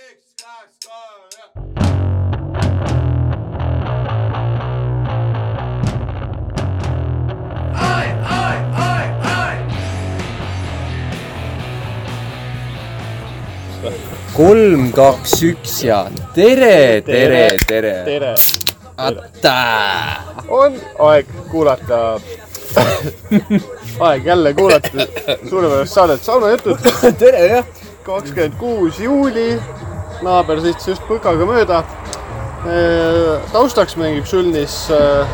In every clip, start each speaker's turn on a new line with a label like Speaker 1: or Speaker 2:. Speaker 1: läks ka .
Speaker 2: kolm , kaks , üks ja tere , tere , tere . Ah,
Speaker 3: tere ,
Speaker 2: Atta .
Speaker 3: on aeg kuulata , aeg jälle kuulata suurepärast saadet Sauna jutud ,
Speaker 2: tere jah .
Speaker 3: kakskümmend kuus juuli . naaber sõitis just põkaga mööda . taustaks mängib Sulnis eh,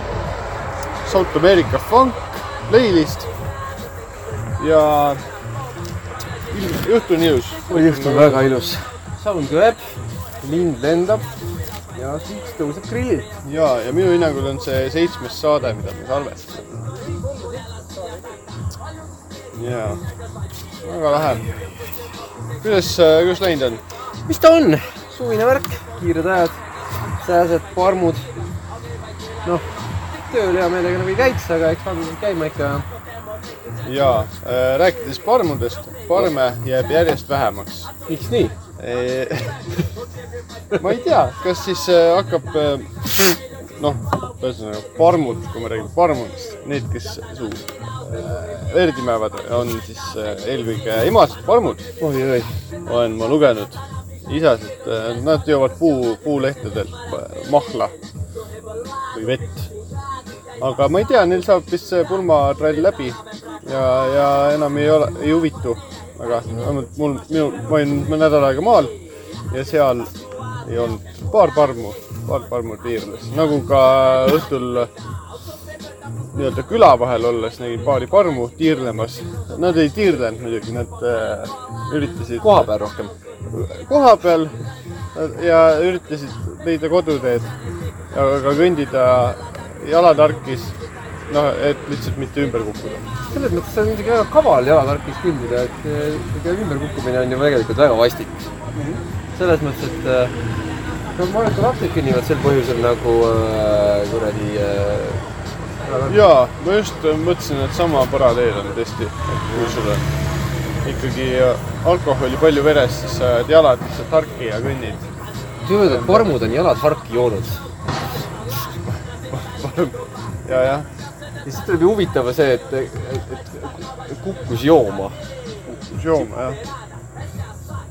Speaker 3: South America funk playlist ja ilm- õhtunius .
Speaker 2: õhtu on väga ilus . saun köeb , lind lendab ja siis tõuseb grillil .
Speaker 3: ja , ja minu hinnangul on see seitsmes saade , mida me salvestasime . ja , väga lahe . kuidas , kuidas läinud on ?
Speaker 2: mis ta on ? suvine värk , kiired ajad , sääsed , parmud . noh , tööl hea meelega nagu ei käiks , aga eks peame käima ikka .
Speaker 3: ja äh, rääkides parmudest , parme jääb järjest vähemaks .
Speaker 2: miks nii ?
Speaker 3: ma ei tea , kas siis äh, hakkab äh, noh , ühesõnaga parmud , kui me räägime parmudest , need , kes suu äh, verd imevad , on siis äh, eelkõige emased parmud
Speaker 2: oi-oi .
Speaker 3: olen ma lugenud isasid , nad joovad puu , puulehtedelt mahla või vett . aga ma ei tea , neil saab vist see pulmatrall läbi ja , ja enam ei ole , ei huvitu . aga vähemalt mul , minu , ma olin mõni nädal aega maal ja seal ei olnud paar parmu , paar parmu tiirles , nagu ka õhtul nii-öelda küla vahel olles nägin paari parmu tiirlemas . Nad ei tiirlenud muidugi , nad äh, üritasid .
Speaker 2: koha peal rohkem .
Speaker 3: koha peal ja üritasid leida koduteed , aga kõndida jalatarkis , noh , et lihtsalt mitte ümber kukkuda .
Speaker 2: selles mõttes on isegi väga kaval jalatarkis kõndida , et eh, ega ümberkukkumine on ju tegelikult väga vastik mm . -hmm. selles mõttes , et eh, no ma arvan , et ka lapsed kõnnivad sel põhjusel nagu äh, kuradi äh, .
Speaker 3: ja ma just mõtlesin , et sama paralleel on tõesti , et kui sul on ikkagi alkoholi palju veres , siis sa ajad jalad lihtsalt tarki ja kõnnid .
Speaker 2: tööd , et parmud on jalad harki joonud .
Speaker 3: ja jah ,
Speaker 2: ja siis tuleb ju huvitav see , et, et, et kukkus jooma .
Speaker 3: kukkus jooma jah .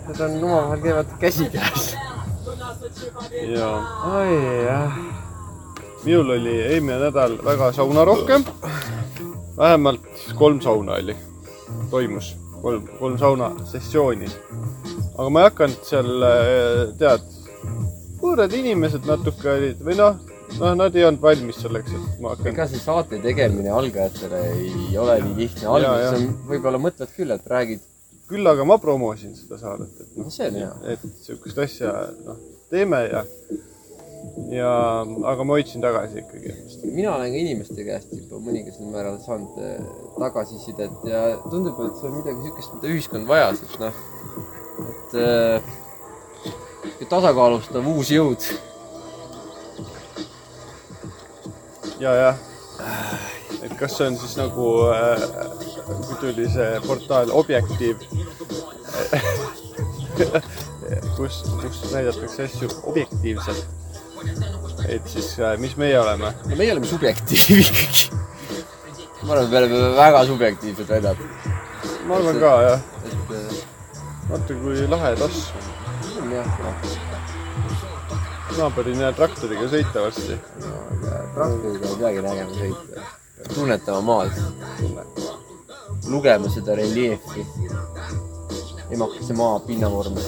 Speaker 2: Need on omavahel käivad käsikäes .
Speaker 3: ja
Speaker 2: oi jah .
Speaker 3: minul oli eelmine nädal väga saunarohke . vähemalt kolm sauna oli , toimus kolm , kolm sauna sessiooni . aga ma ei hakanud seal , tead , võõrad inimesed natuke olid või noh , noh , nad ei olnud valmis selleks , et ma hakkan .
Speaker 2: ega see saate tegemine algajatele ei ole nii lihtne .
Speaker 3: Ja, ja.
Speaker 2: alguses on , võib-olla mõtled küll , et räägid ,
Speaker 3: küll aga ma promosin seda saadet , et noh ,
Speaker 2: mis see on hea .
Speaker 3: et sihukest asja , noh , teeme ja , ja , aga ma hoidsin tagasi ikkagi .
Speaker 2: mina olen ka inimeste käest juba mõningasel määral saanud eh, tagasisidet ja tundub , et see on midagi siukest , mida ühiskond vajas , et noh , et eh, sihuke tasakaalustav uus jõud .
Speaker 3: ja , jah . et kas see on siis nagu äh, , kui tuli see portaal Objektiiv , kus , kus näidatakse asju objektiivselt . et siis , mis meie oleme ?
Speaker 2: no meie oleme subjektiiv ikkagi . ma arvan , et me oleme väga subjektiivsed väidad ,
Speaker 3: ma arvan ka jah ,
Speaker 2: et eh,
Speaker 3: vaata kui lahe tass ,
Speaker 2: see on jah , noh,
Speaker 3: naaber ei näe traktoriga sõita varsti .
Speaker 2: traktoriga ei peagi nägema sõita , tunnetama maad , lugema seda reljeefi , emakese maa pinnavormi .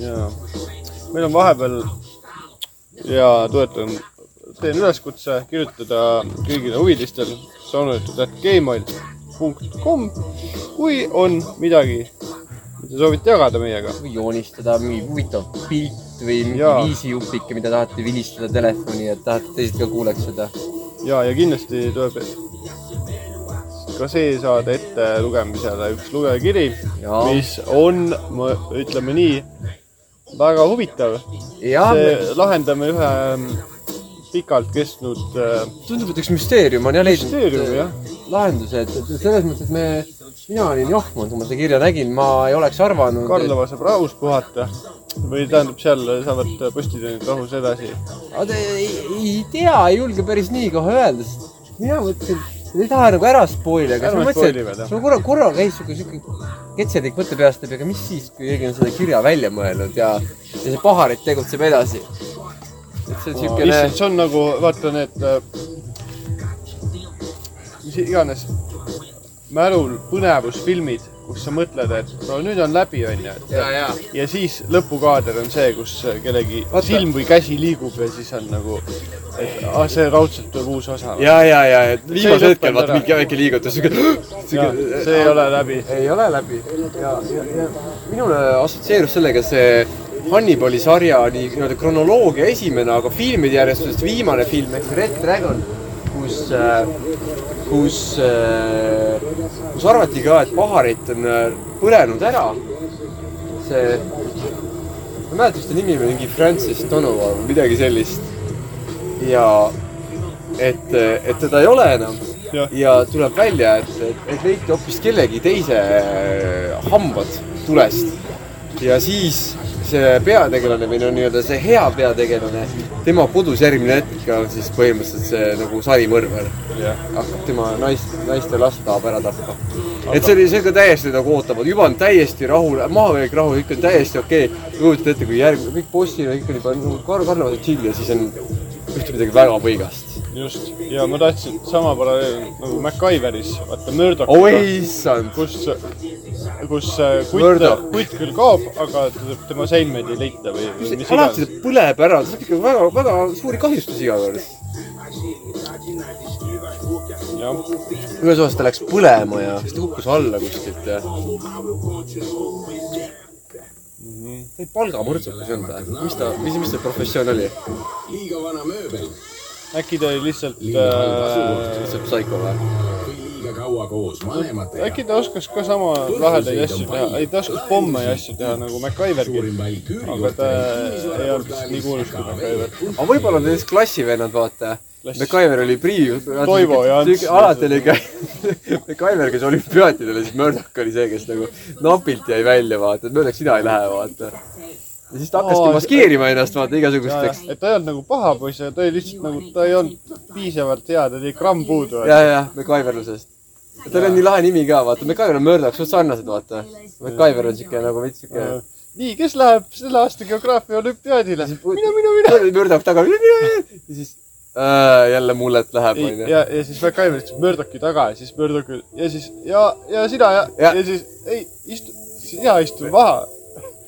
Speaker 3: jaa , meil on vahepeal ja toetan , teen üleskutse kirjutada kõigile huvilistel saunajutud.gmail.com , kui on midagi , mida soovite jagada meiega .
Speaker 2: või joonistada mingi huvitav pilt või mingi
Speaker 3: Jaa.
Speaker 2: viisijupike , mida tahate vilistada telefoni , et tahate teised ka kuuleks seda .
Speaker 3: ja , ja kindlasti tuleb ka see saade ette lugemisele üks lugejakiri ,
Speaker 2: Jaa.
Speaker 3: mis on , ütleme nii , väga huvitav .
Speaker 2: ja see...
Speaker 3: lahendame ühe mm, pikalt kestnud äh,
Speaker 2: tundub , et üks müsteerium on jah leidnud
Speaker 3: Müsteerium, jah.
Speaker 2: äh, lahenduse , et , et selles mõttes , et me , mina olin jahmunud , kui ma seda kirja nägin , ma ei oleks arvanud ,
Speaker 3: Karlova saab rahus puhata .
Speaker 2: et,
Speaker 3: või tähendab , seal saavad postiteenid rahus edasi .
Speaker 2: aga ei, ei tea , ei julge päris nii kohe öelda , sest mina mõtlesin , ei taha nagu ära spoilida , aga siis
Speaker 3: Ärme
Speaker 2: ma
Speaker 3: spoili veel,
Speaker 2: mõtlesin ,
Speaker 3: jah.
Speaker 2: sul korra , korra käis siuke , siuke ketselik mõte peast läbi , aga mis siis , kui keegi on selle kirja välja mõelnud ja , ja see paharit tegutseb edasi . et see on siukene ,
Speaker 3: issand , see on nagu vaata need , mis iganes mälul põnevusfilmid , kus sa mõtled , et no nüüd on läbi , onju .
Speaker 2: ja , ja ,
Speaker 3: ja siis lõpukaader on see , kus kellegi
Speaker 2: Vaata.
Speaker 3: Vaata. silm või käsi liigub ja siis on nagu , et ah, see raudselt tuleb uus osa .
Speaker 4: ja , ja , ja , et
Speaker 3: See
Speaker 4: viimasel hetkel
Speaker 3: ei lõppenud
Speaker 4: vaata
Speaker 3: ära.
Speaker 4: mingi väike liigutus , siuke .
Speaker 3: see ei ole läbi .
Speaker 2: ei ole läbi ja , ja , ja minule assotsieerus sellega see Hannibali sarja nii- nii-öelda kronoloogia esimene , aga filmide järjestusest viimane film ehk Red Dragon , kus äh, , kus äh, , kus arvati ka , et paharit on äh, põlenud ära . see , ma ei mäleta , mis ta nimi oli , mingi Francis Donovan või midagi sellist . ja et , et teda ei ole enam ja,
Speaker 3: Jah.
Speaker 2: ja tuleb välja , et , et , et leiti hoopis kellegi teise äh, hambad tulest . ja siis see peategelane või no nii-öelda see hea peategelane , tema kodus järgmine hetk on siis põhimõtteliselt see nagu sarimõrvar . hakkab tema naist , naiste last tahab ära tappa . et see oli , see oli ka täiesti nagu ootamatu , juba on täiesti rahul , maavärk rahul , kõik on täiesti okei okay. . kujutate ette , kui järgmine , kõik bossid ja kõik on juba nagu kar- , karnavad tšilli ja siis on ühte midagi väga võigast .
Speaker 3: just , ja ma tahtsin sama paralleel nagu MacGyveris , vaata Murdoch
Speaker 2: oh . issand ,
Speaker 3: kus , kus äh, kutt
Speaker 2: Murdoch. ,
Speaker 3: kutt küll kaob , aga t- tema seilmeid ei leita või , või mis
Speaker 2: alati
Speaker 3: iganes .
Speaker 2: ta põleb ära , ta saab ikka väga , väga suuri kahjustusi iga kord .
Speaker 3: jah ,
Speaker 2: ühes osas ta läks põlema ja siis ta kukkus alla kuskilt ja . ta oli palgamõrtsukas ei olnud või ? mis ta , mis , mis see professioon oli ?
Speaker 3: äkki ta oli lihtsalt äh, ,
Speaker 2: lihtsalt psaiko või ?
Speaker 5: liiga kaua koos vanematega .
Speaker 3: äkki ta oskas ka sama lahedaid asju teha , ei ta oskas pomme ja asju teha nagu MacGyvergi , aga ta ei olnud nii kuulus kui MacGyver .
Speaker 2: aga võib-olla on näiteks klassivennad , vaata .
Speaker 3: Klass-
Speaker 2: MacGyver oli priiv .
Speaker 3: Toivo ja Ants.
Speaker 2: alati oli ka MacGyver , kes olümpiaatidel ja siis Murdoch oli see , kes nagu napilt jäi välja , vaata , et Murdoch , sina ei lähe , vaata . ja siis ta
Speaker 3: Aa,
Speaker 2: hakkaski maskeerima ennast , vaata , igasugusteks .
Speaker 3: et ta ei olnud nagu paha poiss , aga ta oli lihtsalt nagu , ta ei olnud piisavalt hea , tal oli gramm puudu .
Speaker 2: ja , ja MacGyverlusest . tal on nii lahe nimi ka , vaata , MacGyver ja Murdoch , suht sarnased , vaata . MacGyver on siuke nagu veits siuke .
Speaker 3: nii , kes läheb selle aasta geograafia olümpiaadile ? mina , mina , mina .
Speaker 2: Murdoch taga , ja siis äh, jälle mullet läheb ,
Speaker 3: ei ,
Speaker 2: onju .
Speaker 3: ja , ja siis MacGyver ütles Murdochi taga ja siis Murdoch ül- ja siis ja , ja sina ja, ja. ,
Speaker 2: Ja.
Speaker 3: ja siis ei , istu , sina istu maha .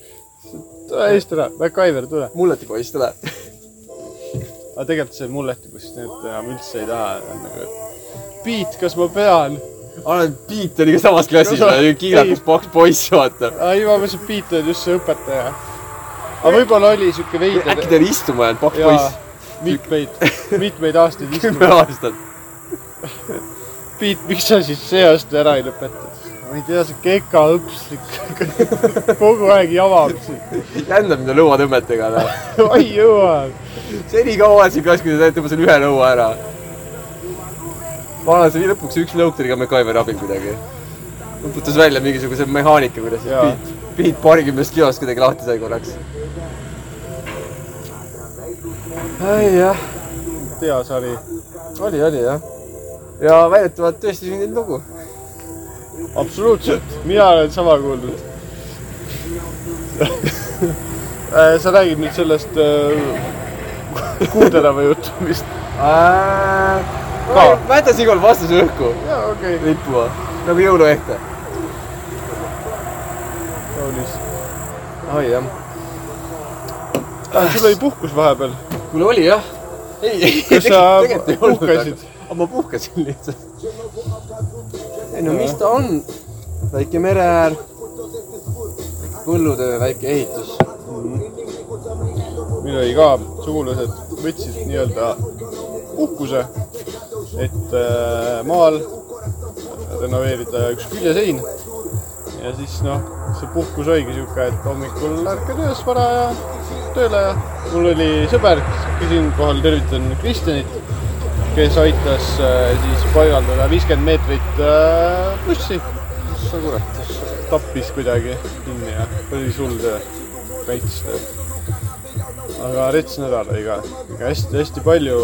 Speaker 3: tule istu ära , MacGyver , tule .
Speaker 2: mulleti poiss tuleb .
Speaker 3: aga tegelikult see mulleti poiss , need enam üldse ei taha nagu . Piet , kas ma pean ?
Speaker 2: Alan Piit oli ka samas klassis , kiirakas paks poiss , vaata .
Speaker 3: ei , ma mõtlesin , et Piet on just see õpetaja . aga võib-olla oli siuke
Speaker 2: äkki
Speaker 3: veider
Speaker 2: ta oli istuma jäänud , paks
Speaker 3: ja
Speaker 2: poiss .
Speaker 3: mitmeid , mitmeid aastaid
Speaker 2: kümme
Speaker 3: istunud .
Speaker 2: aastat .
Speaker 3: Piet , miks sa siis see aasta ära ei lõpetanud ? ma ei tea , see keka õpslik kogu aeg jamab siin .
Speaker 2: jändab nende lõuatõmmetega , noh .
Speaker 3: ai jõuab .
Speaker 2: senikaua siin peaks , kui ta tõmbas selle ühe lõua ära . ma arvan , see oli lõpuks üks lõuk tuli ka MacGyveri abil kuidagi . õpetas välja mingisuguse mehaanika , kuidas
Speaker 3: Jaa.
Speaker 2: Piet , Piet paarikümnest kilost kuidagi lahti sai korraks . jah ,
Speaker 3: hea sari .
Speaker 2: oli , oli jah . ja väidetavalt tõesti sündinud lugu .
Speaker 3: absoluutselt , mina olen sama kuulnud . Äh, sa räägid nüüd sellest äh, kuuderava juhtumist ?
Speaker 2: ma ma jätan siinkohal vastuse õhku
Speaker 3: jaa , okei okay. ,
Speaker 2: rippuma , nagu jõuluehte .
Speaker 3: kaunis .
Speaker 2: oi jah .
Speaker 3: Äh, sul oli puhkus vahepeal ,
Speaker 2: mul oli jah . ei ,
Speaker 3: kas sa
Speaker 2: tegelikult ei olnud,
Speaker 3: puhkasid ?
Speaker 2: aga ma puhkasin lihtsalt . ei no mis ta on ? väike mere äär , põllutöö , väike ehitus .
Speaker 3: meil oli ka , sugulased võtsid nii-öelda puhkuse , et äh, maal renoveerida üks küljesein . ja siis noh , see puhkus oligi sihuke , et hommikul ärkad üles vara ja tööle ja mul oli sõber , siinkohal tervitan Kristjanit , kes aitas äh, siis paigaldada viiskümmend meetrit äh, bussi . sa kurat , tappis kuidagi kinni ja see oli sul töö veits . aga rets nädal oli ka , hästi-hästi palju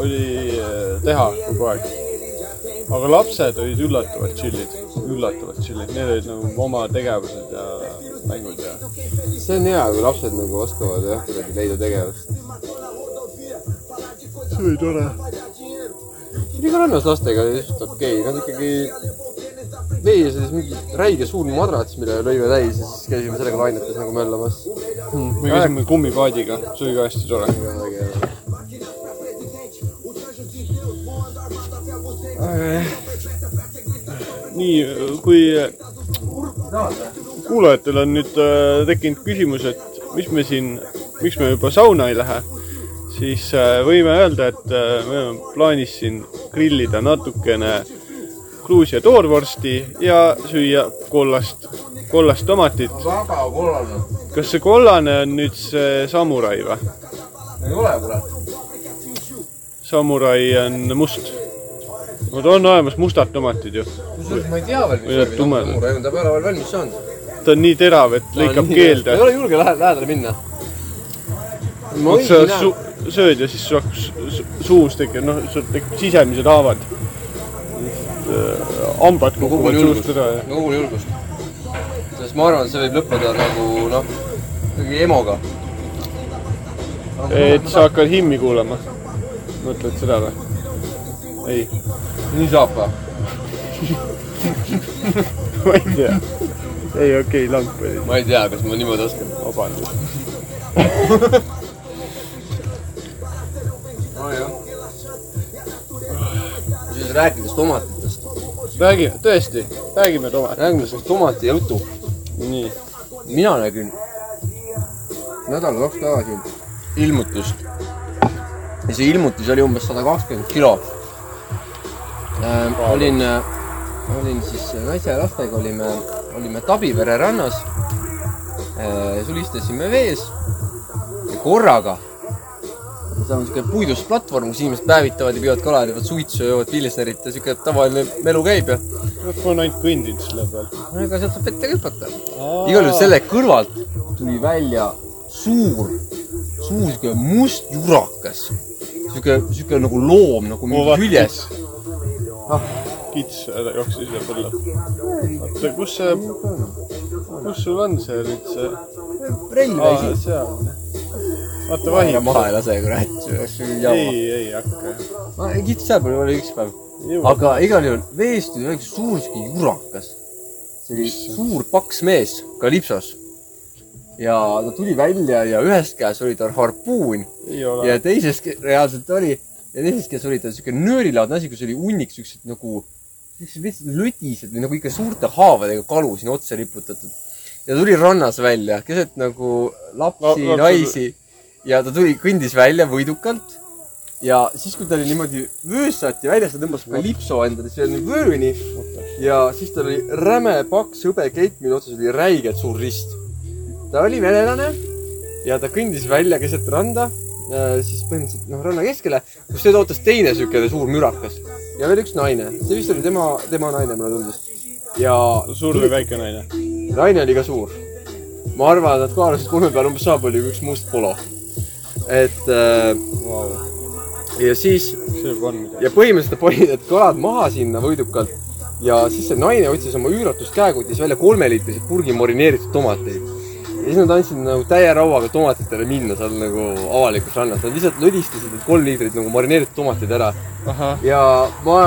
Speaker 3: oli äh, teha kogu aeg . aga lapsed olid üllatavalt chill'id , üllatavalt chill'id , neil olid nagu oma tegevused ja mängud ja .
Speaker 2: see on hea , kui lapsed nagu oskavad jah , kuidagi leida tegevust .
Speaker 3: see oli tore .
Speaker 2: liiga rannas lastega oli lihtsalt okei okay. , nad ikkagi meie selles mingi räige suur madrats , mille lõime täis ja siis käisime sellega lainetes nagu möllamas .
Speaker 3: me käisime kummipaadiga , see oli ka hästi tore . nii , kui kuulajatel on nüüd äh, tekkinud küsimus , et mis me siin , miks me juba sauna ei lähe , siis äh, võime öelda , et äh, meil on plaanis siin grillida natukene Gruusia toorvorsti ja süüa kollast , kollast tomatit .
Speaker 2: vaba kollane .
Speaker 3: kas see kollane on nüüd see samurai või ?
Speaker 2: ei ole kurat .
Speaker 3: samurai on must . Nad on olemas mustad tomatid ju .
Speaker 2: kusjuures ma ei tea veel ,
Speaker 3: Või nad tumedad.
Speaker 2: on , ta ei ole veel valmis saanud .
Speaker 3: ta on nii terav , et lõikab keelde
Speaker 2: ei . ole julge lähe- lähedale minna . ma
Speaker 3: kui sa
Speaker 2: õieti näen
Speaker 3: su- , sööd ja siis sul hakkas su- suus tekib , noh , sul tekib sisemised haavad . hambad
Speaker 2: ma kogun
Speaker 3: kukuvad
Speaker 2: julgust ,
Speaker 3: suust ära ja
Speaker 2: ma kogun julgust . sest ma arvan , et see võib lõppeda nagu noh , kuidagi emoga .
Speaker 3: et sa hakkad himmi kuulama . mõtled seda või ? ei ,
Speaker 2: nii saab või ?
Speaker 3: ma ei tea . ei , okei , lamp oli ,
Speaker 2: ma ei tea , kas ma niimoodi oskan .
Speaker 3: vabandust .
Speaker 2: nojah . siis rääkides tomatitest .
Speaker 3: räägi , tõesti , räägime tomat- .
Speaker 2: räägime sellest tomati ja jutu .
Speaker 3: nii ,
Speaker 2: mina nägin nädal kaks tagasi ilmutust . ja see ilmutis oli umbes sada kakskümmend kilo ähm, . olin , olin siis naise ja lastega olime , olime Tabipere rannas äh, . sulistasime vees ja korraga see on siuke puidust platvorm , kus inimesed päevitavad ja püüavad kala , teevad suitsu , joovad pilsnerit ja siuke tavaline melu käib ja
Speaker 3: ma olen ainult kõndinud selle peal .
Speaker 2: no ega sealt saab ette hüpata igal juhul selle kõrvalt tuli välja suur , suur siuke must jurakas . siuke , siuke nagu loom nagu mingi küljes .. Ah.
Speaker 3: kits ära- jooksis üle põlla . oota , kus see , kus sul on see nüüd see ?
Speaker 2: relv
Speaker 3: aa ,
Speaker 2: väsi .
Speaker 3: seal . vaata vahi .
Speaker 2: maha ei lase , kurat , see oleks ju jama .
Speaker 3: ei , ei hakka .
Speaker 2: kits seal peal oli üks päev . aga igal juhul veest tuli üks suur siuke jurakas . see oli suur paks mees , kalipsos . ja ta tuli välja ja ühes käes oli tal harpuun
Speaker 3: ei ole
Speaker 2: ja teises ke- reaalselt oli ja teises käes oli ta siuke nöörilaadne asi , kus oli hunnik siukseid nagu , siukseid lihtsalt lötised või nagu ikka suurte haavadega kalu sinna otsa riputatud . ja tuli rannas välja keset nagu lapsi
Speaker 3: No-
Speaker 2: no, ,
Speaker 3: lapsed-
Speaker 2: naisi ja ta tuli , kõndis välja võidukalt . ja siis , kui ta oli niimoodi vöös saati väljas , ta tõmbas kalipso endale nagu sinna vööni ja siis tal oli räme paks hõbekeit , mille otsas oli räigelt suur rist . ta oli venelane ja ta kõndis välja keset randa , siis põhimõtteliselt noh , ranna keskele , kus teda ootas teine siukene suur mürakas ja veel üks naine , see vist oli tema , tema naine , mulle tundus . ja
Speaker 3: suur või väike naine ?
Speaker 2: naine oli ka suur . ma arvan , et nad kaalusid kolme peale umbes sama palju kui üks must polo . et äh,
Speaker 3: Vau ,
Speaker 2: ja siis
Speaker 3: see juba on midagi .
Speaker 2: ja põhimõtteliselt nad panid need kalad maha sinna võidukalt ja siis see naine otsis oma üüratust käekotis välja kolmeliitrise purgi marineeritud tomateid . ja siis nad andsid nagu täie rauaga tomatitele minna seal nagu avalikus rannas , nad lihtsalt lödistasid need kolm liitrit nagu marineeritud tomateid ära
Speaker 3: ahah ,
Speaker 2: ja ma ,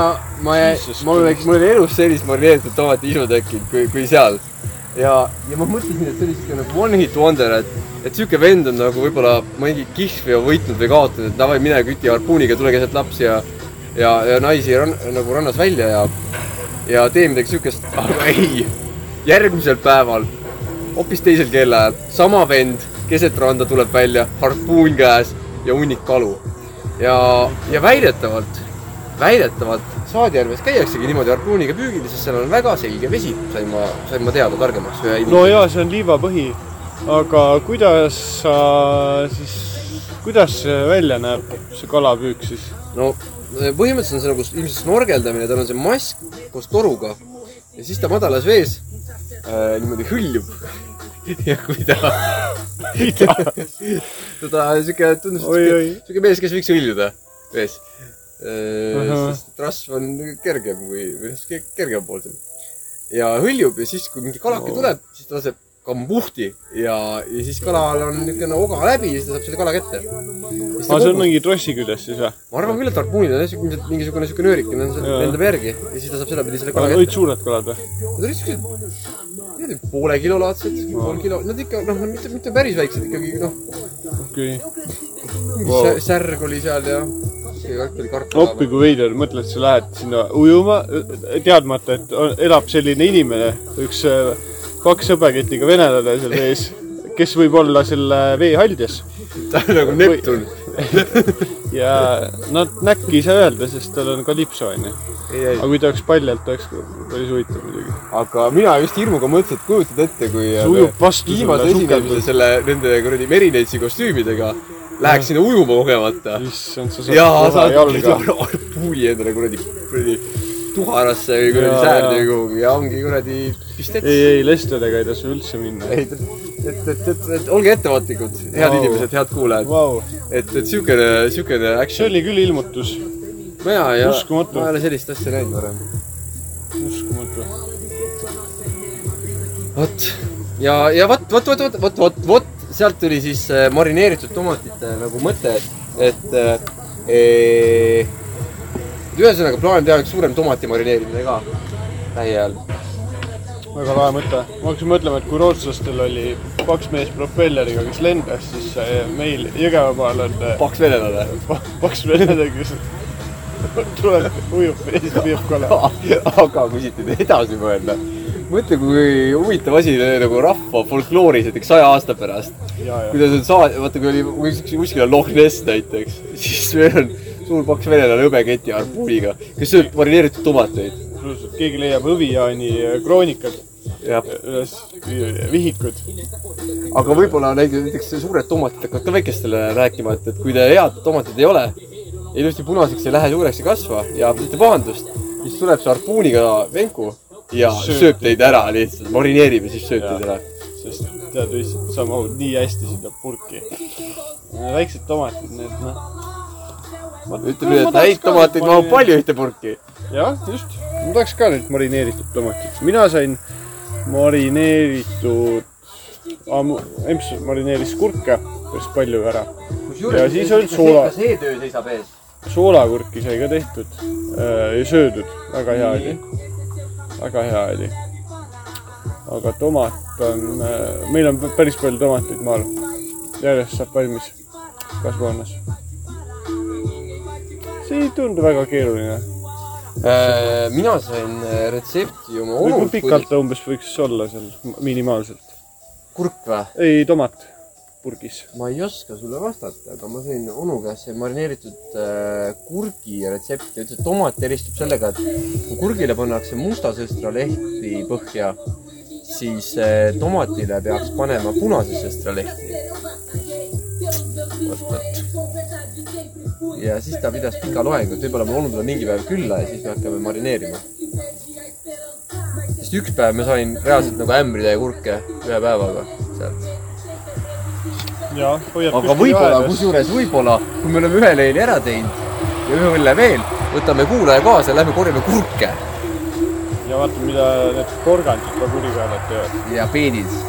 Speaker 2: ma ,
Speaker 3: Jesus
Speaker 2: mul oli , mul oli elus sellist marineeritud tomati isu tekkinud , kui , kui seal . ja , ja ma mõtlesin , et see oli siuke nagu one hit wonder , et , et siuke vend on nagu võib-olla mingi kihv ja võitnud või kaotanud , et davai , mine küti harpuuniga , tule keset lapsi ja , ja , ja naisi ran, nagu rannas välja ja , ja tee midagi siukest , aga ei . järgmisel päeval hoopis teisel kellaajal sama vend keset randa tuleb välja , harpuun käes ja hunnik kalu . ja , ja väidetavalt , väidetavalt Saadjärves käiaksegi niimoodi harpuuniga püügil , sest seal on väga selge vesi , sain ma , sain ma teada targemaks ühe
Speaker 3: no jaa , see on liivapõhi . aga kuidas sa siis , kuidas see välja näeb , see kalapüük siis ?
Speaker 2: no põhimõtteliselt on see nagu s- ilmselt snorgeldamine , tal on see mask koos toruga ja siis ta madalas vees äh, niimoodi hõljub
Speaker 6: ja kui ta ,
Speaker 2: teda siuke , tundus
Speaker 3: Oi, oi.
Speaker 2: siuke , siuke mees , kes võiks õiljuda vees .
Speaker 3: Ahah.
Speaker 2: sest rasv on kergem kui , või siuke kergem pool seal . ja hõljub ja siis , kui mingi kalake
Speaker 3: Oo.
Speaker 2: tuleb , siis ta laseb kambuhti ja , ja siis kalal on niisugune oga läbi ja siis ta saab selle kala kätte .
Speaker 3: aa , Ah, see on mingi trossi küljes siis või ?
Speaker 2: ma arvan küll , et harpuunid on jah , siuke , mingisugune siuke nöörikene on seal-
Speaker 3: Jaa.
Speaker 2: lendab järgi ja siis ta saab sedapidi selle kala
Speaker 3: olid
Speaker 2: kätte .
Speaker 3: suured kalad või ?
Speaker 2: Nad olid siuksed , ma ei tea , poole kilo laadsed , pool kilo , nad ikka , noh , mitte , mitte päris väiksed ikkagi , noh
Speaker 3: okei okay. . Wow.
Speaker 2: wow. . särg oli seal ja kõik oli karp .
Speaker 3: appi kui veider , mõtled , sa lähed sinna ujuma , teadmata , et on, elab selline inimene , üks äh, kaks sõbraketiga venelane seal ees , kes võib olla selle vee haldjas
Speaker 2: ta on nagu Neptun .
Speaker 3: ja nad näkki ei saa öelda , sest tal on kalipso onju .
Speaker 2: ei , ei ,
Speaker 3: aga kui ta oleks paljalt , oleks päris huvitav muidugi .
Speaker 2: aga mina just hirmuga mõtlesin , et kujutad ette , kui äh,
Speaker 3: See ujub vastu
Speaker 2: viimase
Speaker 3: sulle
Speaker 2: esinemise
Speaker 3: sukeldult.
Speaker 2: selle , nende kuradi Merineitsi kostüümidega läheks sinna ujuma kogemata .
Speaker 3: issand , sa
Speaker 2: ja
Speaker 3: saad
Speaker 2: saad kuradi
Speaker 3: jalga .
Speaker 2: ar- arpuuni endale kuradi , kuradi tuharasse või kuradi
Speaker 3: Jaa,
Speaker 2: säärde või
Speaker 3: jaa.
Speaker 2: kuhugi ja ongi kuradi pistets .
Speaker 3: ei , ei lestedega ei tasu üldse minna .
Speaker 2: et , et , et, et , et olge ettevaatlikud , head
Speaker 3: Vau.
Speaker 2: inimesed , head kuulajad
Speaker 3: Vau ,
Speaker 2: et , et siukene , siukene
Speaker 3: see
Speaker 2: action .
Speaker 3: oli küll ilmutus ,
Speaker 2: mina ei ole ,
Speaker 3: Uskumatu.
Speaker 2: ma ei ole sellist asja näinud varem .
Speaker 3: uskumatu .
Speaker 2: vot ja , ja vot , vot , vot , vot , vot , vot , vot sealt tuli siis äh, marineeritud tomatite nagu mõte , et , et äh, et ühesõnaga plaan teha üks suurem tomati marineerimine ka lähiajal .
Speaker 3: väga lahe mõte . ma hakkasin mõtlema , et kui rootslastel oli kaks meest propelleriga , kes lendas , siis äh, meil Jõgevamaal on äh,
Speaker 2: paks venelane .
Speaker 3: pa- paks venelane , kes tuleb , ujub ja siis püüab kala .
Speaker 2: aga kui siit nüüd edasi mõelda , mõtle , kui huvitav asi nagu rahva folklooris näiteks saja aasta pärast .
Speaker 3: ja , ja ,
Speaker 2: kuidas on saa- , vaata kui oli kui kuskil kuskil on Loch Ness näiteks , siis meil on suur paks venelane hõbeketi harpuuniga , kes sööb marineeritud tomateid .
Speaker 3: pluss , et keegi leiab Hõvijaani äh, kroonikad
Speaker 2: jah
Speaker 3: üles , vihikud .
Speaker 2: aga võib-olla neid- näiteks suured tomatid hakkavad ka väikestele rääkima , et , et kui te head tomatit ei ole , ilusti punaseks ei lähe , suureks ei kasva ja mitte pahandust , siis tuleb see harpuuniga venku ja
Speaker 3: Sööb
Speaker 2: sööb, sööb teid ära lihtsalt , marineerib ja siis sööb teid ära .
Speaker 3: sest tead , lihtsalt sa mahud nii hästi sinna purki . väiksed tomatid , need noh .
Speaker 2: ütleme nii , et häid tomateid mahub . palju ühte purki .
Speaker 3: jah , just . ma tahaks ka nüüd marineeritud tomatit . mina sain marineeritud , emps marineeris kurke päris palju ära . Ja siis on soola.
Speaker 2: kas see töö seisab ees ?
Speaker 3: soolakurki sai ka tehtud äh, ja söödud , väga hea oli . väga hea oli . aga tomat on äh, , meil on päris palju tomateid maal . järjest saab valmis kasvuhoones . see ei tundu väga keeruline .
Speaker 2: mina sain äh, retsepti oma
Speaker 3: kui
Speaker 2: onult .
Speaker 3: pikalt ta umbes võiks olla seal m- minimaalselt ?
Speaker 2: kurk või ?
Speaker 3: ei , tomat purgis .
Speaker 2: ma ei oska sulle vastata , aga ma sain onu käest see marineeritud äh, kurgi retsepti , ütles , et tomat eristub sellega , et kui kurgile pannakse musta sõstra lehti põhja , siis äh, tomatile peaks panema punase sõstra lehti . vot , vot . ja siis ta pidas pika loengu , et võib-olla mu onu tuleb mingi päev külla ja siis me hakkame marineerima . sest üks päev ma sain reaalselt nagu ämbritäie kurke ühe päevaga sealt
Speaker 3: jah , hoiab
Speaker 2: aga võib-olla , kusjuures võib-olla , kui me oleme ühe leili ära teinud ja ühe õlle veel , võtame kuulaja kaasa , lähme korjame kurke
Speaker 3: ja vaata , mida need porgandid ka kurikaelad teevad .
Speaker 2: ja peenid .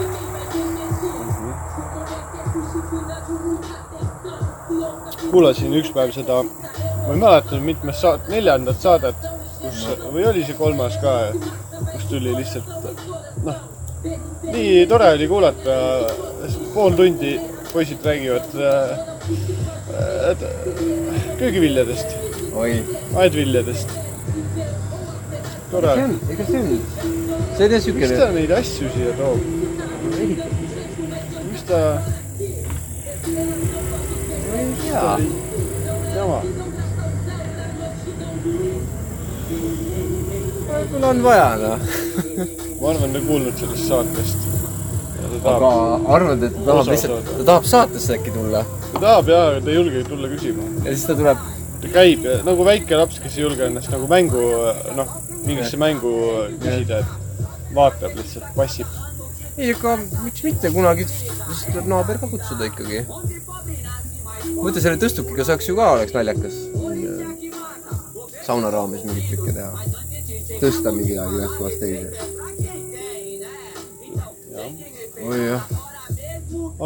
Speaker 3: kuulasin ükspäev seda , ma ei mäleta nüüd mitmes saat- , neljandat saadet , kus või oli see kolmas ka , kus tuli lihtsalt noh , nii tore oli kuulata , pool tundi poisid räägivad äh, äh, köögiviljadest ,
Speaker 2: oi ,
Speaker 3: aedviljadest . tore ,
Speaker 2: see on , ega see on , see on jah
Speaker 3: miks
Speaker 2: siukene
Speaker 3: ta , neid asju siia toob , miks ta
Speaker 2: ma ei tea ,
Speaker 3: jama ,
Speaker 2: võib-olla on vaja noh .
Speaker 3: ma arvan , ta on kuulnud sellest saatest .
Speaker 2: aga arvad , et ta tahab lihtsalt , ta tahab saatesse äkki tulla
Speaker 3: ta tahab jaa , aga ta ei julge tulla küsima .
Speaker 2: ja siis ta tuleb ,
Speaker 3: ta käib ja- nagu väike laps , kes ei julge ennast nagu mängu , noh , mingisse mängu küsida , et vaatab lihtsalt , passib .
Speaker 2: ei , aga miks mitte kunagi , siis tuleb naaber ka kutsuda ikkagi . mõtle , selle tõstukiga saaks ju ka , oleks naljakas . sauna raames mingeid trikke teha . tõsta midagi ühest kohast teise .
Speaker 3: oi jah .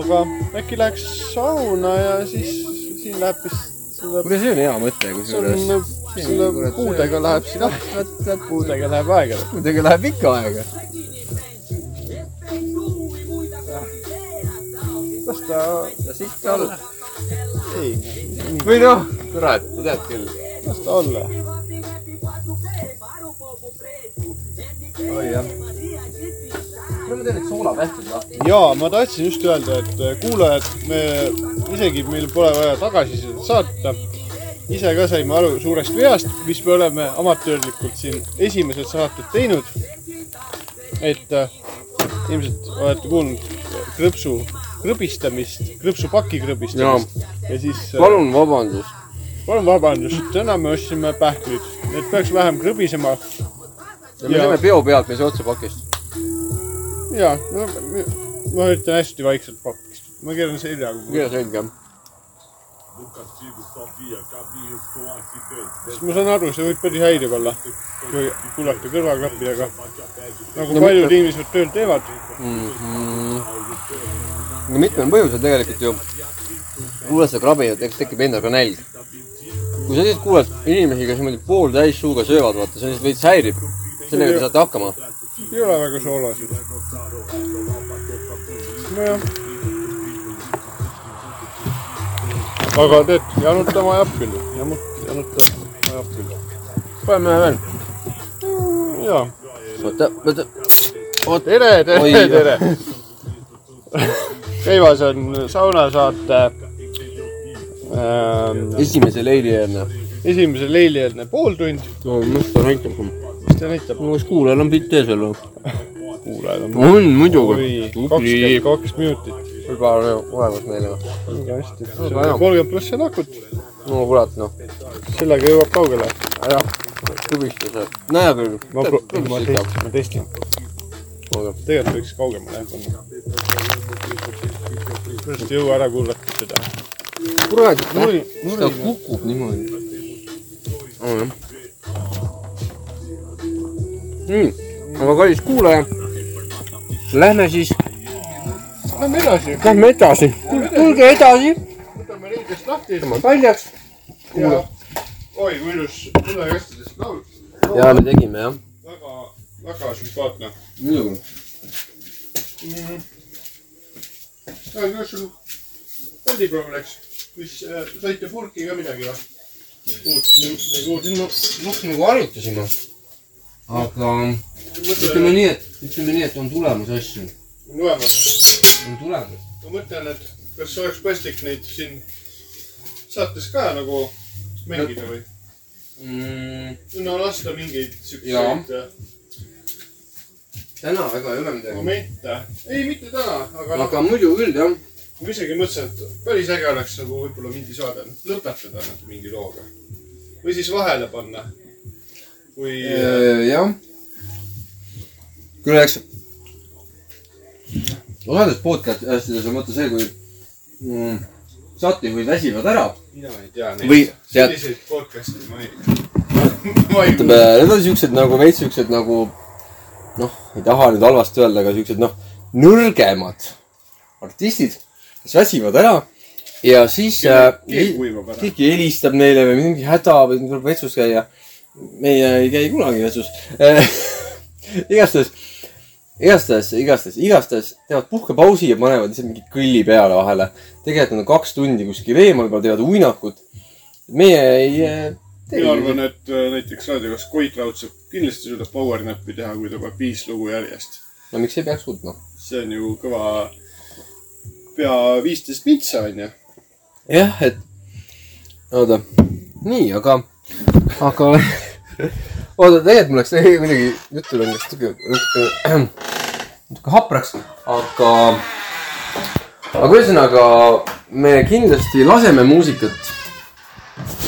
Speaker 3: aga äkki läheks sauna ja siis siin läheb vist selle ,
Speaker 2: kuule , see on hea mõte , kusjuures .
Speaker 3: selle puudega läheb siin aeg , puudega läheb aega .
Speaker 2: muidugi läheb ikka aega .
Speaker 3: las ta ,
Speaker 2: las ikka olla .
Speaker 3: ei ,
Speaker 2: või noh , kurat , sa tead küll .
Speaker 3: las ta olla .
Speaker 2: oi jah . kuule , ma teen nüüd soolapähklid lahti .
Speaker 3: jaa , ma tahtsin just öelda , et eh, kuulajad , me isegi meil pole vaja tagasisidet saata . ise ka saime aru suurest veast , mis me oleme amatöörlikult siin esimesed saated teinud . et äh, ilmselt olete kuulnud äh, krõpsu krõbistamist , krõpsupaki krõbistamist . ja siis äh,
Speaker 2: palun vabandust .
Speaker 3: palun vabandust , täna me ostsime pähklid , et peaks vähem krõbisema .
Speaker 2: ja me
Speaker 3: Jaa.
Speaker 2: teeme peo pealt , me ei saa otse pakist .
Speaker 3: ja no, ma- ma ütlen hästi vaikselt pakist , ma keeran selja .
Speaker 2: kuidas selge ?
Speaker 7: Do castigo só via caminhos com acidentes.
Speaker 3: siis ma saan aru , see võib päris häiriv olla , kui kuulata kõrvaklappidega . nagu
Speaker 2: No
Speaker 3: no, paljud inimesed tööl teevad .
Speaker 2: no mitmel põhjusel tegelikult ju kuuled seda krabi ja eks tekib endal ka nälg . kui sa lihtsalt kuuled inimesi , kes niimoodi pooltäis suuga söövad , vaata , see lihtsalt veits häirib . sellega te saate hakkama .
Speaker 3: ei ole väga soolasid . nojah . aga tead , janutama ajab küll , janut- , janutama ajab küll .
Speaker 2: paneme ühe veel .
Speaker 3: jaa .
Speaker 2: oota , oota , oota .
Speaker 3: tere ,
Speaker 2: Oi.
Speaker 3: tere , tere . käimas on saunasaate ähm,
Speaker 2: esimese leili enne .
Speaker 3: esimese leilieelne pooltund ,
Speaker 2: no mis ta näitab ? no
Speaker 3: mis ta näitab ,
Speaker 2: kas kuulajal on pilt ees veel või ?
Speaker 3: kuulajad on
Speaker 2: on
Speaker 3: oi , kakskümmend . kaks minutit .
Speaker 2: juba on olemas meile .
Speaker 3: väga hästi .
Speaker 2: Väga hea.
Speaker 3: kolmkümmend pluss on akut ,
Speaker 2: no kurat , noh .
Speaker 3: sellega jõuab kaugele .
Speaker 2: jah , tubistused . näe küll .
Speaker 3: ma pro- , ma testin , ma testin . tegelikult võiks kaugemale jah panna . pärast ei jõua ära kuulata seda .
Speaker 2: kurat ,
Speaker 3: nuri ,
Speaker 2: ta
Speaker 3: nuri ,
Speaker 2: kukub niimoodi . nii , Hmm, aga kallis kuulaja , lähme siis ,
Speaker 3: lähme edasi .
Speaker 2: lähme edasi , tulge edasi ,
Speaker 3: võtame riidest lahti
Speaker 2: tema paljaks .
Speaker 3: ja oi , kui ilus tulekastidest laul .
Speaker 2: ja me tegime jah .
Speaker 3: väga , väga sümpaatne .
Speaker 2: muidugi .
Speaker 3: kuidas sul kaldipäev läks ? mis , saite purki ka midagi või ? uut , midagi uut ?
Speaker 2: siin ma rohkem kui nagu harjutasime . aga ütleme nii , et , ütleme nii , et on tulemas asju ,
Speaker 3: loemas
Speaker 2: on tulemas .
Speaker 3: ma mõtlen , et kas oleks paslik neid siin saates ka nagu mängida või ?
Speaker 2: Mm,
Speaker 3: no lasta mingeid siukseid äh,
Speaker 2: täna väga ei ole midagi .
Speaker 3: momente . ei , mitte täna , aga noh ,
Speaker 2: aga muidu küll jah .
Speaker 3: ma isegi mõtlesin , et päris äge oleks nagu võib-olla mingi saade lõpetada nad mingi looga . või siis vahele panna . kui äh,
Speaker 2: jah . kuule , eks osades podcast asjades on vaata see , kui mm, saatejuhid väsivad ära .
Speaker 3: mina ei tea
Speaker 2: Või
Speaker 3: neid
Speaker 2: tead-
Speaker 3: selliseid podcast'e ma ei , ma ei
Speaker 2: ütleme , need on siuksed nagu veits siuksed nagu noh , ei taha nüüd halvasti öelda , aga siuksed noh , nõrgemad artistid , kes väsivad ära ja siis
Speaker 3: Kelle-
Speaker 2: äh,
Speaker 3: keel
Speaker 2: hi-
Speaker 3: kuivab ära.
Speaker 2: keegi helistab neile või mingi häda või tuleb vetsus käia . meie ei käi kunagi vetsus . igastahes , igastahes , igastahes , igastahes teevad puhkepausi ja panevad lihtsalt mingi kõlli peale vahele . tegelikult nad on kaks tundi kuskil eemal , juba teevad uinakut . meie ei äh, tee
Speaker 3: mina arvan , et äh, näiteks raadiokas Koit Raudsepp kindlasti suudab power nap'i teha , kui ta paneb viis lugu järjest .
Speaker 2: no miks ei peaks noh? suutma ?
Speaker 3: see on ju kõva , pea viisteist mintsa onju .
Speaker 2: jah , et oota , nii , aga , aga oota , tegelikult mul läks see kuidagi jutul on läks natuke , natuke , natuke hapraks , aga , aga ühesõnaga me kindlasti laseme muusikat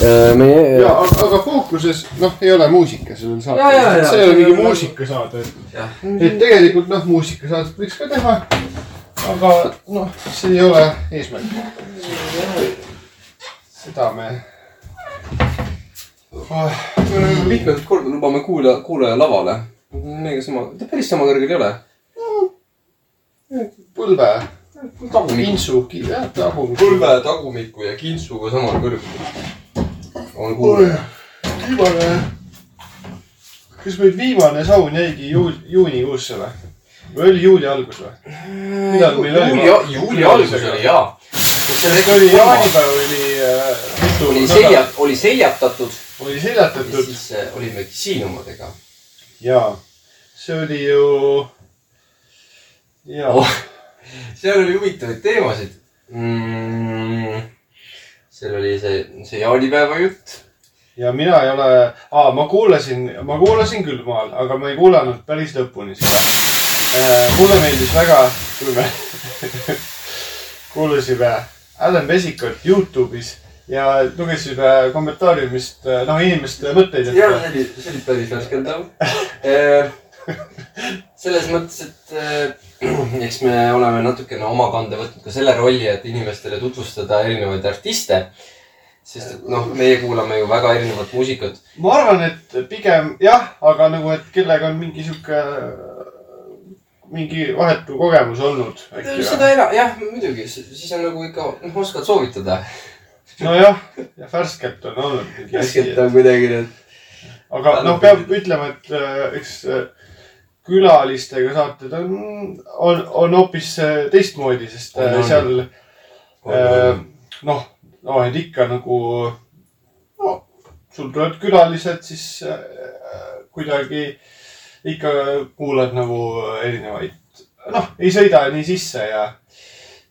Speaker 2: äh, meie
Speaker 3: ja , aga fookuses , noh , ei ole muusika sellel
Speaker 2: Jaa, jaa,
Speaker 3: saatel .
Speaker 2: jaa.
Speaker 3: see ei ole mingi muusikasaade .
Speaker 2: Jah.
Speaker 3: et tegelikult noh , muusikasaadet võiks ka teha . aga noh , see ei ole eesmärk . seda me oh, .
Speaker 2: mitmendat korda lubame kuulaja , kuulaja lavale . meiega sama , ta päris sama kõrgel ei ole .
Speaker 3: põlve ,
Speaker 2: tagumik ,
Speaker 3: pintsu , jah , tagumik .
Speaker 2: põlve , tagumiku ja kintsuga samal kõrgel . on kuulaja .
Speaker 3: viimane , kas meil viimane saun jäigi juul- , juunikuusse või ? või oli juuli algus või ? Millal meil oli?
Speaker 2: juuli , juuli alguses oli jaa .
Speaker 3: see oli jaanipäev oli äh, mitu
Speaker 2: oli
Speaker 3: nädalat-
Speaker 2: seljat- , oli seljatatud
Speaker 3: oli
Speaker 2: ja
Speaker 3: seljatatud
Speaker 2: siis äh, olimegi siin omadega .
Speaker 3: ja see oli ju . ja
Speaker 2: Oh. seal oli huvitavaid teemasid mm, . seal oli see , see jaanipäeva jutt .
Speaker 3: ja mina ei ole , aa , ma kuulasin , ma kuulasin küll maal , aga ma ei kuulanud päris lõpuni seda . mulle meeldis väga , kui me kuulasime Alan Vesikut Youtube'is ja lugesime kommentaariumist , noh , inimeste mõtteid ,
Speaker 2: ja
Speaker 3: et
Speaker 2: see oli , see oli päris värskendav . selles mõttes , et eh, eks me oleme natukene oma kande võtnud ka selle rolli , et inimestele tutvustada erinevaid artiste . sest et noh , meie kuulame ju väga erinevat muusikat .
Speaker 3: ma arvan , et pigem jah , aga nagu , et kellega on mingi sihuke , mingi vahetu kogemus olnud äkki .
Speaker 2: seda ena- , jah , muidugi , siis on nagu ikka , noh , oskad soovitada .
Speaker 3: nojah , ja värskelt on olnud mingi asi
Speaker 2: keskelt . on kuidagi need
Speaker 3: aga noh , peab ütlema , et äh, eks äh, külalistega saated on , on , on hoopis äh, teistmoodi , sest
Speaker 2: On,
Speaker 3: äh,
Speaker 2: on.
Speaker 3: seal
Speaker 2: On,
Speaker 3: äh,
Speaker 2: on.
Speaker 3: noh , no et ikka nagu no sul tulevad külalised , siis äh, kuidagi ikka kuulad nagu erinevaid , noh , ei sõida nii sisse ja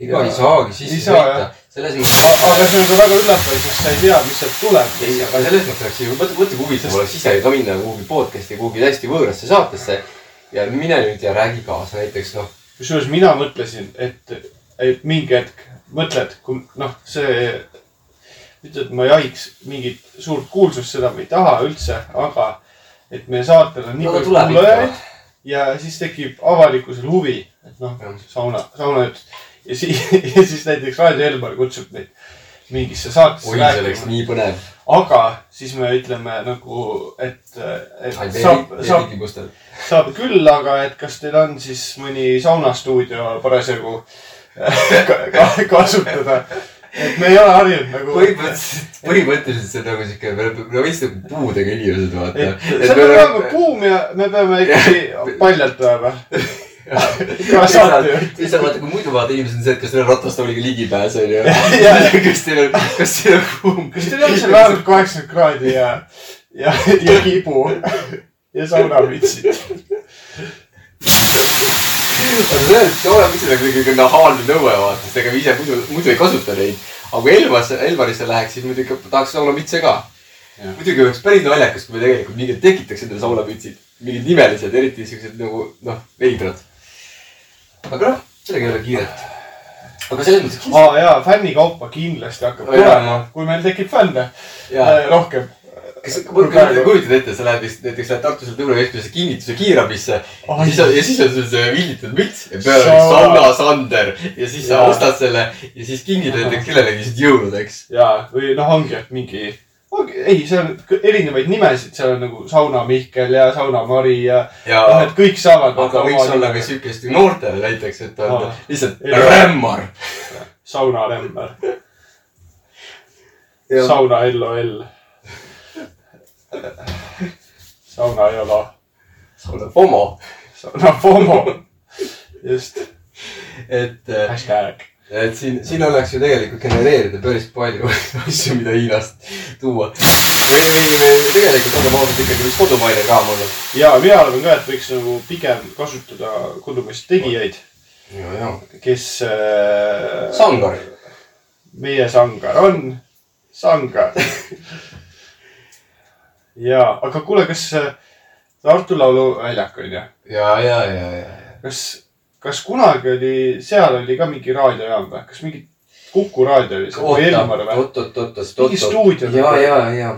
Speaker 2: ega
Speaker 3: Jaa.
Speaker 2: ei saagi
Speaker 3: Ei
Speaker 2: sisse
Speaker 3: saa,
Speaker 2: sõita , selles
Speaker 3: a- aga
Speaker 2: mõttes .
Speaker 3: see on ka väga üllatav , sest sa ei tea , mis sealt
Speaker 2: ei ,
Speaker 3: tuleb .
Speaker 2: aga selles mõttes oleks ju , mõtle , mõtle kui huvitav oleks ise ka minna kuhugi podcast'i kuhugi täiesti võõrasse saatesse ja mine nüüd ja räägi kaasa näiteks noh ,
Speaker 3: kusjuures mina mõtlesin , et , et mingi hetk mõtled , kui noh , see , mitte et ma jahiks mingit suurt kuulsust , seda ma ei taha üldse , aga et meie saatel on nii
Speaker 2: No ta
Speaker 3: palju
Speaker 2: tuleb
Speaker 3: kuulajaid
Speaker 2: ikka.
Speaker 3: ja siis tekib avalikkusel huvi , et noh
Speaker 2: Jah. ,
Speaker 3: sauna , saunajutt ja siis , ja siis näiteks Raadio Elmar kutsub meid mingisse saatesse
Speaker 2: oi , see oleks nii põnev .
Speaker 3: aga siis me ütleme nagu , et , et saab , saab
Speaker 2: tingimustel .
Speaker 3: saab küll , aga et kas teil on siis mõni saunastuudio parasjagu ka- ka- kasutada ? et me ei ole harjunud nagu .
Speaker 2: põhimõtteliselt , põhimõtteliselt see on nagu siuke , me oleme , me oleme lihtsalt puudega inimesed vaata .
Speaker 3: et see peab
Speaker 2: nagu
Speaker 3: olema kuum ja me peame ikkagi paljalt olema . ka saatejuht .
Speaker 2: ei saa vaata , kui muidu vaata inimesed on see , et kas teil on ratastooliga ligipääs onju .
Speaker 3: Jaa.
Speaker 2: kas teil on , kas teil on kuum .
Speaker 3: kas teil on seal vähemalt kaheksakümmend kraadi ja , ja , ja kibu ja saunavitsid ?
Speaker 2: aga see on , see oleb üldse nagu ikkagi nahaalne nõue vaata , sest ega me ise muidu , muidu ei kasuta neid . aga kui Elvas , Elvarisse läheks , siis muidugi tahaks saunamütse ka .
Speaker 3: Jah.
Speaker 2: muidugi oleks päris naljakas , kui me tegelikult mingid tekitaks endale saunamütsid , mingid nimelised , eriti siuksed nagu noh , veidrad . aga noh , sellega ei ole kiiret . aga selles mõttes kindlasti
Speaker 3: aa jaa , fännikaupa kindlasti hakkab
Speaker 2: Oi, jaa,
Speaker 3: tulema
Speaker 2: jaa. ,
Speaker 3: kui meil tekib fänne
Speaker 2: Jaa.
Speaker 3: äh, rohkem .
Speaker 2: kas , kujutad ette , sa lähed vist näiteks lähed Tartu sealt Lõunakeskusesse kinnituse kiirabisse
Speaker 3: Ai.
Speaker 2: oh, . siis on , ja siis on sul see villitud müts ja peal on
Speaker 3: Sauna.
Speaker 2: sauna sander ja siis sa
Speaker 3: Jaa.
Speaker 2: ostad selle ja siis kingid näiteks kellelegi siit jõuludeks .
Speaker 3: ja , või noh , ongi , et mingi , ongi , ei , seal on kõ- erinevaid nimesid , seal on nagu sauna Mihkel ja sauna Mari ja,
Speaker 2: ja
Speaker 3: noh , et kõik saavad . nagu
Speaker 2: aga võiks olla ka siukest noortele näiteks , et on
Speaker 3: Aa.
Speaker 2: lihtsalt
Speaker 3: Ei.
Speaker 2: rämmar .
Speaker 3: sauna Rämmer , sauna LOL . sauna Jolo ,
Speaker 2: sauna FOMO ,
Speaker 3: sauna Pomo . just ,
Speaker 2: et ,
Speaker 3: hashtag .
Speaker 2: et siin , siin oleks ju tegelikult genereerida päris palju asju , mida Hiinast tuua . või , või , või tegelikult olgem ausad , ikkagi võiks kodumaine kraam olla .
Speaker 3: ja mina arvan ka , et võiks nagu pigem kasutada kodumaist tegijaid ,
Speaker 2: ja , ja .
Speaker 3: kes äh,
Speaker 2: sangar .
Speaker 3: meie sangar on sangar . ja , aga kuule , kas äh, Tartu Lauluväljak on ju ,
Speaker 2: ja , ja , ja , ja , ja .
Speaker 3: kas , kas kunagi oli , seal oli ka mingi raadiojaam või , kas mingi Kuku raadio oli see , või Elmar või ?
Speaker 2: oot , oot , oot , oot ,
Speaker 3: mingi
Speaker 2: oot ,
Speaker 3: stuudio
Speaker 2: oot , ja , ja , ja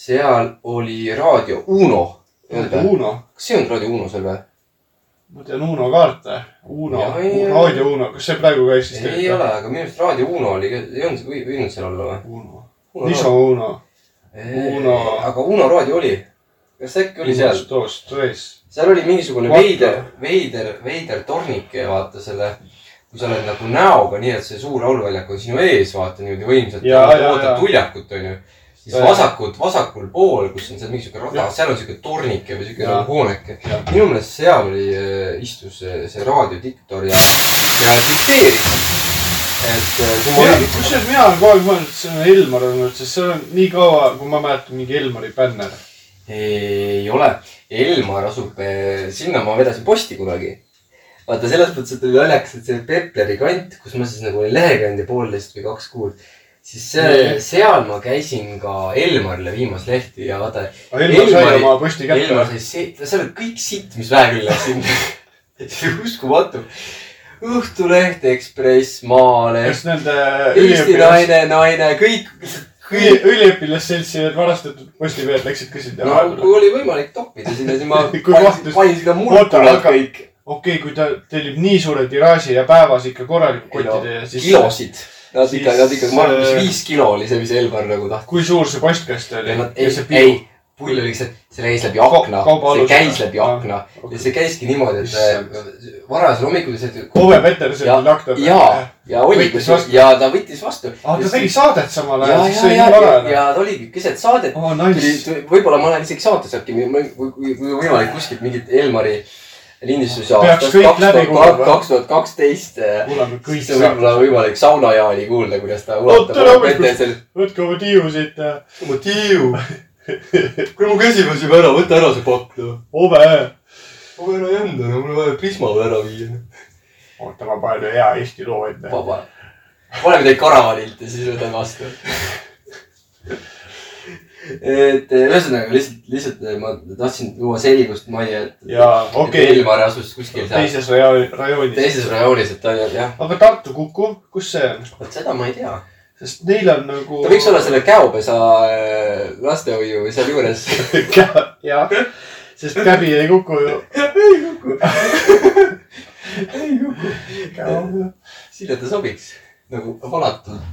Speaker 2: seal oli raadio Uno . kas
Speaker 3: Uno ,
Speaker 2: see on raadio Uno seal või ?
Speaker 3: ma tean Uno kaarte , Uno
Speaker 2: Jaa, , jaa.
Speaker 3: raadio Uno , kas see praegu ka eksisteerib ?
Speaker 2: ei ole , aga minu arust raadio Uno oli , ei olnud , ei võinud seal olla või ?
Speaker 3: Uno , Liso Uno . Uno.
Speaker 2: aga Uno raadio oli . kas äkki oli seal ?
Speaker 3: toos tões .
Speaker 2: seal oli mingisugune
Speaker 3: Vaata.
Speaker 2: veider , veider , veider tornike , vaata selle , kui sa oled nagu näoga , nii et see suur lauluväljak on sinu ees , vaata niimoodi võimsalt .
Speaker 3: Jaa, jaa, jaa.
Speaker 2: ootad tuljakut , onju . siis
Speaker 3: Jaa.
Speaker 2: vasakult , vasakul pool , kus on seal mingisugune rada
Speaker 3: Jah. ,
Speaker 2: seal on siuke tornike või siuke
Speaker 3: Jaa.
Speaker 2: nagu hooneke
Speaker 3: Jah. .
Speaker 2: minu meelest seal oli , istus äh, see raadiodiktor ja , ja dikteeris . et äh, kui ma olin ,
Speaker 3: kusjuures mina olen kogu aeg mõelnud , et see on Elmar olnud , sest see on nii kaua , kui ma mäletan , mingi Elmari bänner .
Speaker 2: ei ole , Elmar asub , sinna ma vedasin posti kunagi . vaata selles mõttes , et oli naljakas , et see Pepleri kant , kus ma siis nagu olin lehekandja poolteist või kaks kuud , siis see,
Speaker 3: Nii.
Speaker 2: seal ma käisin ka Elmarile viimas lehti ja vaata .
Speaker 3: Elmar sai oma posti
Speaker 2: Elmar
Speaker 3: kätte .
Speaker 2: sai see , seal oli kõik sitt , mis väeküll läks sinna . uskumatu . Õhtuleht , Ekspress , Maaleht ,
Speaker 3: kas nende
Speaker 2: Eesti
Speaker 3: üliõpilas-
Speaker 2: Naine , Naine , kõik , kõik
Speaker 3: üli- üliõpilasseltsi need varastatud postiveed läksid ka sinna
Speaker 2: no
Speaker 3: vahepeale ?
Speaker 2: kui oli võimalik toppida sinna , siis ma
Speaker 3: Kui
Speaker 2: panin
Speaker 3: mahtus.
Speaker 2: panin sinna
Speaker 3: Oota,
Speaker 2: murdulad
Speaker 3: aga-
Speaker 2: kõik
Speaker 3: okei okay, , kui ta tellib nii suure tiraaži ja päevas ikka korraliku
Speaker 2: kilo,
Speaker 3: kottide ja siis .
Speaker 2: kilosid . Nad ikka ,
Speaker 3: siis,
Speaker 2: nad ikka , ma arvan ,
Speaker 3: äh,
Speaker 2: mis viis kilo oli see , mis Elvar nagu tahtis .
Speaker 3: kui suur see postkast oli ?
Speaker 2: ei , ei , pull oli lihtsalt , see käis läbi akna
Speaker 3: kauba ,
Speaker 2: see
Speaker 3: alus-
Speaker 2: käis läbi
Speaker 3: Ah,
Speaker 2: akna
Speaker 3: okei.
Speaker 2: ja see käiski niimoodi , et äh, varajasel hommikul lihtsalt .
Speaker 3: Ove Peterson
Speaker 2: ja ,
Speaker 3: laktab .
Speaker 2: ja , ja oli
Speaker 3: Võttis , vastu.
Speaker 2: ja ta võttis vastu .
Speaker 3: ah , ta tegi saadet samal
Speaker 2: ja ,
Speaker 3: ajal , siis
Speaker 2: ja ,
Speaker 3: see oli
Speaker 2: ja
Speaker 3: nii , varajane .
Speaker 2: ja ta oligi keset saadet
Speaker 3: aa ,
Speaker 2: tuli
Speaker 3: nice .,
Speaker 2: võib-olla ma olen isegi saates äkki , kui kui- kui võimalik kuskilt mingit Elmari lindistusi
Speaker 3: Peaks kõik läbi kuulama.
Speaker 2: kaks tuhat kaksteist . äh,
Speaker 3: kuulame kõik
Speaker 2: siis on võib-olla
Speaker 3: saavad .
Speaker 2: võimalik saunajaali kuulda , kuidas ta
Speaker 3: tere
Speaker 2: ulatab
Speaker 3: hommikust!
Speaker 2: ette selle .
Speaker 3: võtke oma tiiu siit äh, ja
Speaker 2: ma tiiu . kuule , mu käsi väsib ära , võta ära see pakk noh .
Speaker 3: Ove .
Speaker 2: ma pean ära enda , mul on vaja Prisma veel ära viia .
Speaker 3: oota , ma panen hea Eesti loo ette .
Speaker 2: vaba . paneme teid karavanilt ja siis võtame vastu . et eh, ühesõnaga lihtsalt , lihtsalt eh, ma tahtsin tuua selgust majja , et .
Speaker 3: ja okei ,
Speaker 2: Elmar asus kuskil seal
Speaker 3: teises raja- rajoonis .
Speaker 2: teises rajoonis , et ta oli jah ,
Speaker 3: aga Tartu Kuku , kus see on ?
Speaker 2: vot seda ma ei tea .
Speaker 3: sest neil on nagu .
Speaker 2: ta võiks olla selle käopesa äh, lastehoiu või sealjuures .
Speaker 3: jah , sest käbi ei kuku ju .
Speaker 2: ei kuku , sinna ta sobiks nagu valatult .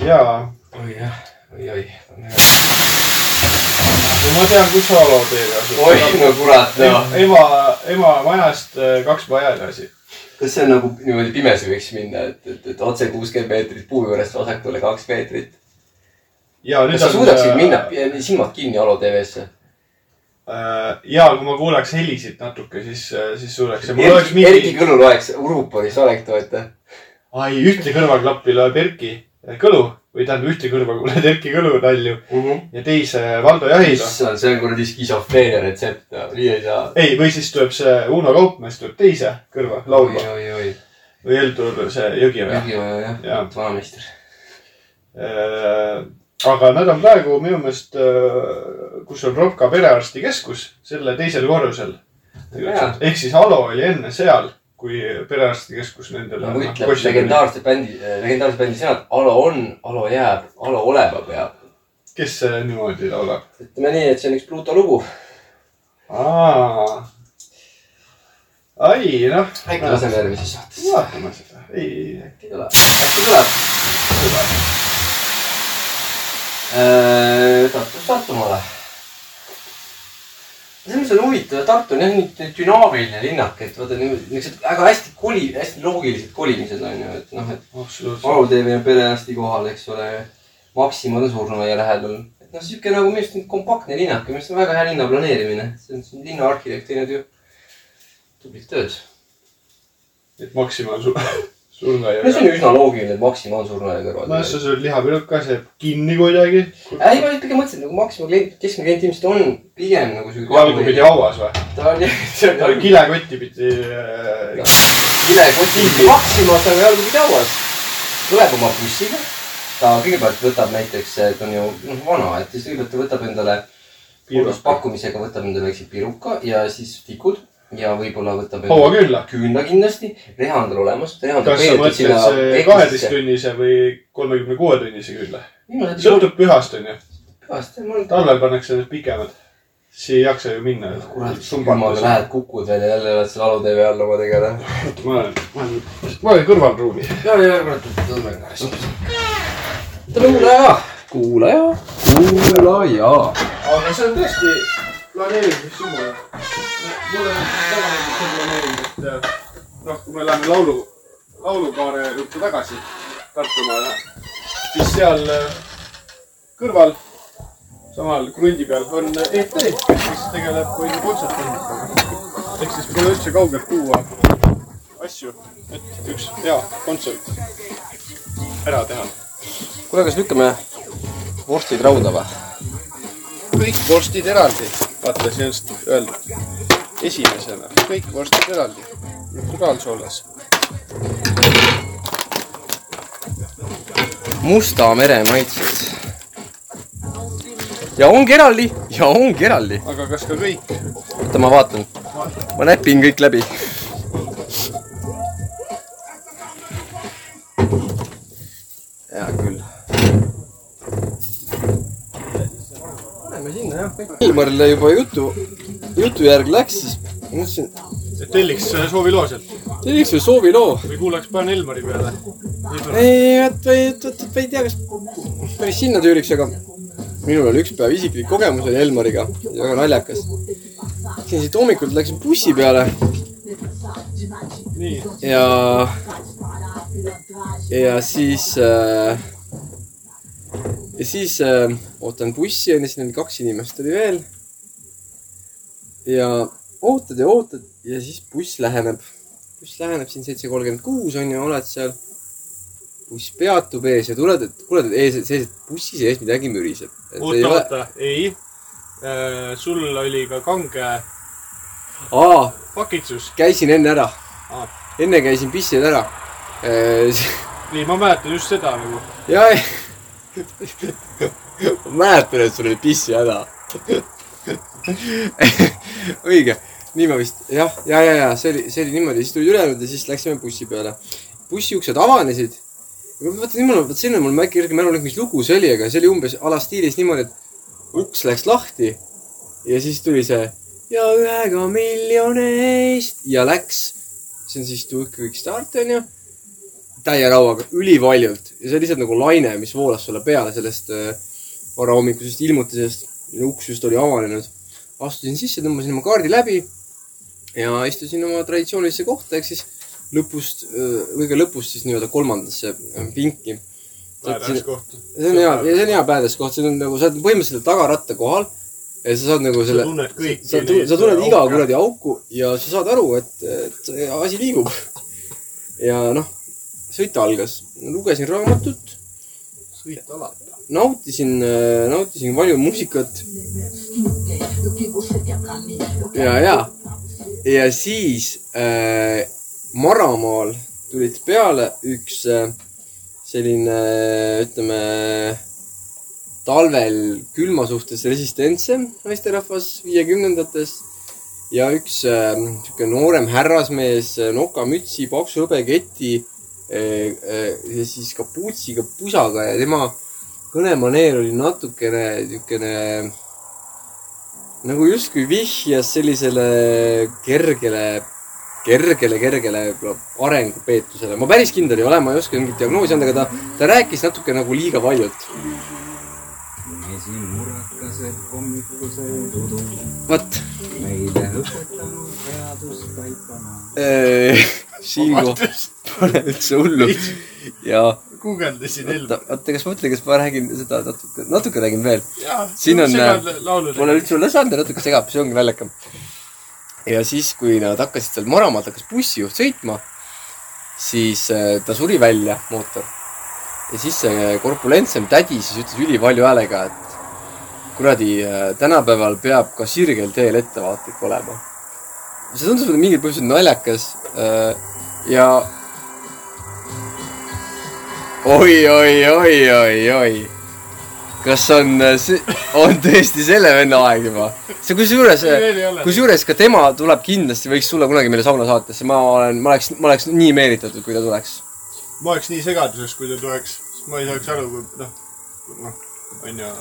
Speaker 3: jaa ,
Speaker 2: oi jah , oi , oi .
Speaker 3: ma tean , kus Aalo teel asub .
Speaker 2: oi , no kurat , no .
Speaker 3: ema , ema majast äh, kaks maja edasi .
Speaker 2: kas see on nagu niimoodi pimesi võiks minna , et , et , et otse kuuskümmend meetrit puu juurest vasakule kaks meetrit ?
Speaker 3: ja nüüd
Speaker 2: kas sa suudaksid minna pi- silmad kinni Alo tv-sse ?
Speaker 3: Äh, ja kui ma kuulaks helisid natuke , siis , siis suudaks . ja mul oleks
Speaker 2: Erki , Erki
Speaker 3: mingi ,
Speaker 2: Kõlu loeks Uruuporis olektu , et
Speaker 3: ai ühte kõrvaklappi loeb Erki Kõlu või tähendab ühte kõrva kuuled Erki Kõlu nalju
Speaker 2: mm . -hmm.
Speaker 3: ja teise Valdo Jahiga .
Speaker 2: issand , see on kuradi skisofreenia retsept , nii ei saa .
Speaker 3: ei , või siis tuleb see Uno Kaupmees tuleb teise kõrva laulma
Speaker 2: oi , oi , oi ,
Speaker 3: või Heldur see Jõgioja .
Speaker 2: Jõgioja jah
Speaker 3: Jaa.
Speaker 2: ja. , vanameister .
Speaker 3: Äh, aga nad on praegu minu meelest , kus on Ropka perearstikeskus , selle teisel korrusel .
Speaker 2: Jaa.
Speaker 3: ehk siis Alo oli enne seal , kui perearstikeskus nendele .
Speaker 2: nagu ütleb legendaarse bändi , legendaarse bändi sõnad , Alo on , Alo jääb , Alo olema peab .
Speaker 3: kes äh, niimoodi laulab ?
Speaker 2: ütleme nii , et see on üks Pluto lugu .
Speaker 3: aa . ai , noh .
Speaker 2: äkki laseme järgmises saates .
Speaker 3: vaatame seda . ei , ei ,
Speaker 2: äkki tuleb , äkki tuleb . Tartust Äh, Tartumaale . selles mõttes on huvitav , Tartu on jah niisugune dünaamiline linnak , et vaata nii- niisugused väga hästi koli , hästi loogilised kolimised on ju , et noh , et
Speaker 3: absoluutselt .
Speaker 2: Aru teeme perearsti kohal , eks ole . Maximad on surnuaia lähedal . et noh , sihuke nagu minu arust nüüd kompaktne linnak ja minu arust on väga hea linna planeerimine . see on siin linnaarhitekt teinud ju tublit tööd .
Speaker 3: et Maxima on sul- , surnud
Speaker 2: no see
Speaker 3: aiaga .
Speaker 2: on ju üsna loogiline , et Maxima on surnuaia kõrval
Speaker 3: nojah , sa sööd lihapilut ka , see jääb kinni kuidagi .
Speaker 2: ei , ma pigem mõtlesin nagu Maxima klient , keskmine klient ilmselt on pigem nagu
Speaker 3: jalgupidi
Speaker 2: sihuke .
Speaker 3: hauas või ?
Speaker 2: ta on jah , see on nagu
Speaker 3: kilekotti pidi äh, .
Speaker 2: kilekotis Maximas , aga jalgupidi hauas . tuleb oma bussiga . ta kõigepealt võtab näiteks , ta on ju noh vana , et siis kõigepealt ta võtab endale
Speaker 3: piirata .
Speaker 2: pakkumisega võtab endale väikse piruka ja siis tikud .
Speaker 8: ja võib-olla võtab
Speaker 3: haua külla .
Speaker 8: küünla kindlasti , reha on tal olemas .
Speaker 3: kas sa mõtled see kaheteisttunnise või kolmekümne kuue tunnise külla ?
Speaker 8: viimased
Speaker 3: sõltub pühast onju .
Speaker 8: aasta , mul on
Speaker 3: talvel pannakse need pikemad . siis ei jaksa ju minna .
Speaker 8: kurat , summaga lähed , kukud veel ja jälle oled seal alutee peal oma tegema .
Speaker 3: ma olen , ma olen , ma olen kõrvalruumi .
Speaker 8: ja , ja kurat , tõmbame karistust . kuulaja , kuulaja .
Speaker 2: kuulaja .
Speaker 3: aga see on tõesti planeerimiseks jumala . mulle väga meeldib see planeerimine , et äh, noh , kui me läheme laulu , laulukaare juurde tagasi Tartumaale , siis seal äh, kõrval , samal krundi peal on ET , mis tegeleb kõige kontserttehnikaga . ehk siis pole üldse kaugelt tuua asju , et üks hea kontsert ära teha .
Speaker 2: kuule , kas lükkame vorstid rauda või ?
Speaker 3: kõik vorstid eraldi . vaata , siin on seda öeldud . esimesena kõik vorstid eraldi . naturaalsoolas .
Speaker 2: Musta mere maitsed . ja ongi eraldi , ja ongi eraldi .
Speaker 3: aga kas ka kõik ?
Speaker 2: oota , ma vaatan . ma näpin kõik läbi . hea küll . paneme sinna jah . Ilmarile juba jutu , jutu järg läks , siis ma mõtlesin ,
Speaker 3: telliks sooviloo sealt
Speaker 2: teeks ju sooviloo .
Speaker 3: või kuulaks Pään Elmari peale .
Speaker 2: ei , vot , vot , vot , ma ei tea , kas päris sinna tüüriks , aga minul oli üks päev isiklik kogemus oli Elmariga ja väga naljakas . siin siit hommikul läksin bussi peale
Speaker 3: nii ,
Speaker 2: ja , ja siis äh, , ja siis äh, ootan bussi onju , siin oli kaks inimest oli veel . ja ootad ja ootad ja siis buss läheneb . buss läheneb siin seitse kolmkümmend kuus onju , oled seal . buss peatub ees ja tuled , et kuule , et ees , sees bussi sees midagi müriseb .
Speaker 3: oota , oota , ei . sul oli ka kange
Speaker 2: aa ,
Speaker 3: pakitsus .
Speaker 2: käisin enne ära
Speaker 3: Aa. .
Speaker 2: enne käisin pissil ära . Äh,
Speaker 3: nii , ma mäletan just seda nagu .
Speaker 2: ja , ma mäletan , et sul oli pissihäda . õige , nii ma vist jah , ja , ja , ja see oli , see oli niimoodi , siis tulid ülejäänud ja siis läksime bussi peale . bussi uksed avanesid . vaata , niimoodi , vot sinna mul äkki kerge mälu , mis lugu see oli , aga see oli umbes a la stiilis niimoodi , et uks läks lahti ja siis tuli see ja ühega miljoni eest ja läks . see on siis Two Quick Start onju täie rauaga , ülivaljult ja see oli lihtsalt nagu laine , mis voolas sulle peale sellest äh, varahommikusest ilmutisest . uks just oli avanenud . astusin sisse , tõmbasin oma kaardi läbi ja istusin oma traditsioonilisse kohta ehk siis lõpust , kõige lõpust siis nii-öelda kolmandasse äh, pinki .
Speaker 3: vääras koht .
Speaker 2: see on hea , see on hea päädes koht , see on nagu , sa oled põhimõtteliselt tagaratta kohal ja sa saad nagu
Speaker 3: sa
Speaker 2: selle ,
Speaker 3: tunned kõiki .
Speaker 2: sa , sa tunned iga . kuradi auku ja sa saad aru , et , et see asi liigub . ja noh , sõit algas , lugesin raamatut ,
Speaker 3: sõit alati .
Speaker 2: nautisin , nautisin palju muusikat ja , ja , ja siis äh, Maramaal tulid peale üks äh, selline , ütleme , talvel külma suhtes resistentsem naisterahvas viiekümnendates ja üks äh, sihuke noorem härrasmees , nokamütsi , paksu hõbeketi äh, , äh, ja siis kapuutsiga , pusaga ja tema kõnemaneer oli natukene niisugune nagu justkui vihjas sellisele kergele , kergele , kergele arengupeetusele . ma päris kindel ei ole , ma ei oska mingit diagnoosi anda , aga ta , ta rääkis natuke nagu liiga valjult .
Speaker 9: mesin murrakased hommikusel tudu ,
Speaker 2: vot
Speaker 9: meile õpetanud headust taipama .
Speaker 2: äh, , Siingo , pole üldse hullu . ja
Speaker 3: guugeldasin
Speaker 2: oota
Speaker 3: Elmari .,
Speaker 2: oota , kas ma mõtlen , kas ma räägin seda natuke , natuke räägin veel . Siin on-
Speaker 3: laulud
Speaker 2: Pole . üldse hullu saanud ja natuke segab , see ongi naljakam . ja siis , kui nad hakkasid seal Maramaalt hakkas bussijuht sõitma , siis äh, ta suri välja , mootor . ja siis see korpulentsem tädi siis ütles ülivalju häälega , et kuradi , tänapäeval peab ka sirgel teel ettevaatlik olema . see tundus mulle mingil põhjusel naljakas äh, ja oi , oi , oi , oi , oi . kas on , on tõesti selle venna aeg juba ? see kusjuures
Speaker 3: Ei, veel ei ole. ,
Speaker 2: kusjuures ka tema tuleb kindlasti , võiks tulla kunagi meile sauna saatesse , ma olen , ma oleks , ma oleks nii meelitatud , kui ta tuleks .
Speaker 3: ma oleks nii segaduses , kui ta tuleks , sest ma ei saaks aru , noh , noh , onju ,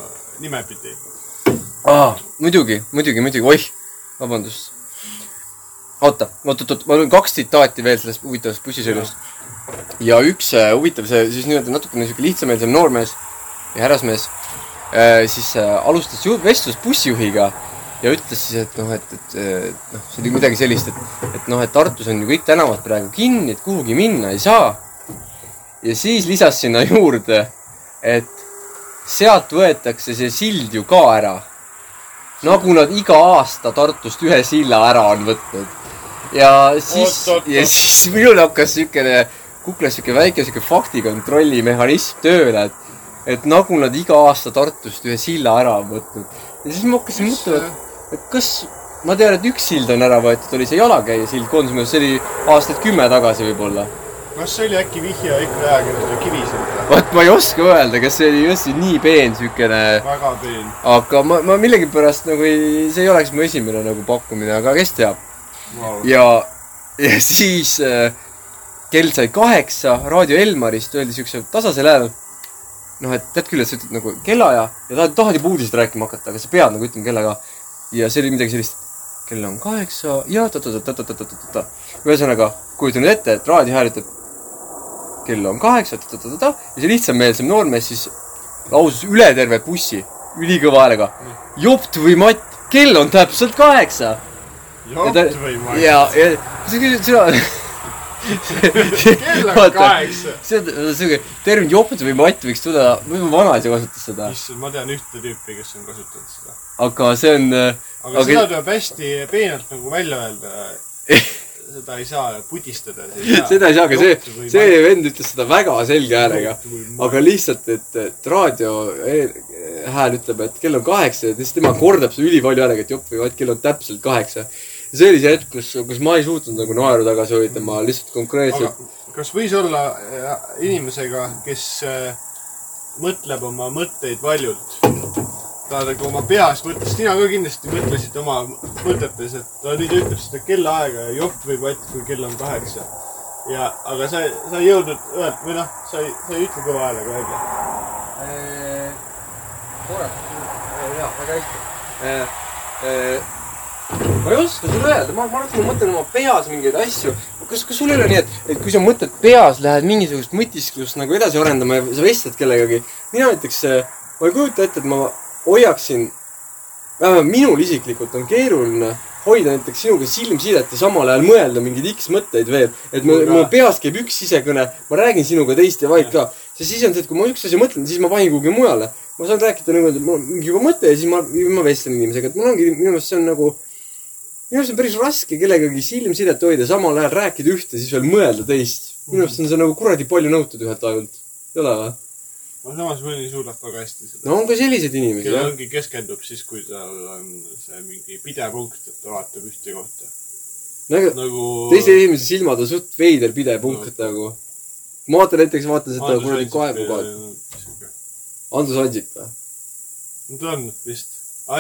Speaker 3: nimepidi .
Speaker 2: muidugi , muidugi , muidugi , oih , vabandust . oota , oot-oot-oot , mul on kaks tsitaati veel sellest huvitavast bussisõidust . ja üks äh, huvitav , see siis nii-öelda natukene sihuke lihtsameelsem noormees ja härrasmees äh, siis äh, alustas ju- vestlust bussijuhiga ja ütles siis , et noh , et , et äh, noh , see oli midagi sellist , et , et noh , et Tartus on ju kõik tänavad praegu kinni , et kuhugi minna ei saa . ja siis lisas sinna juurde , et sealt võetakse see sild ju ka ära . nagu nad iga aasta Tartust ühe silla ära on võtnud . ja siis
Speaker 3: Oot, , oot,
Speaker 2: ja
Speaker 3: oot.
Speaker 2: siis minul hakkas siukene , kuklas siuke väike siuke faktikontrolli mehhanism tööle , et , et nagu nad iga aasta Tartust ühe silla ära on võtnud . ja siis ma hakkasin mõtlema , et et kas , ma tean , et üks sild on ära võetud , oli see jalakäija sild Konsumil , see oli aastaid kümme tagasi võib-olla .
Speaker 3: kas see oli äkki vihje EKRE ajakirjanduse Kivisilda ?
Speaker 2: vot ma ei oska öelda , kas see oli just nii peen siukene ,
Speaker 3: väga peen .
Speaker 2: aga ma , ma millegipärast nagu ei , see ei oleks mu esimene nagu pakkumine , aga kes teab . ja , ja siis äh, kell sai kaheksa , Raadio Elmarist öeldi siukse tasasel häälel , noh , et tead küll , et sa ütled nagu kellaaja ja tahad , tahad juba uudiseid rääkima hakata , aga sa pead nagu ütlema kellega . ja see oli midagi sellist , kell on kaheksa ja ta-ta-ta-ta-ta-ta-ta-ta-ta . ühesõnaga , kujuta nüüd ette , et raadio hääletab , kell on kaheksa ta-ta-ta-ta ja see lihtsameelsem noormees siis lausus üle terve bussi ülikõva häälega . jopt või matt , kell on täpselt kaheksa .
Speaker 3: jopt või ma ei
Speaker 2: ja , ja sa küsid , sina .
Speaker 3: kell on kaheksa .
Speaker 2: see on siuke termin jopt või matt võiks tulla , võib-olla vanaisa kasutas seda ,
Speaker 3: issand , ma tean ühte tüüpi , kes on kasutanud seda .
Speaker 2: aga see on ,
Speaker 3: aga
Speaker 2: Aga-
Speaker 3: okay. seda tuleb hästi peenelt nagu välja öelda . seda ei saa pudistada .
Speaker 10: seda ei saa , aga see , see vend ütles seda väga selge häälega . aga lihtsalt , et , et raadio eel- hääl ütleb , et kell on kaheksa ja siis tema kordab seda ülipalju häälega , et jopp või vaat kell on täpselt kaheksa . ja see oli see hetk , kus , kus ma ei suutnud nagu naeru tagasi hoida , ma lihtsalt
Speaker 3: aga
Speaker 10: konkreetselt .
Speaker 3: kas võis olla äh, inimesega , kes äh, mõtleb oma mõtteid valjult ? ta nagu oma peas mõtles , sina ka kindlasti mõtlesid oma mõtetes , et ta nüüd ütleb seda kellaaega ja jopp või patt , kui kell on kaheksa . ja , aga sa , sa ei jõudnud öelda või noh , sa ei , sa ei ütle kõva häälega välja .
Speaker 10: jah , väga hästi . ma ei oska sulle öelda , ma , ma arvan , et ma mõtlen oma peas mingeid asju . kas , kas sul ei ole nii , et , et kui sa mõtled peas , lähed mingisugust mõtisklust nagu edasi arendama ja sa vestled kellegagi . mina näiteks , ma ei kujuta ette , et ma hoiaksin , vähemalt minul isiklikult on keeruline hoida näiteks sinuga silmsidet ja samal ajal mõelda mingeid X mõtteid veel . et mul ,
Speaker 3: Mul ka.
Speaker 10: mul peas käib üks sisekõne , ma räägin sinuga teist ja vaid ka . sest siis on see , et kui ma üks asja mõtlen , siis ma panin kuhugi mujale . ma saan rääkida niimoodi , mul on mingi juba mõte ja siis ma , ma vestlen inimesega , et mul ongi , minu meelest see on nagu minu arust on päris raske kellegagi silmsidet hoida , samal ajal rääkida ühte , siis veel mõelda teist . minu arust on see nagu kuradi palju nõutud ühelt ajalt . ei ole või ?
Speaker 3: no samas mõni suudab väga hästi seda .
Speaker 10: no on ka selliseid inimesi ,
Speaker 3: kellel
Speaker 10: jah .
Speaker 3: ongi keskendub siis , kui tal on see mingi pidepunkt , et ta vaatab ühte kohta .
Speaker 10: no aga
Speaker 3: nagu
Speaker 10: teise inimese silmad on suht veider pidev punkt nagu . ma vaatan näiteks , vaatan seda
Speaker 3: Andrus
Speaker 10: kuradi
Speaker 3: Ansip
Speaker 10: kaevu ka .
Speaker 3: ja-
Speaker 10: Andrus Ansip või ?
Speaker 3: no ta on vist .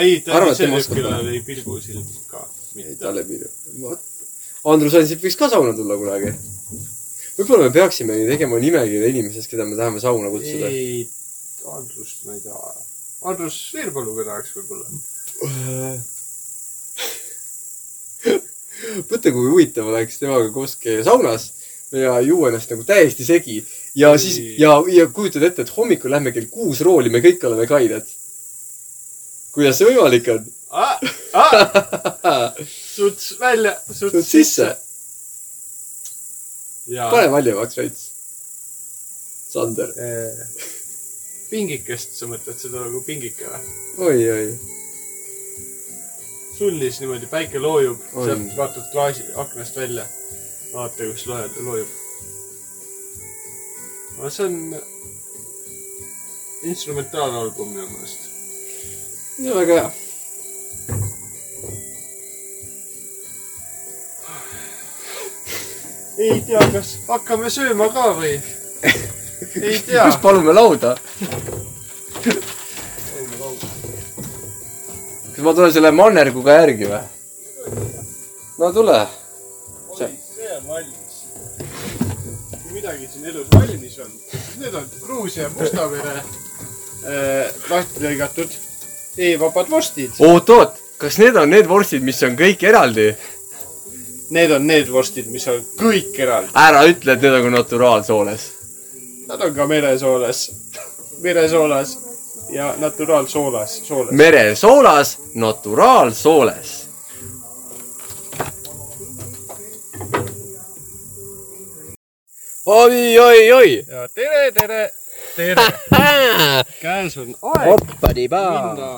Speaker 3: ei , ta on
Speaker 10: Arvad,
Speaker 3: ise
Speaker 10: tema oskab
Speaker 3: tüüpil
Speaker 10: teha?
Speaker 3: oli pilgusilm ka .
Speaker 10: ei , talle piirab . Andrus Ansip võiks ka sauna tulla kunagi . võib-olla me peaksime tegema nimekirja inimesest , keda me tahame sauna kutsuda .
Speaker 3: ei , Andrust ma ei taha . Andrus Veerpaluga tahaks võib-olla .
Speaker 10: mõtle , kui huvitav oleks temaga koos käia saunas ja juua ennast nagu täiesti segi ja siis
Speaker 3: Nii.
Speaker 10: ja , ja kujutad ette , et hommikul lähme kell kuus rooli , me kõik oleme kained . kuidas see võimalik on ?
Speaker 3: Ah, suts välja , suts
Speaker 10: tuled sisse
Speaker 3: sisse ., ja
Speaker 10: pane valjemaks veits . Sander ,
Speaker 3: eh, pingikest , sa mõtled seda nagu pingike või ?
Speaker 10: oi , oi ,
Speaker 3: sullis niimoodi , päike loojub ,
Speaker 10: Oi.
Speaker 3: sealt vaatad klaasi aknast välja . vaata , kus loe , loojub . no see on instrumentaalalbum minu meelest .
Speaker 10: see on väga hea .
Speaker 3: ei tea , kas hakkame sööma ka või ? ei tea
Speaker 2: kus , palume lauda ? kas ma tulen selle mannerguga järgi või ? no tule .
Speaker 3: see on valmis . kui midagi siin elus valmis on , siis need on Gruusia Mustavere äh, lahti lõigatud e-vabad vorstid .
Speaker 2: oot-oot , kas need on need vorstid , mis on kõik eraldi ?
Speaker 3: Need on need vorstid , mis on kõik eraldi .
Speaker 2: ära ütle , et need on ka naturaalsooles .
Speaker 3: Nad on ka meresoolas , meresoolas ja naturaalsoolas , soolas .
Speaker 2: meresoolas , naturaalsooles . oi , oi , oi .
Speaker 3: ja tere , tere , tere . käes on aeg
Speaker 2: hoppadi paa . Oh,
Speaker 3: minna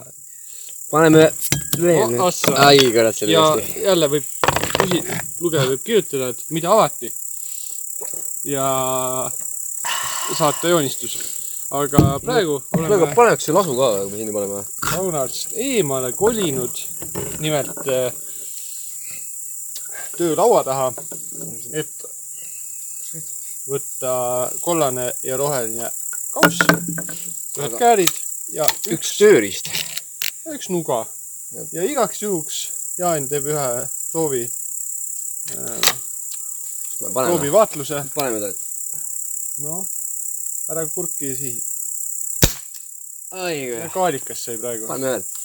Speaker 2: paneme
Speaker 3: O-
Speaker 2: veel .
Speaker 3: ossa.
Speaker 2: ai , kurat , see oli
Speaker 3: ja
Speaker 2: hästi .
Speaker 3: jälle võib küsida , lugeja võib kirjutada , et mida alati . ja saata joonistus . aga praegu
Speaker 2: kuule ,
Speaker 3: oleme
Speaker 2: aga paneks selle lasu ka , kui me sinna paneme .
Speaker 3: saunast eemale kolinud , nimelt eh, töölaua taha , et võtta kollane ja roheline kauss , ühed käärid ja
Speaker 2: üks tööriist .
Speaker 3: üks nuga ja igaks juhuks Jaan teeb ühe proovi ,
Speaker 2: paneme ,
Speaker 3: proovivaatluse .
Speaker 2: paneme ta .
Speaker 3: noh , ära kurki sihi .
Speaker 2: ai , kurat .
Speaker 3: kaalikas sai praegu .
Speaker 2: paneme veel .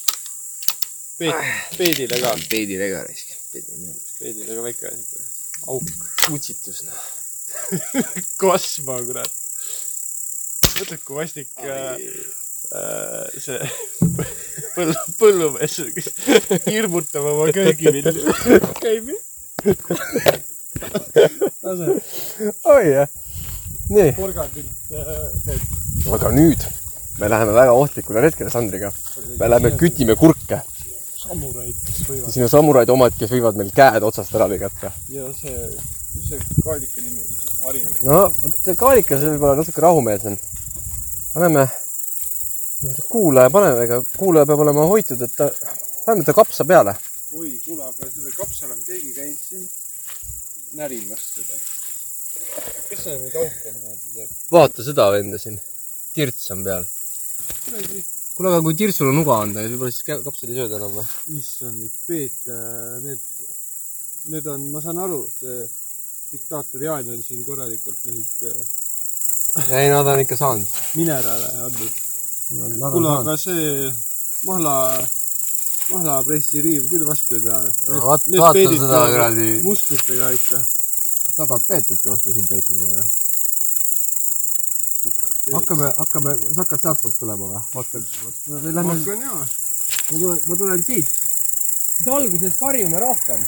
Speaker 3: Peet- , peedile ka ,
Speaker 2: peidi vega raisk . peidi meeldib .
Speaker 3: peedile ka väike asi .
Speaker 2: utsitus , noh .
Speaker 3: kasva , kurat . mõtled , kui vastik äh, äh, see põllu , põllumees kes hirmutab oma köögivilju . käib ju . lase
Speaker 2: oi jah . nii .
Speaker 3: porgandilt äh, need
Speaker 2: aga nüüd me läheme väga ohtlikule retkele Sandriga . me läheme kütime kurke ,
Speaker 3: samuraid , kes võivad
Speaker 2: siin on samuraid omad , kes võivad meil käed otsast ära lõigata .
Speaker 3: ja see , mis see kaalika nimi oli , hari või ?
Speaker 2: no , see kaalikas on võib-olla natuke rahumeelsem . paneme , kuulaja paneme , ega kuulaja peab olema hoitud , et ta , paneme ta kapsa peale .
Speaker 3: oi , kuule , aga seda kapsal on keegi käinud siin närimas seda . kes see neid auke niimoodi teeb ?
Speaker 2: vaata seda venda siin , tirts on peal .
Speaker 3: kuradi ,
Speaker 2: kuule , aga kui tirtsule nuga anda , võib-olla siis kä- kapsad ei sööda enam või ?
Speaker 3: issand , need Peet , need , need on , ma saan aru , see diktaator Jaan on siin korralikult neid äh,
Speaker 2: ei , nad on ikka saanud .
Speaker 3: mineraale andnud . kuule , aga see mahla , mahlapressiriiv küll vastu ei pea .
Speaker 2: No vaat- vaata seda kuradi-
Speaker 3: muskritega ikka
Speaker 2: sada peetet ei osta siin peetidega või ?
Speaker 3: pikalt .
Speaker 2: hakkame , hakkame , sa hakkad sealtpoolt tulema või ? hakkad , lähme ,
Speaker 3: hakkan jaa .
Speaker 2: ma tulen , ma tulen siit . siis alguses karjume rohkem .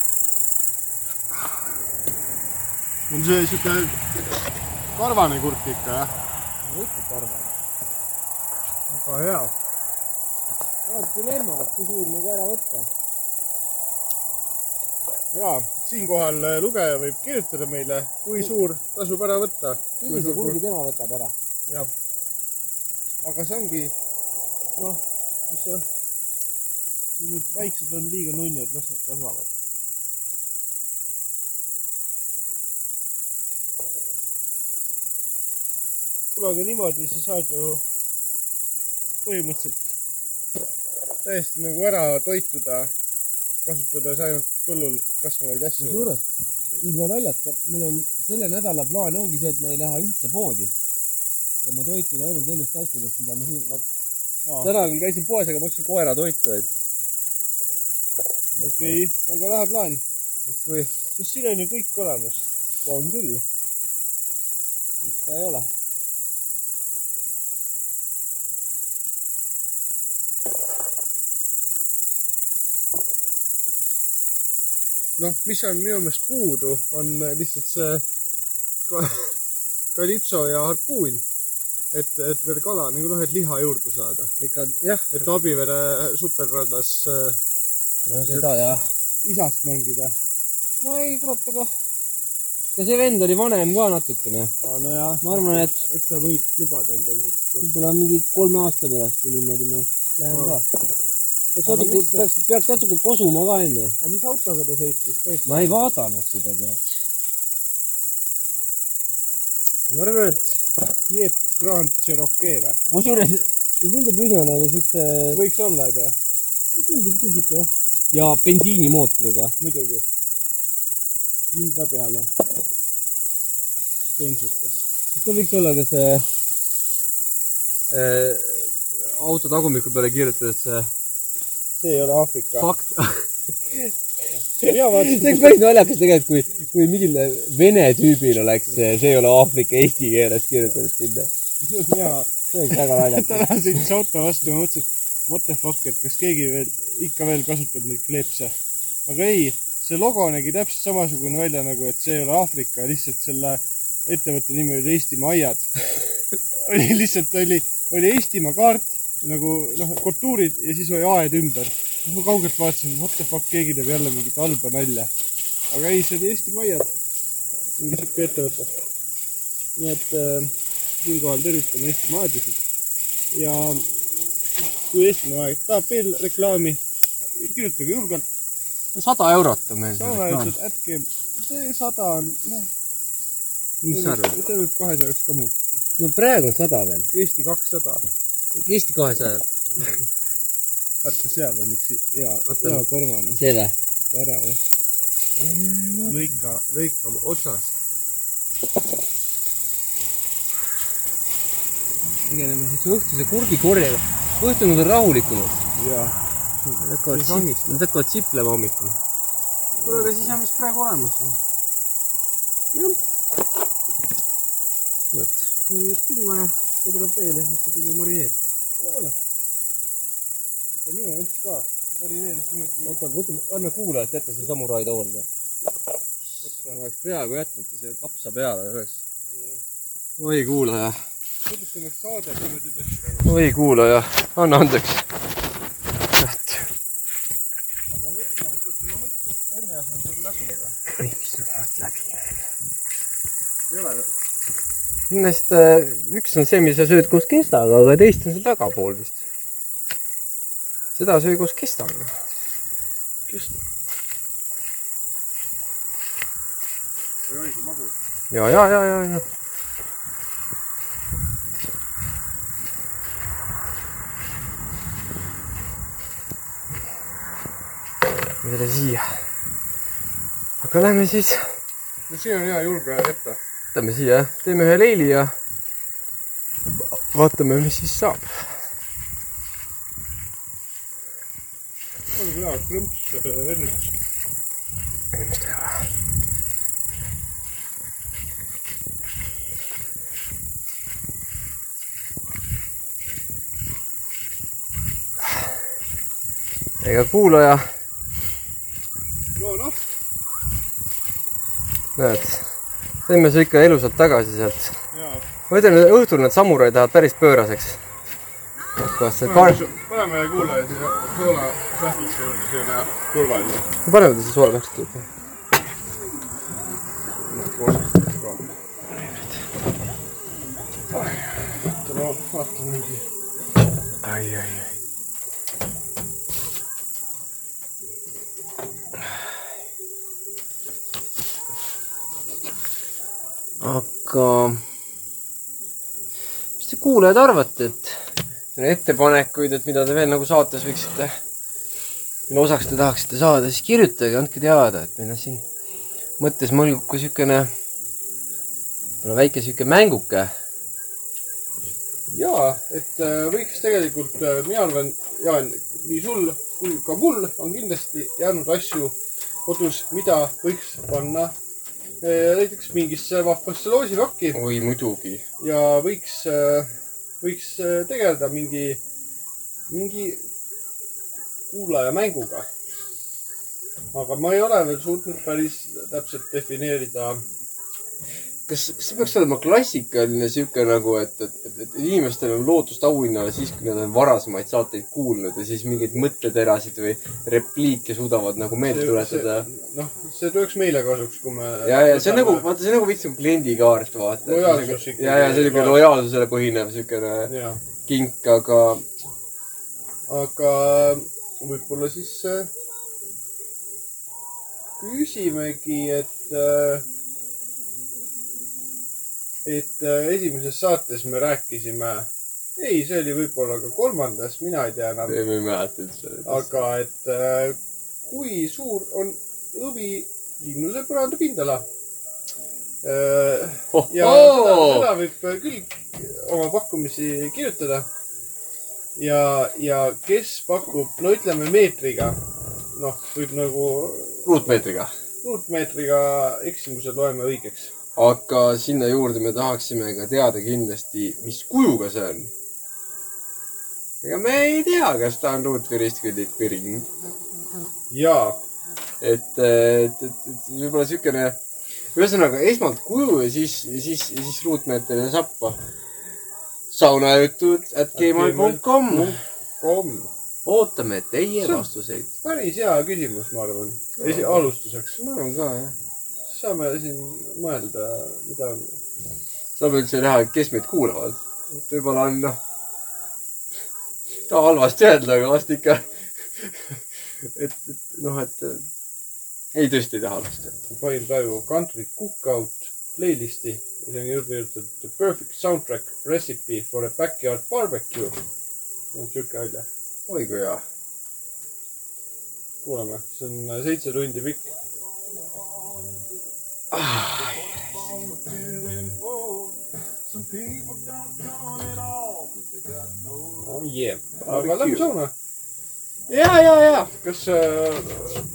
Speaker 3: on see siuke karvane kurk ikka , jah ?
Speaker 2: võtsid karvale .
Speaker 3: väga hea .
Speaker 2: oled dilemma , et kui suur nagu ära võtta .
Speaker 3: ja siinkohal äh, lugeja võib kirjutada meile , kui suur tasub ära võtta . kui suur kurk ,
Speaker 2: tema võtab ära .
Speaker 3: jah . aga see ongi , noh , mis see , need väiksed on liiga nunnud , las nad kasvavad . kuule , aga niimoodi sa saad ju põhimõtteliselt täiesti nagu ära toituda , kasutades ainult põllul kasvavaid asju .
Speaker 2: kusjuures , ilma naljata , mul on selle nädala plaan ongi see , et ma ei lähe üldse poodi . ja ma toitun ainult nendest asjadest , mida ma siin , ma
Speaker 3: Aa.
Speaker 2: täna küll käisin poes , aga ma ostsin koeratoitu , et
Speaker 3: okei okay. , väga lahe plaan .
Speaker 2: kui
Speaker 3: sest siin on ju kõik olemas .
Speaker 2: on küll . miks ta ei ole ?
Speaker 3: noh , mis on minu meelest puudu , on lihtsalt see ka- kalipso ja harpuun . et , et veel kala nagu noh , et liha juurde saada .
Speaker 2: ikka jah ,
Speaker 3: et Abivere superrannas äh,
Speaker 2: seda jah .
Speaker 3: isast mängida .
Speaker 2: no ei , kurat , aga ja see vend oli vanem ka natukene .
Speaker 3: aa , nojah ,
Speaker 2: ma arvan , et
Speaker 3: eks ta võib lubada endale siukest .
Speaker 2: võib-olla mingi kolme aasta pärast või niimoodi ma lähen
Speaker 3: Aa.
Speaker 2: ka . peaks
Speaker 3: Aga
Speaker 2: natuke
Speaker 3: mis , see-
Speaker 2: peaks , peaks natuke kosuma ka enne .
Speaker 3: aga mis autoga ta sõitis ?
Speaker 2: ma ei vaadanud seda , tead . ma arvan , et
Speaker 3: Jeep Grand Cherokee või ?
Speaker 2: kusjuures see tundub üsna nagu siukse
Speaker 3: võiks olla , onju .
Speaker 9: sihuke jah . ja bensiinimootoriga .
Speaker 11: muidugi . hinda peale . bensukas .
Speaker 9: see võiks olla ka see äh, auto tagumiku peale kirjutades äh,
Speaker 11: see ei ole Aafrika .
Speaker 9: fakt . see oleks päris naljakas tegelikult , kui , kui mingil vene tüübil oleks see , see ei ole Aafrika eesti keeles kirjutatud sinna .
Speaker 11: mina
Speaker 9: see oleks väga naljakas .
Speaker 11: täna sõitis auto vastu , ma mõtlesin , et what the fuck , et kas keegi veel , ikka veel kasutab neid kleepse . aga ei , see logo nägi täpselt samasugune välja nagu , et see ei ole Aafrika , lihtsalt selle ettevõtte nimi oli Eestimaa aiad . oli lihtsalt oli , oli Eestimaa kaart nagu noh , kontuurid ja siis oli aed ümber . siis ma kaugelt vaatasin , what the fuck , keegi teeb jälle mingit halba nalja . aga ei , see oli Eestimaa aiad . mingi sihuke ettevõte . nii et äh, siinkohal tervitame Eestimaa aedasid ja kui eestlane aeg tahab veel reklaami , kirjutage julgelt .
Speaker 9: sada eurot on meil see
Speaker 11: saame
Speaker 9: reklaam .
Speaker 11: lihtsalt äkki , see sada on , noh ,
Speaker 9: mis sa arvad ?
Speaker 11: see võib kahesajaks ka muutuda .
Speaker 9: no praegu on sada veel .
Speaker 11: Eesti kakssada ,
Speaker 9: Eesti kahesaja .
Speaker 11: vaata seal on üks hea ,
Speaker 9: Oota.
Speaker 11: hea korvane ,
Speaker 9: see või ?
Speaker 11: ära jah . lõika , lõika otsast .
Speaker 9: tegeleme siis õhtuse kurgikorjega . õhtunud on rahulikumad .
Speaker 11: ja
Speaker 9: Nad hakkavad
Speaker 11: Ei
Speaker 9: siplema , nad hakkavad siplema hommikul .
Speaker 11: kuule , aga siis on vist praegu olemas ju .
Speaker 9: vot .
Speaker 11: on nüüd külma ja ta tuleb veel ja siis saab juba marineerida . ja minu emps ka marineeris niimoodi .
Speaker 9: oota , võtame , anna kuulajalt ette see samurai tool . oleks peaaegu jätnud see kapsa peale üles .
Speaker 10: oi kuulaja ,
Speaker 11: kuidas see oleks saade niimoodi tõesti ?
Speaker 10: oi kuulaja , anna andeks . et
Speaker 9: minu meelest äh, üks on see , mis sa sööd koos kestaga , aga teist on see tagapool vist .
Speaker 10: seda söö koos kestaga . kesta . või oligi magus . ja , ja , ja , ja , ja . meile siia . aga lähme siis ,
Speaker 3: no siin on hea julge jätta .
Speaker 10: võtame siia , teeme ühe leili ja vaatame , mis siis saab .
Speaker 3: on hea krõmps
Speaker 11: eh,
Speaker 3: äh, õrnes .
Speaker 10: inimest ei ole . ega kuulaja ,
Speaker 11: no noh ,
Speaker 10: näed , tõime su ikka elusalt tagasi sealt .
Speaker 3: ja ,
Speaker 10: ma ütlen , õhtul need samuraid lähevad päris pööraseks . kas see kaart ,
Speaker 3: paneme kuulaja siia soola sähvlisse juurde , see on hea turvaline .
Speaker 10: paneme ta siis suole pärast kõik .
Speaker 9: aga mis te kuulajad arvate , et
Speaker 10: ettepanekuid , et mida te veel nagu saates võiksite , mille osaks te tahaksite saada , siis kirjutage , andke teada , et meil on siin mõttes mõelgub ka niisugune , võib-olla väike niisugune mänguke .
Speaker 3: jaa , et äh, võiks tegelikult , mina arvan , Jaan , nii sul kui ka mul on kindlasti jäänud asju kodus , mida võiks panna äh, näiteks mingisse vahvasse loosipakki
Speaker 10: oi muidugi .
Speaker 3: ja võiks , võiks äh, tegeleda mingi , mingi kuulaja mänguga . aga ma ei ole veel suutnud päris täpselt defineerida
Speaker 10: kas , kas see peaks olema klassikaline niisugune nagu , et , et, et , et inimestel on lootust auhinnale siis , kui nad on varasemaid saateid kuulnud ja siis mingeid mõtteterasid või repliike suudavad nagu meelde tuletada ?
Speaker 3: noh , see tuleks meile kasuks , kui me .
Speaker 10: ja , ja see on nagu , vaata , see on nagu veits nagu kliendikaart , vaata .
Speaker 3: Lojaalsus ikkagi.
Speaker 10: ja , ja see on niisugune lojaalsusele põhinev niisugune
Speaker 3: jah ,
Speaker 10: kink , aga
Speaker 3: aga võib-olla siis äh, küsimegi , et , äh, et äh, esimeses saates me rääkisime ei , see oli võib-olla ka kolmandas , mina ei tea enam .
Speaker 10: ei , ma ei mäleta üldse .
Speaker 3: aga et äh, kui suur on hõvi linnuse põranda pindala äh, . ja seda, seda võib äh, küll oma pakkumisi kirjutada . ja , ja kes pakub , no ütleme meetriga , noh , võib nagu
Speaker 10: ruutmeetriga .
Speaker 3: ruutmeetriga eksimuse loeme õigeks .
Speaker 10: aga sinna juurde me tahaksime ka teada kindlasti , mis kujuga see on . ega me ei tea , kas ta on ruut või ristküllik või ring .
Speaker 3: ja
Speaker 10: et , et , et, et võib-olla siukene , ühesõnaga esmalt kuju ja siis , siis , siis ruutmeetrine sappa . saunajutud at gmail.com .
Speaker 3: kom ,
Speaker 10: ootame teie
Speaker 3: See on-
Speaker 10: vastuseid .
Speaker 3: päris hea küsimus , ma arvan , esi- , alustuseks .
Speaker 10: ma arvan ka , jah .
Speaker 3: saame siin mõelda , mida
Speaker 10: saame üldse näha , kes meid kuulavad . et võib-olla on noh , ta halvasti öelda , aga vast ikka . et , et noh , et eh, ei tõesti ei taha halvasti öelda .
Speaker 3: panin praegu Country Cookout playlisti ja sinna juurde kirjutatud The perfect soundtrack recipe for a backyard barbecue . on siuke välja ,
Speaker 10: oi kui hea .
Speaker 3: kuulame , see on äh, seitse tundi pikk . oh yeah , aga lähme sauna .
Speaker 10: ja , ja , ja .
Speaker 3: kas äh, ,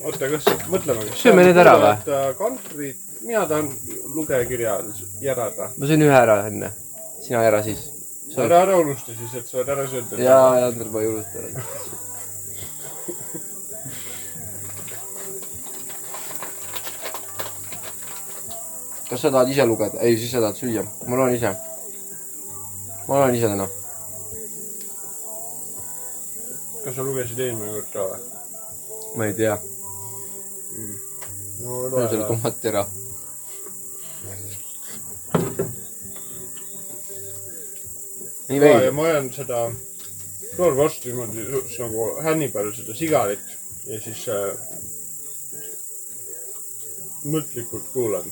Speaker 3: oota , kas mõtleme , kas
Speaker 10: Sööme need ära või? ?
Speaker 3: kantrit , mina tahan lugejakirja järada .
Speaker 10: ma sõin ühe ära enne . sina ära siis .
Speaker 3: ära , ära unusta siis , et sa oled ära söönud .
Speaker 10: ja , ja Ander , ma ei unusta ära . kas sa tahad ise lugeda ? ei , siis sa tahad süüa . ma loen ise . ma loen ise täna .
Speaker 3: kas sa lugesid eelmine kord ka või ?
Speaker 10: ma ei tea .
Speaker 3: no
Speaker 10: löö selle . tomati ära . nii
Speaker 3: ja
Speaker 10: veidi .
Speaker 3: ma ajan seda toor vastu niimoodi s- nagu hänni peal seda sigaret ja siis äh, mõtlikult kuulan .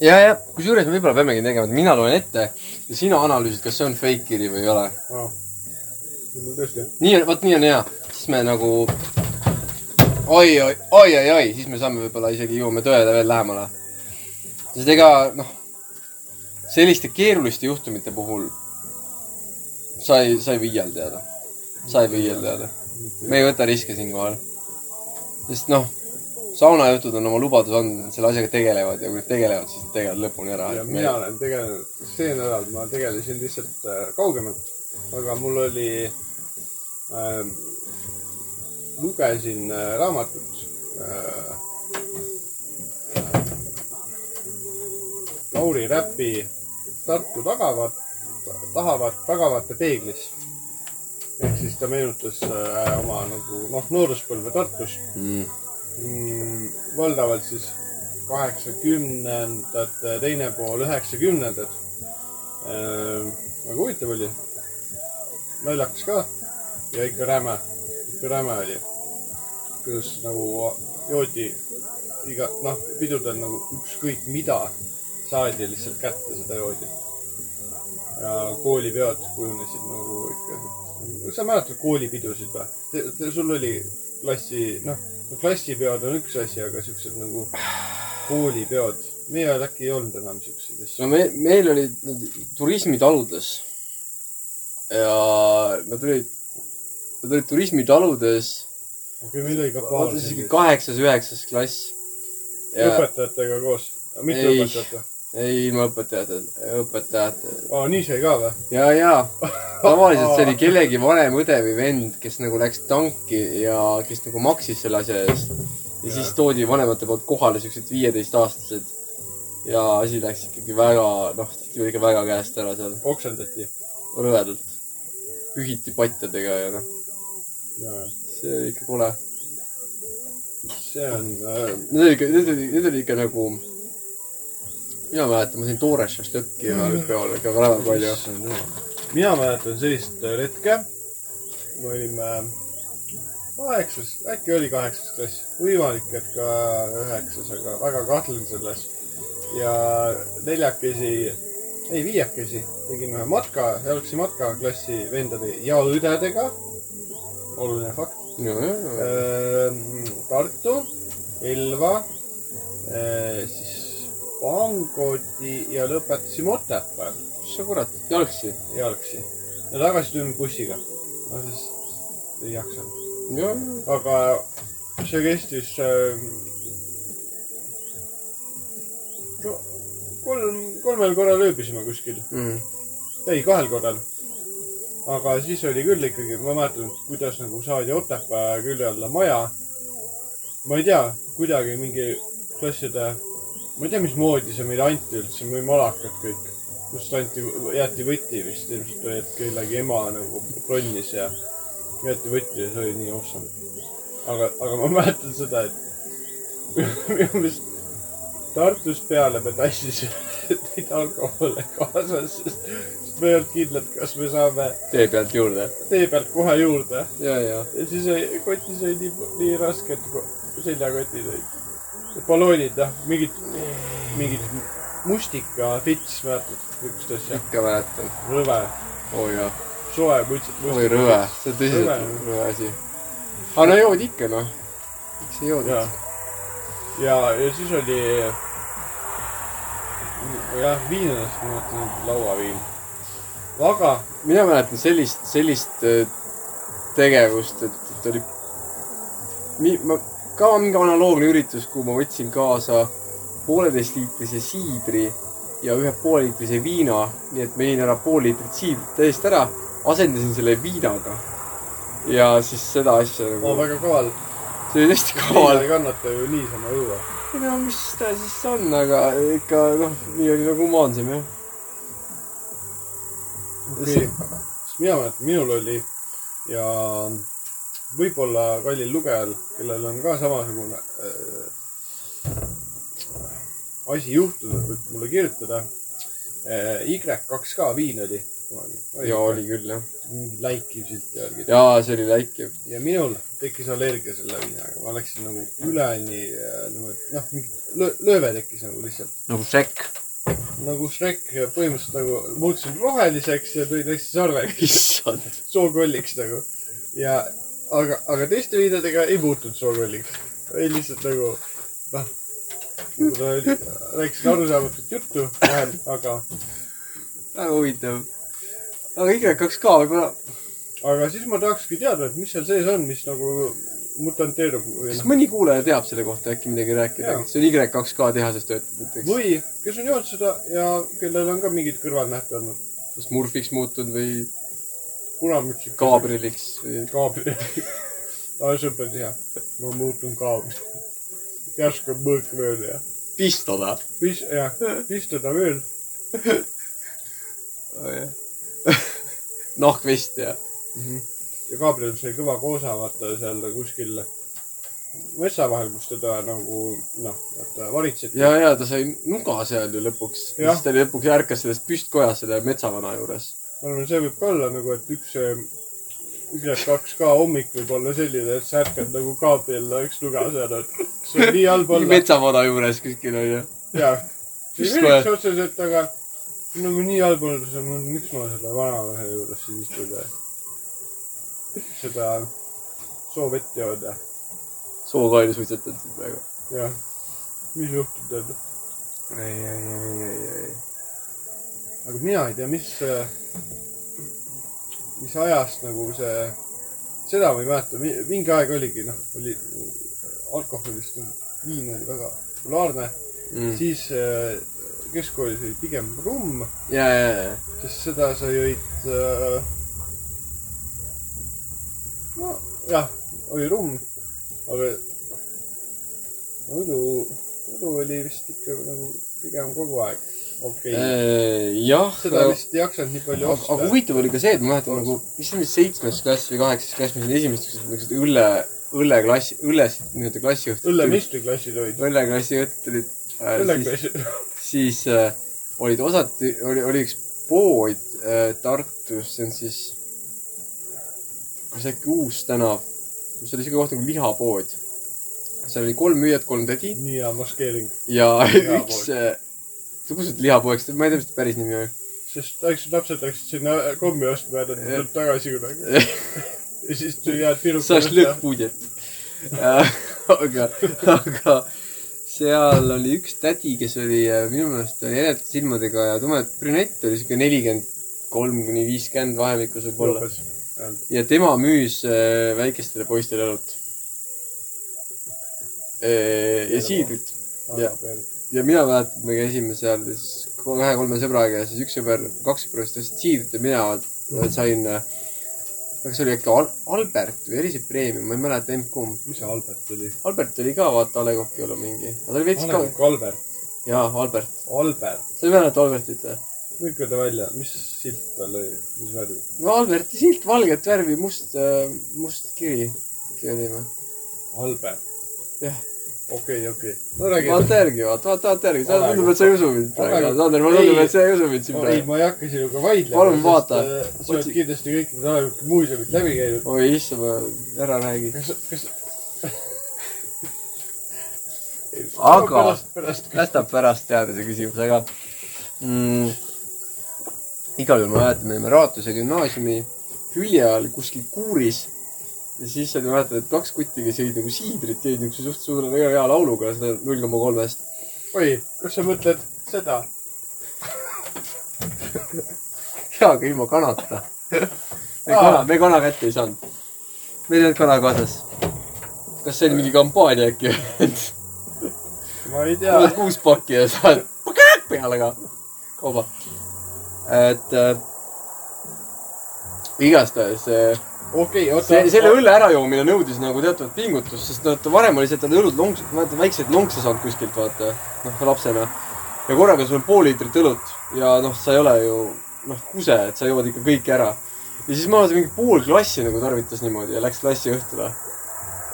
Speaker 10: ja , ja kusjuures me võib-olla peamegi tegema , et mina loen ette ja sina analüüsid , kas see on fake kiri või ei ole .
Speaker 3: mul tõesti ,
Speaker 10: nii , vot nii on hea , siis me nagu oi , oi , oi , oi , oi , siis me saame võib-olla isegi jõuame tõele veel lähemale . sest ega noh , selliste keeruliste juhtumite puhul sa ei , sa ei või iial teada , sa ei või iial teada . me ei võta riske siinkohal . sest noh , saunajutud on oma lubaduse andnud , selle asjaga tegelevad ja kui nad tegelevad , siis nad tegelevad lõpuni ära .
Speaker 3: ja mina olen tegelenud , see nädal ma tegelesin lihtsalt äh, kaugemalt , aga mul oli ähm, , lugesin äh, raamatut äh, . Lauri Räpi Tartu tagavat , tahavat , tagavate peeglis . ehk siis ta meenutas äh, oma nagu noh , nooruspõlve Tartus
Speaker 10: mm. .
Speaker 3: mm, valdavalt siis kaheksakümnendate teine pool üheksakümnendad . Ehm, väga huvitav oli . naljakas ka ja ikka räme , ikka räme oli . kuidas nagu joodi iga , noh , pidudel nagu ükskõik mida saadi lihtsalt kätte , seda joodi . ja koolipeod kujunesid nagu ikka . sa mäletad koolipidusid või ? sul oli klassi , noh , klassipeod on üks asi , aga siuksed nagu koolipeod , meie ajal äkki ei olnud enam siukseid asju .
Speaker 10: no me , meil olid nad turismitaludes . ja nad olid , nad olid turismitaludes ,
Speaker 3: okei , meil oli ka paar
Speaker 10: vaata isegi
Speaker 3: sellist.
Speaker 10: kaheksas-üheksas klass . ja
Speaker 3: õpetajatega koos , mitte
Speaker 10: Ei.
Speaker 3: õpetajatega .
Speaker 10: ei ilma õpetajata , õpetajata
Speaker 3: aa , nii sai ka või ?
Speaker 10: ja , ja tavaliselt see oli kellegi vanem õde või vend , kes nagu läks tanki ja kes nagu maksis selle asja eest . ja siis toodi vanemate poolt kohale siuksed viieteistaastased ja asi läks ikkagi väga , noh , tihti oli ikka väga käest ära seal .
Speaker 3: oksendati .
Speaker 10: rõvedalt . pühiti patjadega ja noh , see oli ikka kole .
Speaker 3: see on äh, ,
Speaker 10: Need olid ikka , need olid , need olid ikka nagu , mina mäletan , ma sõin toores šašlõkki ja peol ikka väga palju .
Speaker 3: mina mäletan sellist äh, retke . me olime kaheksas , äkki oli kaheksas klass , võimalik , et ka üheksas , aga väga kahtlen selles . ja neljakesi ei viiekesi , tegime ühe matka , jalgsi matka klassi vendade ja õdedega . oluline fakt . Äh, Tartu , Elva , siis Pangoti ja lõpetasime Otepääl
Speaker 10: sa kurat , jalgsi ?
Speaker 3: jalgsi . ja tagasi tulime bussiga . ma siis ei jaksanud .
Speaker 10: jah ,
Speaker 3: aga see kestis äh, ko- kolm , kolmel korral ööbisime kuskil
Speaker 10: Mm. .
Speaker 3: ei , kahel korral . aga siis oli küll ikkagi , ma mäletan , kuidas nagu saadi Otepää külje alla maja . ma ei tea , kuidagi mingi klasside , ma ei tea , mismoodi see meile anti üldse , me olime alakad kõik . just anti , jäeti võti vist ilmselt või , et kellegi ema nagu bronnis ja jäeti võti ja see oli nii awesome . aga , aga ma mäletan seda , et minu meelest Tartust peale me tassisime neid alkohole kaasas , sest sest me ei olnud kindlad , kas me saame
Speaker 10: tee pealt juurde .
Speaker 3: tee pealt kohe juurde .
Speaker 10: ja , ja .
Speaker 3: ja siis oli , kotis oli nii , nii raske , et ko- seljakotid olid . balloonid , noh , mingid , mingid mustika fits , mäletad , niisugust asja ,
Speaker 10: ikka mäletan .
Speaker 3: rõve ,
Speaker 10: oo jaa .
Speaker 3: soe muts ,
Speaker 10: oi rõve , see on tõsiselt
Speaker 3: Rõve.
Speaker 10: rõve asi . aga no jood ikka noh . miks ei
Speaker 3: ja
Speaker 10: joodud ?,
Speaker 3: ja , ja siis oli jah , viinades ma mõtlen lauaviin , aga
Speaker 10: mina mäletan sellist , sellist äh, tegevust , et , et oli mi, , ma , ka mingi analoogne üritus , kuhu ma võtsin kaasa pooleteistliitrise siidri ja ühe pooleliitrise viina , nii et ma jõin ära pool liitrit siidrit täiesti ära , asendasin selle viinaga . ja siis seda asja
Speaker 3: ma
Speaker 10: nagu ,
Speaker 3: väga kaval ,
Speaker 10: see oli hästi
Speaker 3: viina
Speaker 10: kaval
Speaker 3: ei . kannata ju niisama õue .
Speaker 10: ei no mis ta siis on , aga ikka noh , nii oli nagu humaansem jah .
Speaker 3: okei , siis mina mäletan , minul oli ja võib-olla kallil lugejal , kellel on ka samasugune äh, asi juhtunud , võib mulle kirjutada äh, . Y2K viin oli kunagi .
Speaker 10: ja oli . küll jah .
Speaker 3: mingi läikiv silt ja värgid .
Speaker 10: ja see oli läikiv .
Speaker 3: ja minul tekkis allergia selle viinaga , ma läksin nagu üleni äh, nagu , et noh , mingi lö- lööve tekkis nagu lihtsalt .
Speaker 10: nagu sekk .
Speaker 3: nagu Shrek põhimõtteliselt nagu muutusin roheliseks ja tulin hästi sarveks .
Speaker 10: issand .
Speaker 3: sookolliks nagu ja , aga , aga teiste viinadega ei muutunud sookolliks . ei lihtsalt nagu noh , nagu rääkisin arusaamatut juttu vahel , aga ,
Speaker 10: väga huvitav . aga Y2K võib-olla ,
Speaker 3: aga siis ma tahakski teada , et mis seal sees on , mis nagu mutanteerub või
Speaker 10: kas
Speaker 3: noh ,
Speaker 10: mõni kuulaja teab selle kohta äkki midagi rääkida
Speaker 3: Jaa. ,
Speaker 10: kes on Y2K tehases töötab näiteks Või... ?
Speaker 3: või kes on joonud seda ja kellel on ka mingid kõrvalnähte olnud .
Speaker 10: kas Murphiks muutunud või
Speaker 3: punamütsik .
Speaker 10: Gabrieliks või ?
Speaker 3: kaabri . aa , see on päris hea . ma muutun kaabriks . järsku on mõõk mööda ja
Speaker 10: pistada .
Speaker 3: mis , jah , istuda veel
Speaker 10: nahkvest ja .
Speaker 3: ja Gabriel sai kõva koosa , vaata seal kuskil metsa vahel , kus teda nagu noh , vaata varitseti .
Speaker 10: ja , ja ta sai nuga seal ju lõpuks .
Speaker 3: Jah.
Speaker 10: siis ta oli lõpuks ärkas sellest püstkojas selle metsavana juures .
Speaker 3: ma arvan , see võib ka olla nagu , et üks Y2K hommik võib olla selline , et sa ärkad nagu Gabriel oleks nuga seal , et see on nii halb
Speaker 10: mingi
Speaker 3: olla .
Speaker 10: metsavana juures kuskil onju .
Speaker 3: jah , ei
Speaker 10: Just
Speaker 3: milleks otseselt , aga nagu nii halb olla , siis ma , miks ma selle vanamehe juures siin istun ja seda soovett joon ja ,
Speaker 10: soo ka oli suitsetatud siin praegu .
Speaker 3: jah , mis juhtub tead
Speaker 10: ei , ei , ei , ei , ei .
Speaker 3: aga mina ei tea , mis , mis ajast nagu see , seda ma ei mäleta , mingi aeg oligi , noh , oli alkoholist , viin oli väga populaarne mm. ,
Speaker 10: ja ,
Speaker 3: siis äh, keskkoolis oli pigem rumm ,
Speaker 10: ja , ja ,
Speaker 3: sest seda sa jõid äh, . nojah , oli rumm , aga õlu , õlu oli vist ikka nagu pigem kogu aeg okei okay. .
Speaker 10: jah .
Speaker 3: seda vist ei jaksanud nii palju
Speaker 10: Äh, aga, aga
Speaker 3: osta .
Speaker 10: huvitav oli ka see , et ma mäletan nagu , mis see oli seitsmes klass või kaheksas klass , mis need esimesed siuksed niisugused õlle , õlleklassi , õllest nii-öelda klassijuhtid .
Speaker 3: õllemeistriklassid olid .
Speaker 10: õlleklassijuhtid olid äh, . siis ,
Speaker 3: õlleklassid .
Speaker 10: siis äh, olid osad , oli , oli üks pood äh, Tartus , see on siis , kas äkki Uus tänav , see oli siuke koht nagu lihapood . seal oli kolm müüjat , kolm tädi
Speaker 3: nii hea maskeering .
Speaker 10: ja äh,
Speaker 3: Lihapood.
Speaker 10: üks , sa kutsud lihapoeks , ma ei tea , mis ta päris nimi oli .
Speaker 3: sest läks , lapsed läksid sinna kommi ostma ja nad tulid tagasi kunagi . ja siis tuli head
Speaker 10: šašlõkk . budjet . Eh, aga , aga seal oli üks tädi , kes oli äh, minu meelest oli eredate silmadega ja tumedat brünett oli siuke nelikümmend kolm kuni viiskümmend vahemikus võib-olla . ja tema müüs äh, väikestele poistele õlut . ja siidrit . ja , ja mina mäletan , me käisime seal siis kahe-kolme sõbraga ja siis üks sõber , kaks sõbra siis tõstsid siidrit ja mina sain , kas see oli äkki Al- , Albert või Erise Premium , ma ei mäleta emb-kumb .
Speaker 3: mis see Albert oli ?
Speaker 10: Albert oli ka vaata A Le Coq'i õlu mingi , aga ta oli veits ka ,
Speaker 3: Albert ,
Speaker 10: jaa , Albert .
Speaker 3: Albert ,
Speaker 10: sa ei mäleta Albertit või ?
Speaker 3: lükka ta välja , mis silt tal oli , mis värv ?
Speaker 10: no Alberti silt , valget värvi , must äh, , must kiri , äkki oli või ?
Speaker 3: Albert ,
Speaker 10: jah ,
Speaker 3: okei , okei . no räägi .
Speaker 10: vaata järgi , vaata , vaata , vaata järgi ,
Speaker 3: Ole-
Speaker 10: tundub , et sa ei usu mind praegu ,
Speaker 3: Ole-
Speaker 10: Sander , mulle tundub ,
Speaker 3: Ei.
Speaker 10: et sa ei usu mind siin
Speaker 3: ei ,
Speaker 10: praegu .
Speaker 3: ma ei hakka sinuga vaidlema .
Speaker 10: Palun vaata.
Speaker 3: sa oled
Speaker 10: Otsi-
Speaker 3: kindlasti kõik need ajalikud muuseumid läbi käinud .
Speaker 10: oi issand , ma ära räägi .
Speaker 3: kas , kas ?
Speaker 10: Aga-
Speaker 3: pärast , pärast .
Speaker 10: jätab pärast teada see küsimus , aga mm, igal juhul ma mäletan , me olime Raatuse gümnaasiumi hülje all kuskil kuuris . ja siis oli , mäletan , et kaks kutti , kes jõid nagu siidrit , jõid niisuguse suht suure väga hea lauluga seda null koma kolmest .
Speaker 3: oi , kas sa mõtled seda ?
Speaker 10: jaa , aga ilma kanata . me kana , me kana kätte ei saanud . meil ei olnud kana kaasas . kas see oli mingi kampaania äkki või ?
Speaker 3: ma ei tea .
Speaker 10: tuled kuus pakki ja saad pakett peale ka , kauba . et äh, igastahes äh,
Speaker 3: okei , oota
Speaker 10: see , selle . õlle ärajoomine nõudis nagu teatavat pingutust , sest noh , varem oli see , et olid õlud lonks , vaata väikseid lonkse saanud kuskilt , vaata , noh lapsena . ja korraga sul on pool liitrit õlut ja noh , sa ei ole ju noh , kuse , et sa jood ikka kõik ära . ja siis ma arvan , mingi pool klassi nagu tarvitas niimoodi ja läks klassi õhtule .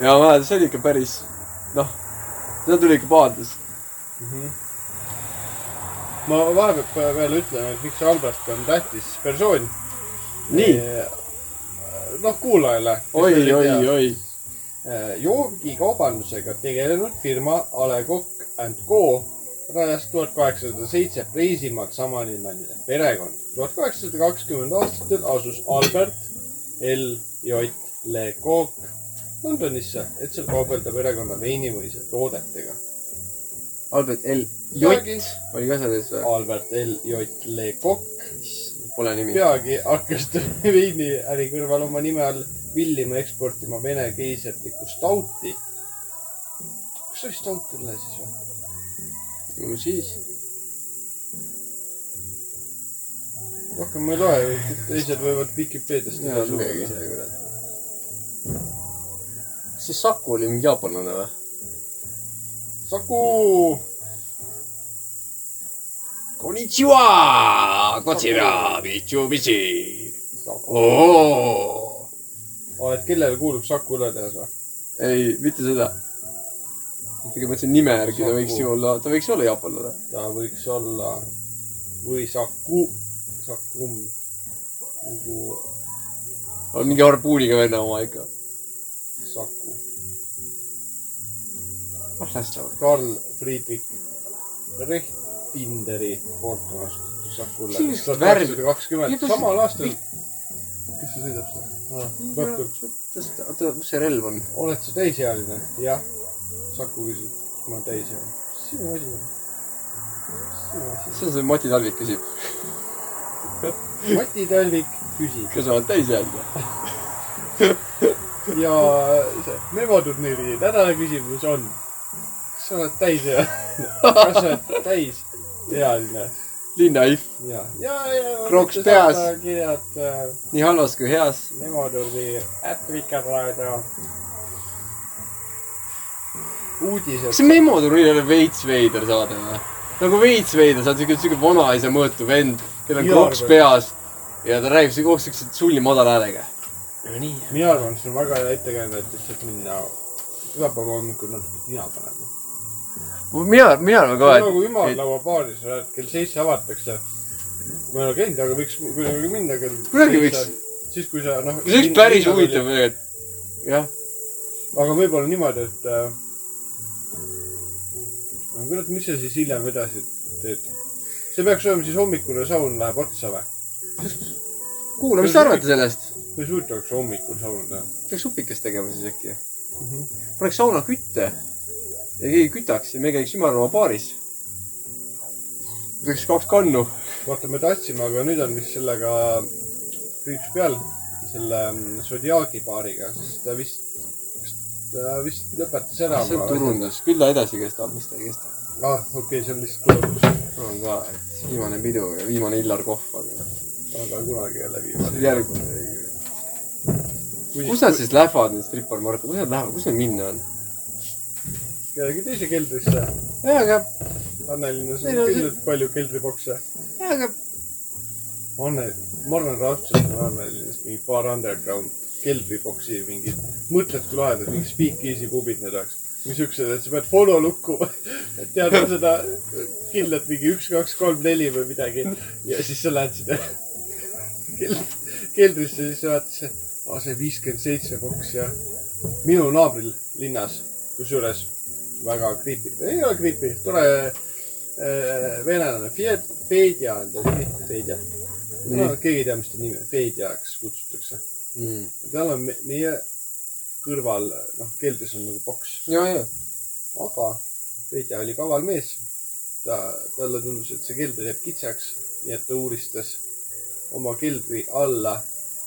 Speaker 10: ja ma mäletan , see oli ikka päris , noh , seda tuli ikka paades .
Speaker 3: ma vahepeal veel ütlen , et miks Albert on tähtis persoon .
Speaker 10: nii .
Speaker 3: noh , kuulajale .
Speaker 10: oi , oi ,. oi .
Speaker 3: Äh, joogikaubandusega tegelenud firma A Le Coq and Co rajas tuhat kaheksasada seitse Preisimaalt samanimeline perekond . tuhat kaheksasada kakskümmend aastatel asus Albert L J Le Coq Londonisse , et seal kaubelda perekonna veinimõisa toodetega .
Speaker 10: Albert L .
Speaker 3: Peagi.
Speaker 10: Jott oli ka seal ees või ?
Speaker 3: Albert L J Le Coq
Speaker 10: Pole nimi .
Speaker 3: peagi hakkas ta veiniäri kõrval oma nime all villima ja eksportima Vene keisrlikku stauti . kas see oli staut üle siis või ?
Speaker 10: ju siis .
Speaker 3: rohkem ma ei loe , teised võivad Vikipeediast
Speaker 10: Jaa,
Speaker 3: ära
Speaker 10: lugege
Speaker 3: lugeda
Speaker 10: ise, . kas see Saku oli mingi jaapanlane või ?
Speaker 3: Saku ,
Speaker 10: Konnichiwa , kotsira , bitsu , bitsi .
Speaker 3: oled , kellele kuulub Saku õletehas või ?
Speaker 10: ei , mitte seda . ikkagi mõtlesin nime järgi , ta
Speaker 3: Saku.
Speaker 10: võiks ju olla , ta võiks olla jaapanlane .
Speaker 3: ta võiks olla või Saku , Sakum nagu
Speaker 10: on mingi harpuuniga venna oma ikka .
Speaker 3: Saku .
Speaker 10: noh , las ta olla .
Speaker 3: Karl Friedrich Rechtbinderi poolt rahastatud Saku
Speaker 10: Sellist
Speaker 3: õletehas . tuhat
Speaker 10: värvi-
Speaker 3: kaheksasada kakskümmend ,
Speaker 10: Kuidas-
Speaker 3: samal aastal . kes see sõidab seal ? lõpuks .
Speaker 10: oota , mis see relv on ?
Speaker 3: oled sa täisealine ? jah . Saku küsib , kas ma olen täisealine . sinu asi on . sinu asi .
Speaker 10: see on see Mati Talvik küsib .
Speaker 3: Mati Talvik küsib
Speaker 10: kas sa oled täisealine ?
Speaker 3: ja see memoturniiri nädala küsimus on . kas sa oled täisealine ? kas sa oled täisealine ?
Speaker 10: linna if ,
Speaker 3: ja , ja , ja .
Speaker 10: Krooks peas.
Speaker 3: kirjad äh,
Speaker 10: nii halvas kui heas .
Speaker 3: memoturniir äpp Vikerraadio .
Speaker 10: kas
Speaker 3: uudised .
Speaker 10: see memoturniir ei ole veits veider saade või ? nagu veits veider , sa oled siuke , siuke vanaisa mõõtu vend , kellel on
Speaker 3: Mina
Speaker 10: kroks
Speaker 3: arvan.
Speaker 10: peas ja ta räägib siuke , siukse sulli madala häälega . Nonii .
Speaker 3: mina arvan , et see on väga hea ettekäänne , et lihtsalt minna pühapäeva hommikul natuke tina panema .
Speaker 10: mina , mina arvan ka ,
Speaker 3: see on nagu
Speaker 10: et ,
Speaker 3: ümarlauapaaris , kell seitse avatakse . ma ei ole käinud , aga võiks kuidagi minna kell .
Speaker 10: Kunagi võiks. .
Speaker 3: siis , kui sa noh .
Speaker 10: et see oleks päris huvitav . tegelikult . jah ,
Speaker 3: aga võib-olla niimoodi , et äh, . aga kurat , mis sa siis hiljem edasi teed ? see peaks olema siis hommikune saun läheb otsa või ?
Speaker 10: kuula , mis te arvate sellest ?
Speaker 3: kui suurt oleks hommikul saun teha ?
Speaker 10: peaks supikest tegema siis äkki mm -hmm. ? paneks sauna kütte ja keegi kütaks ja me käiks ümarlaua baaris . võtaks kaks kannu .
Speaker 3: vaata , me tahtsime , aga nüüd on vist sellega kriips peal , selle mm, Zodiaagi baariga , sest ta vist , ta vist lõpetas ära .
Speaker 10: see on turundus , küll ta edasi kestab , mis ta ei kesta .
Speaker 3: ah , okei okay, , see on lihtsalt tulemus ,
Speaker 10: mul on ka et viimane pidu , viimane Illar Kohv , aga
Speaker 3: aga kunagi ei ole viimane .
Speaker 10: järgmine . kus nad siis lähevad , need strippar-Marko , kus nad lähevad , kus neil minna on ?
Speaker 3: kellegi teise keldrisse .
Speaker 10: jaa , aga ,
Speaker 3: Annelinnas on
Speaker 10: Neil on
Speaker 3: küllalt palju keldribokse .
Speaker 10: jaa , aga
Speaker 3: Anne , ma arvan , raudselt on Annelinnas mingi paar underground keldriboksi mingid , mõtled kui lahedad , mingid speakeasy pubid need oleks . või siuksed , et sa pead follow lukku , et tead on seda kindlalt mingi üks , kaks , kolm , neli või midagi ja siis sa lähed sinna keld- keldrisse , siis sa vaatad , see , see viiskümmend seitse boks ja minu naabril linnas , kusjuures väga creepy , ei ole creepy , tore äh, venelane , Fedja on ta nimi , Fedja . no keegi ei tea , mis ta nimi on , Fedjaks kutsutakse .
Speaker 10: mm. .
Speaker 3: tal on me- meie kõrval , noh , keldris on nagu boks ,
Speaker 10: jaa , jaa .
Speaker 3: aga Fedja oli kaval mees . ta , talle tundus , et see kelder jääb kitsaks , nii et ta uuristas oma keldri alla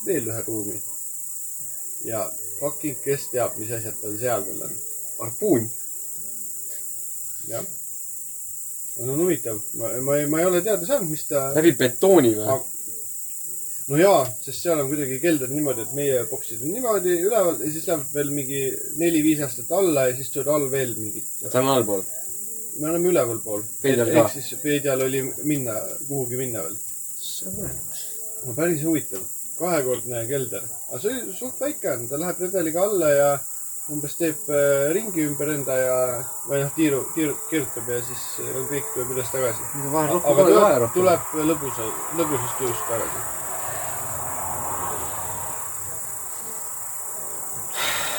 Speaker 3: veel ühe ruumi . ja fucking , kes teab , mis asjad tal seal veel on
Speaker 10: harpuun .
Speaker 3: jah . see on huvitav , ma , ma ei , ma ei ole teada saanud , mis ta .
Speaker 10: läbi betooni või
Speaker 3: Aga- ? no jaa , sest seal on kuidagi kelder niimoodi , et meie boksid on niimoodi üleval ja siis läheb veel mingi neli-viis aastat alla ja siis tuleb all veel mingid .
Speaker 10: ta on allpool .
Speaker 3: me oleme ülevalpool .
Speaker 10: Peedjal ka.
Speaker 3: ehk siis Peedjal oli minna , kuhugi minna veel . no päris huvitav , kahekordne kelder , aga see oli suht väike on , ta läheb redeliga alla ja umbes teeb äh, ringi ümber enda ja , või noh , tiiru , tiiru , kirjutab ja siis äh, on kõik tuleb üles tagasi .
Speaker 10: vahel rohkem ,
Speaker 3: aga
Speaker 10: vahel
Speaker 3: tuleb ,
Speaker 10: rohkem .
Speaker 3: tuleb lõbusa , lõbusas tujus tagasi .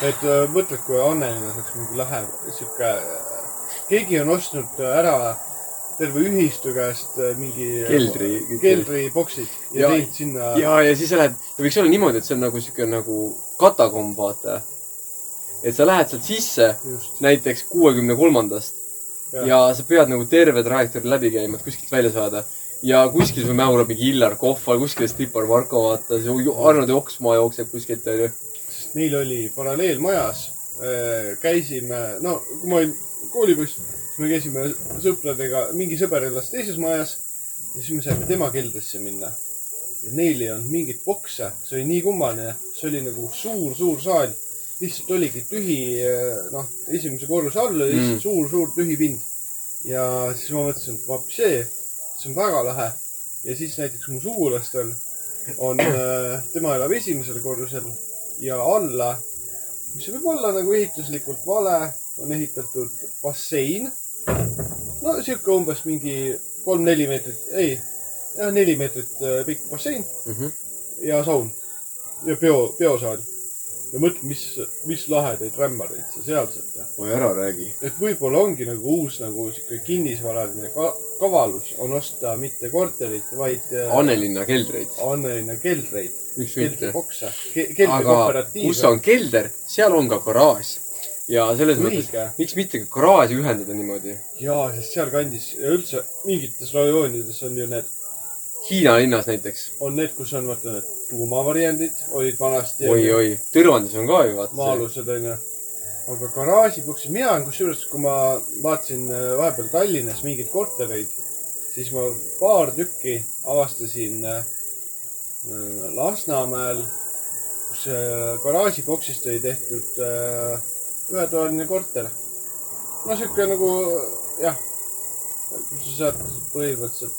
Speaker 3: et äh, mõtled , kui Annelinnas oleks mingi lahe sihuke , keegi on ostnud ära terve ühistu käest äh, mingi
Speaker 10: Keldri-
Speaker 3: keldriboksid ja, ja
Speaker 10: Ja-
Speaker 3: teinud sinna
Speaker 10: ja , ja siis sa lähed , võiks olla niimoodi , et see on nagu sihuke nagu katakomb , vaata . et sa lähed sealt sisse
Speaker 3: just .
Speaker 10: näiteks kuuekümne kolmandast
Speaker 3: Jah.
Speaker 10: ja sa pead nagu terve trajektoori läbi käima , et kuskilt välja saada . ja kuskil sul mäurab mingi Illar Kohval , kuskil Stipar Marko , vaata , see Arno Joksmaa jookseb kuskilt , onju .
Speaker 3: sest meil oli paralleelmajas , käisime , no kui ma olin koolipoiss , siis me käisime sõpradega , mingi sõber elas teises majas ja siis me saime tema keldrisse minna . ja neil ei olnud mingit bokse , see oli nii kummaline , see oli nagu suur-suur saal , lihtsalt oligi tühi , noh , esimese korruse all oli lihtsalt
Speaker 10: Mm.
Speaker 3: mm. suur-suur tühi pind . ja siis ma mõtlesin , et vaps see , see on väga lahe ja siis näiteks mu sugulastel on , tema elab esimesel korrusel ja alla , mis võib olla nagu ehituslikult vale , on ehitatud bassein . no sihuke umbes mingi kolm-neli meetrit , ei , jah , neli meetrit äh, pikk bassein mm
Speaker 10: Mhm.
Speaker 3: ja saun ja peo , peosaal . ja mõtle , mis , mis lahedaid rämmareid sa seal saad teha .
Speaker 10: oi , ära räägi .
Speaker 3: et võib-olla ongi nagu uus nagu sihuke kinnisvaraline ka kavalus on osta mitte korterit , vaid äh,
Speaker 10: Annelinna keldreid ,
Speaker 3: Annelinna keldreid ,
Speaker 10: miks mitte .
Speaker 3: keldribokse ,
Speaker 10: aga kus
Speaker 3: keldrikooperatiiv .
Speaker 10: on kelder , seal on ka garaaž . ja selles mõttes ,
Speaker 3: õige
Speaker 10: miks mitte ka garaaži ühendada niimoodi .
Speaker 3: jaa , sest sealkandis ja üldse mingites rajoonides on ju need ,
Speaker 10: Hiina linnas näiteks .
Speaker 3: on need , kus on vaata need tuumavariandid olid vanasti .
Speaker 10: oi-oi , Tõrvandis on ka ju vaata .
Speaker 3: maa-alused onju . aga garaažiboksid , mina olen kusjuures , kui ma vaatasin äh, vahepeal Tallinnas mingeid kortereid , siis ma paar tükki avastasin äh, äh, Lasnamäel , kus äh, garaažiboksist oli tehtud äh, ühetoaline korter . no sihuke nagu jah , kus sa saad põhimõtteliselt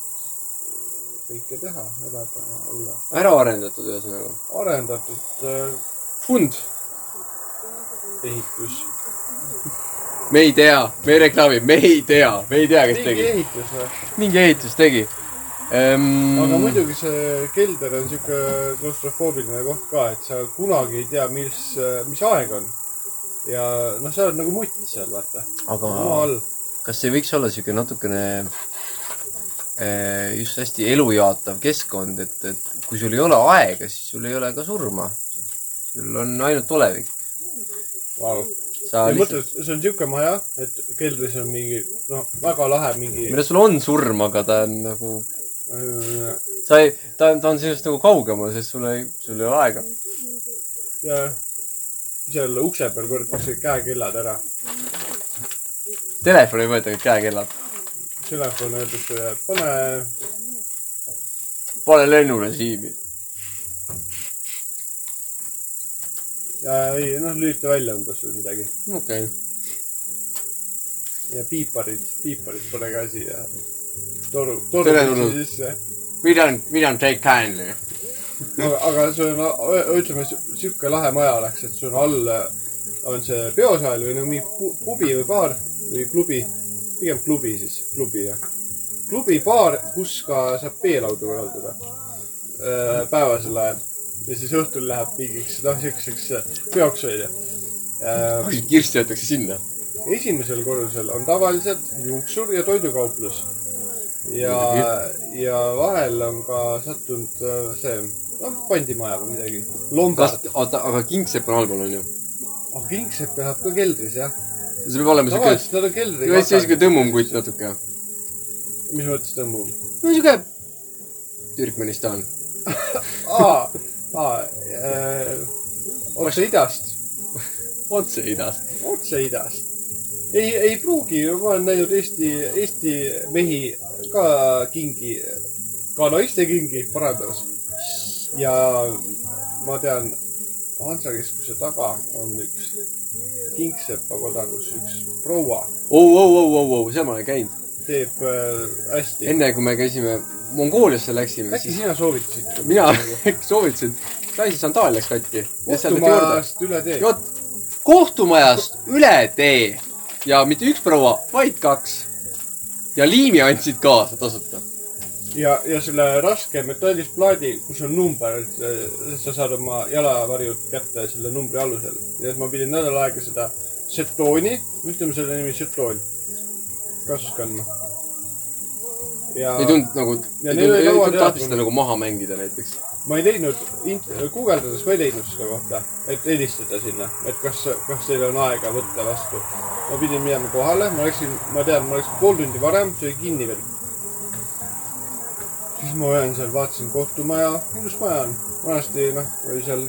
Speaker 3: kõike teha , elada ja olla
Speaker 10: ära arendatud ühesõnaga .
Speaker 3: arendatud äh,
Speaker 10: Fund ,
Speaker 3: ehitus
Speaker 10: me ei tea , me ei reklaami , me ei tea , me ei tea , kes
Speaker 3: mingi
Speaker 10: tegi .
Speaker 3: ehitus või ?
Speaker 10: mingi ehitus tegi ehm,
Speaker 3: aga . muidugi see kelder on siuke klaustrofoobiline koht ka , et sa kunagi ei tea , mis , mis aeg on . ja noh , sa oled nagu mutt seal , vaata .
Speaker 2: aga
Speaker 3: maa all .
Speaker 2: kas ei võiks olla siuke natukene
Speaker 10: eh, just hästi elujaatav keskkond , et , et kui sul ei ole aega , siis sul ei ole ka surma . sul on ainult olevik .
Speaker 12: Vau.
Speaker 10: sa
Speaker 3: ei
Speaker 10: lihtsalt ,
Speaker 3: mõtle , see on siuke maja , et keldris on mingi , no väga lahe mingi
Speaker 10: mille sul on surm , aga ta on nagu ,
Speaker 3: äh,
Speaker 10: sa ei , ta on , ta on sinust nagu kaugemal , sest sul ei , sul ei ole aega .
Speaker 3: ja seal ukse peal korjatakse käekellad ära .
Speaker 10: Telefoni ei võeta , käekellad .
Speaker 3: Telefon öeldakse , pane ,
Speaker 10: pane lennurežiimi .
Speaker 3: ei noh , lülita välja umbes või midagi .
Speaker 10: okei okay. .
Speaker 3: ja piiparid , piiparid pane ka siia . toru , toru
Speaker 10: Tere tulnud.
Speaker 3: sisse .
Speaker 10: We don't , we don't take kindly .
Speaker 3: aga , aga sul on , ütleme , sihuke lahe maja oleks , et sul on all , on see peosaal või no mingi pu- pubi või baar või klubi , pigem klubi siis , klubi jah . klubi , baar , kus ka saab peelaudu korraldada öö, päevasel ajal ja siis õhtul läheb mingiks , noh , siukseks peoks onju . Äh,
Speaker 10: kirsti jäetakse sinna .
Speaker 3: esimesel korrusel on tavaliselt juuksur ja toidukauplus . ja , ja vahel on ka sattunud äh, see , noh , pandimaja või midagi .
Speaker 10: kas
Speaker 3: lombard ,.
Speaker 10: oota , aga kingsepp on allpool , onju ?
Speaker 3: oh , kingsepp elab ka keldris , jah .
Speaker 10: see peab olema siuke ,
Speaker 3: tavaliselt nad on
Speaker 10: see on siuke
Speaker 3: keldriga .
Speaker 10: tõmmum kutt natuke .
Speaker 3: mis mõttes tõmbub ?
Speaker 10: no siuke Türkmenistan .
Speaker 3: aa , aa , otse idast ,
Speaker 10: otse idast .
Speaker 3: otse idast . ei , ei pruugi , ma olen näinud Eesti , Eesti mehi ka kingi , ka naiste kingi parandamas . ja ma tean , Hansakeskuse taga on üks kingsepa kodakus , üks proua
Speaker 10: oo , oo , oo , oo , oo , seal ma olen käinud .
Speaker 3: teeb äh, hästi .
Speaker 10: enne kui me käisime Mongooliasse läksime ,
Speaker 3: äkki
Speaker 10: siis
Speaker 3: sina soovitasid ?
Speaker 10: mina soovitasin , naise sandaal läks katki .
Speaker 3: kohtumajast üle tee .
Speaker 10: vot , kohtumajast üle tee ja mitte üks proua , vaid kaks . ja liimi andsid kaasa tasuta .
Speaker 3: ja , ja selle raske metallist plaadi , kus on number , sa saad oma jalavarjud kätte selle numbri alusel . ja et ma pidin nädal aega seda setooni , ütleme selle nimi setoon , kaasas kandma . ja
Speaker 10: ei tundnud nagu ,
Speaker 3: Ja
Speaker 10: ei
Speaker 3: neil oli
Speaker 10: tundnud
Speaker 3: lauad ,
Speaker 10: tahtis
Speaker 3: jaotunud.
Speaker 10: seda nagu maha mängida näiteks .
Speaker 3: ma ei leidnud , guugeldades ma ei leidnud seda kohta , et helistada sinna , et kas , kas teil on aega võtta vastu . ma pidin minema kohale , ma läksin , ma tean , ma läksin pool tundi varem , see oli kinni veel . siis ma olen seal , vaatasin kohtumaja , ilus maja on . vanasti noh , oli seal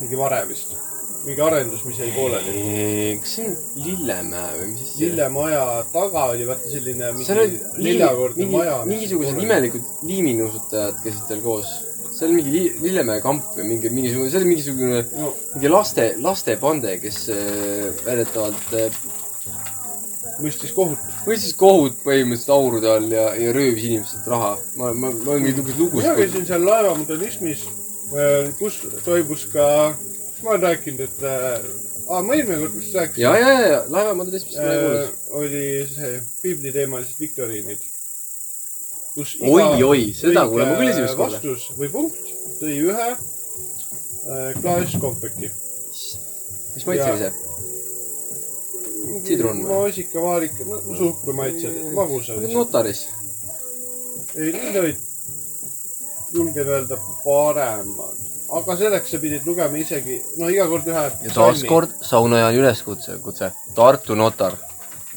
Speaker 3: mingi vare vist , mingi arendus , mis jäi pooleli .
Speaker 10: kas see on Lillemäe või mis asi ?
Speaker 3: lillemaja taga oli vaata selline
Speaker 10: seal olid
Speaker 3: mingi neljakordne
Speaker 10: mingi
Speaker 3: maja .,
Speaker 10: mingisugused . imelikud liiminuusutajad käisid seal koos . see oli mingi li- Lillemäe kamp või mingi , mingisugune , see oli mingisugune ,
Speaker 3: no
Speaker 10: mingi laste , lastepande , kes äh, väidetavalt äh,
Speaker 3: mõistis kohut .
Speaker 10: võttis kohut põhimõtteliselt aurude all ja , ja röövis inimestelt raha . ma , ma , ma olen mingi niisuguseid
Speaker 3: mina
Speaker 10: lugusid
Speaker 3: käisin seal laevamodernismis , kus toimus ka , ma olen rääkinud , et äh, aa, ma eelmine kord vist rääkisin .
Speaker 10: ja , ja , ja , ja laevamadades , mis ma ei
Speaker 3: äh,
Speaker 10: kuulnud .
Speaker 3: oli see piibliteemalised viktoriinid . kus
Speaker 10: Oi, oi, seda kuulen ma küll esimest korda.
Speaker 3: korda . vastus või punkt tõi ühe äh, klaasikompeki .
Speaker 10: mis maitsemise ? Sidrun või?
Speaker 3: maasika , vaarika , no suhkrumaitsed ,
Speaker 10: Mm.
Speaker 3: magusad .
Speaker 10: notaris .
Speaker 3: ei , need olid , julgen öelda , paremad . aga selleks sa pidid lugema isegi , no iga kord ühe .
Speaker 10: ja taaskord saunaja on üleskutse , kutse . Tartu notar ,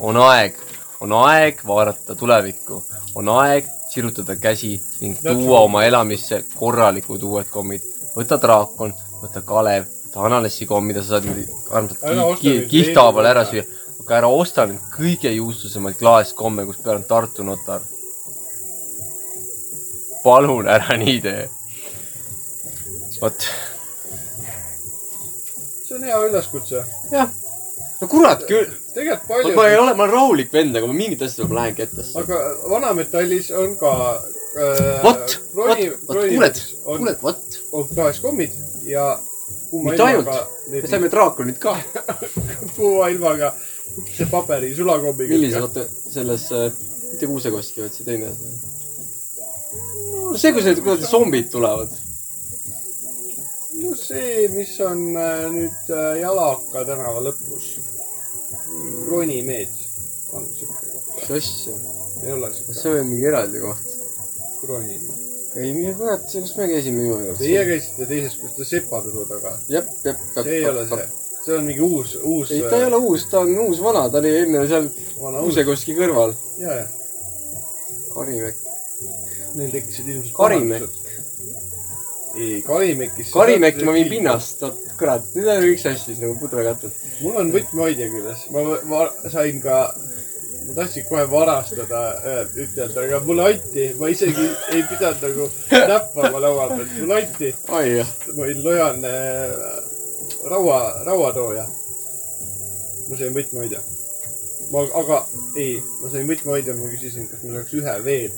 Speaker 10: on aeg , on aeg vaadata tulevikku , on aeg sirutada käsi ning tuua oma elamisse korralikud uued kommid . võta draakon , võta Kalev , võta Analessi komm , mida sa saad niimoodi
Speaker 3: Ära
Speaker 10: armsalt
Speaker 3: osta
Speaker 10: ki-
Speaker 3: neid
Speaker 10: kihthaaval
Speaker 3: veebi-
Speaker 10: ära süüa . aga ära osta neid kõige juustusemaid klaaskomme , kus peal on Tartu notar . palun ära nii tee . vot
Speaker 3: see on hea üleskutse .
Speaker 10: jah . no kurat küll .
Speaker 3: tegelikult
Speaker 10: vot ma ei
Speaker 3: palju ,
Speaker 10: ole , ma olen rahulik vend , aga ma mingit asja ma lähen kettasse .
Speaker 3: aga vanametallis on ka äh,
Speaker 10: vot , vot , vot kuuled , kuuled , vot .
Speaker 3: on klaaskommid ja kuuma
Speaker 10: mitte ainult
Speaker 3: ilmaga .,
Speaker 10: me saime draakonit ka .
Speaker 3: kuuma ilmaga see paberi sulakommiga .
Speaker 10: millise , oota , selles , mitte kuusekoski , vaid see teine . see , kus need kuradi zombid tulevad .
Speaker 3: no see , mis on äh, nüüd äh, Jalaka tänava lõpus . Ronimeed on siuke koht .
Speaker 10: mis asja ?
Speaker 3: ei ole siuke
Speaker 10: see oli mingi eraldi koht .
Speaker 3: krooni .
Speaker 10: ei , kurat , see , kus me käisime viimane kord ?
Speaker 3: Teie käisite teises , kus ta sepaturu taga .
Speaker 10: jep , jep , jep .
Speaker 3: see ei ole see . see on mingi uus , uus .
Speaker 10: ei , ta ei ole uus , ta on uus-vana , ta oli enne seal
Speaker 3: vana uus .
Speaker 10: Kuusekoski kõrval .
Speaker 3: ja , ja .
Speaker 10: Karimäe .
Speaker 3: Neil tekkisid ilmselt .
Speaker 10: Karimäe. .
Speaker 3: ei , Karimäkis .
Speaker 10: Karimäki ma viin . pinnast , oot , kurat , nüüd on üks asi siis nagu pudrakatud .
Speaker 3: mul on võtmehoidja küljes , ma , ma sain ka , ma tahtsin kohe varastada , ütelda , aga mulle anti , ma isegi ei pidanud nagu näppama laua pealt , mulle anti .
Speaker 10: oi jah .
Speaker 3: ma olin lojaalne äh, raua , rauatooja . ma sain võtmehoidja . ma , aga ei , ma sain võtmehoidja , ma küsisin , kas ma saaks ühe veel ,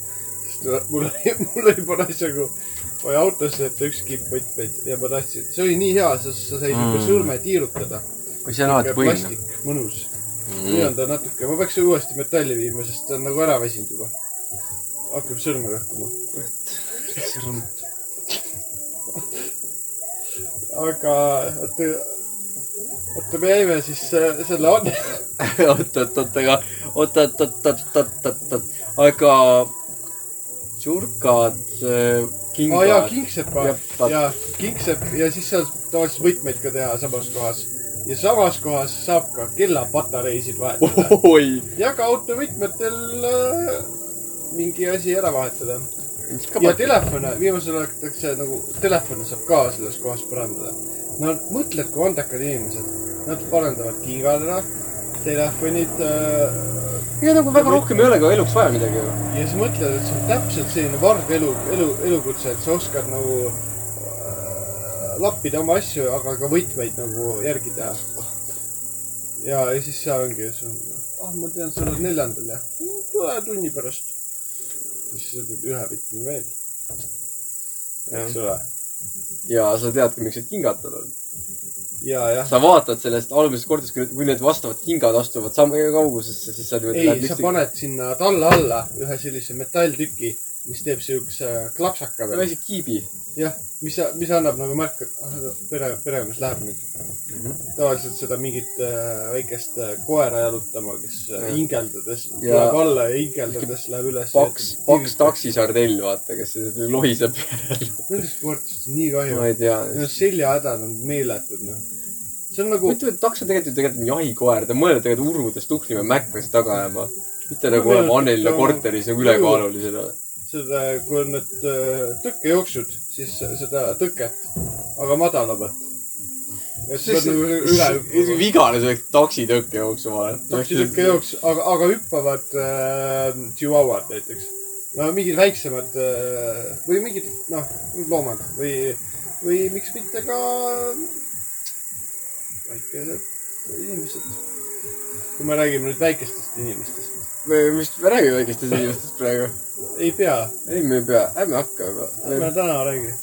Speaker 3: sest mul oli , mul oli parasjagu vaja autosse jätta üks kipp võtmeid ja ma tahtsin , see oli nii hea , sa , sa said mm. sõrme tiirutada
Speaker 10: või see on alati põhiline .
Speaker 3: plastik , mõnus mm. . nüüd on ta natuke , ma peaks selle uuesti metalli viima , sest ta on nagu ära väsinud juba . hakkab sõrme lõhkuma . aga oota , oota , me jäime siis äh, selle Anne ,
Speaker 10: oot , oot , oot , aga , oot , oot , oot , oot , oot , oot , oot , aga surkad ,
Speaker 3: aa jaa ,
Speaker 10: kingad .
Speaker 3: kingsepa
Speaker 10: Jah, vaat-
Speaker 3: ja kingsepp ja siis seal tavaliselt võtmeid ka teha samas kohas ja samas kohas saab ka kellapatareisid vahetada
Speaker 10: oi ,
Speaker 3: ja ka autovõtmetel äh, mingi asi ära vahetada ja
Speaker 10: kapat- .
Speaker 3: telefone , viimasel ajal hakatakse nagu , telefone saab ka selles kohas parandada . no mõtled , kui andekad inimesed , nad parandavad kingad ära , telefonid äh,
Speaker 10: ega nagu väga rohkem ei ole ka eluks vaja midagi ju .
Speaker 3: ja siis mõtled , et see on täpselt selline varg elu , elu , elukutse , et sa oskad nagu äh, lappida oma asju , aga ka võtmeid nagu järgi teha . ja , ja siis see ongi , ah , ma tean , sa oled neljandal ja tule tunni pärast . siis sa teed ühe võtme veel . eks ole .
Speaker 10: ja sa tead ka , miks need kingad tal on .
Speaker 3: ja , jah .
Speaker 10: sa vaatad sellest alguses kordades , kui , kui need vastavad kingad astuvad samme kaugusesse , siis sa niimoodi
Speaker 3: ei , sa . paned sinna talla alla ühe sellise metalltüki , mis teeb siukse klapsaka
Speaker 10: või
Speaker 3: peale .
Speaker 10: isegi kiibi .
Speaker 3: jah , mis , mis annab nagu märku , et ah, pere , peremees läheb nüüd mm .
Speaker 10: Mhm.
Speaker 3: -hmm. tavaliselt seda mingit äh, väikest äh, koera jalutama , kes äh,
Speaker 10: Jah.
Speaker 3: hingeldades ja.
Speaker 10: Ja-
Speaker 3: tuleb alla ja hingeldades läheb üles .
Speaker 10: paks , paks . taksisardell , vaata , kes seda lohiseb .
Speaker 3: Nendest sportlastest on nii kahju
Speaker 10: ma . ei tea .
Speaker 3: Need seljahädad on meeletud , noh . see on nagu ,
Speaker 10: huvitav , et taks on tegelikult ju tegelikult on jahikoer , ta mõelda tegelikult urvudes tuhknime mäkkasid taga ajama . mitte nagu
Speaker 3: No,
Speaker 10: olema Annelina
Speaker 3: ta-
Speaker 10: korteris nagu ülekaalulisena .
Speaker 3: seda , kui on need äh, tõkkejooksud , siis seda tõket , aga madalamat . ja siis pead nagu üle .
Speaker 10: vigane see oleks taksitõkke jooksu vahel .
Speaker 3: taksitükk ei . jooks , aga , aga hüppavad äh, tšihuahuad näiteks . no mingid väiksemad äh, või mingid noh , loomad või , või miks mitte ka väikesed inimesed . kui me räägime nüüd väikestest inimestest ,
Speaker 10: me vist me räägime väikestest inimestest praegu .
Speaker 3: ei pea ,
Speaker 10: ei , me ei pea , ärme hakka juba
Speaker 3: me . täna räägi .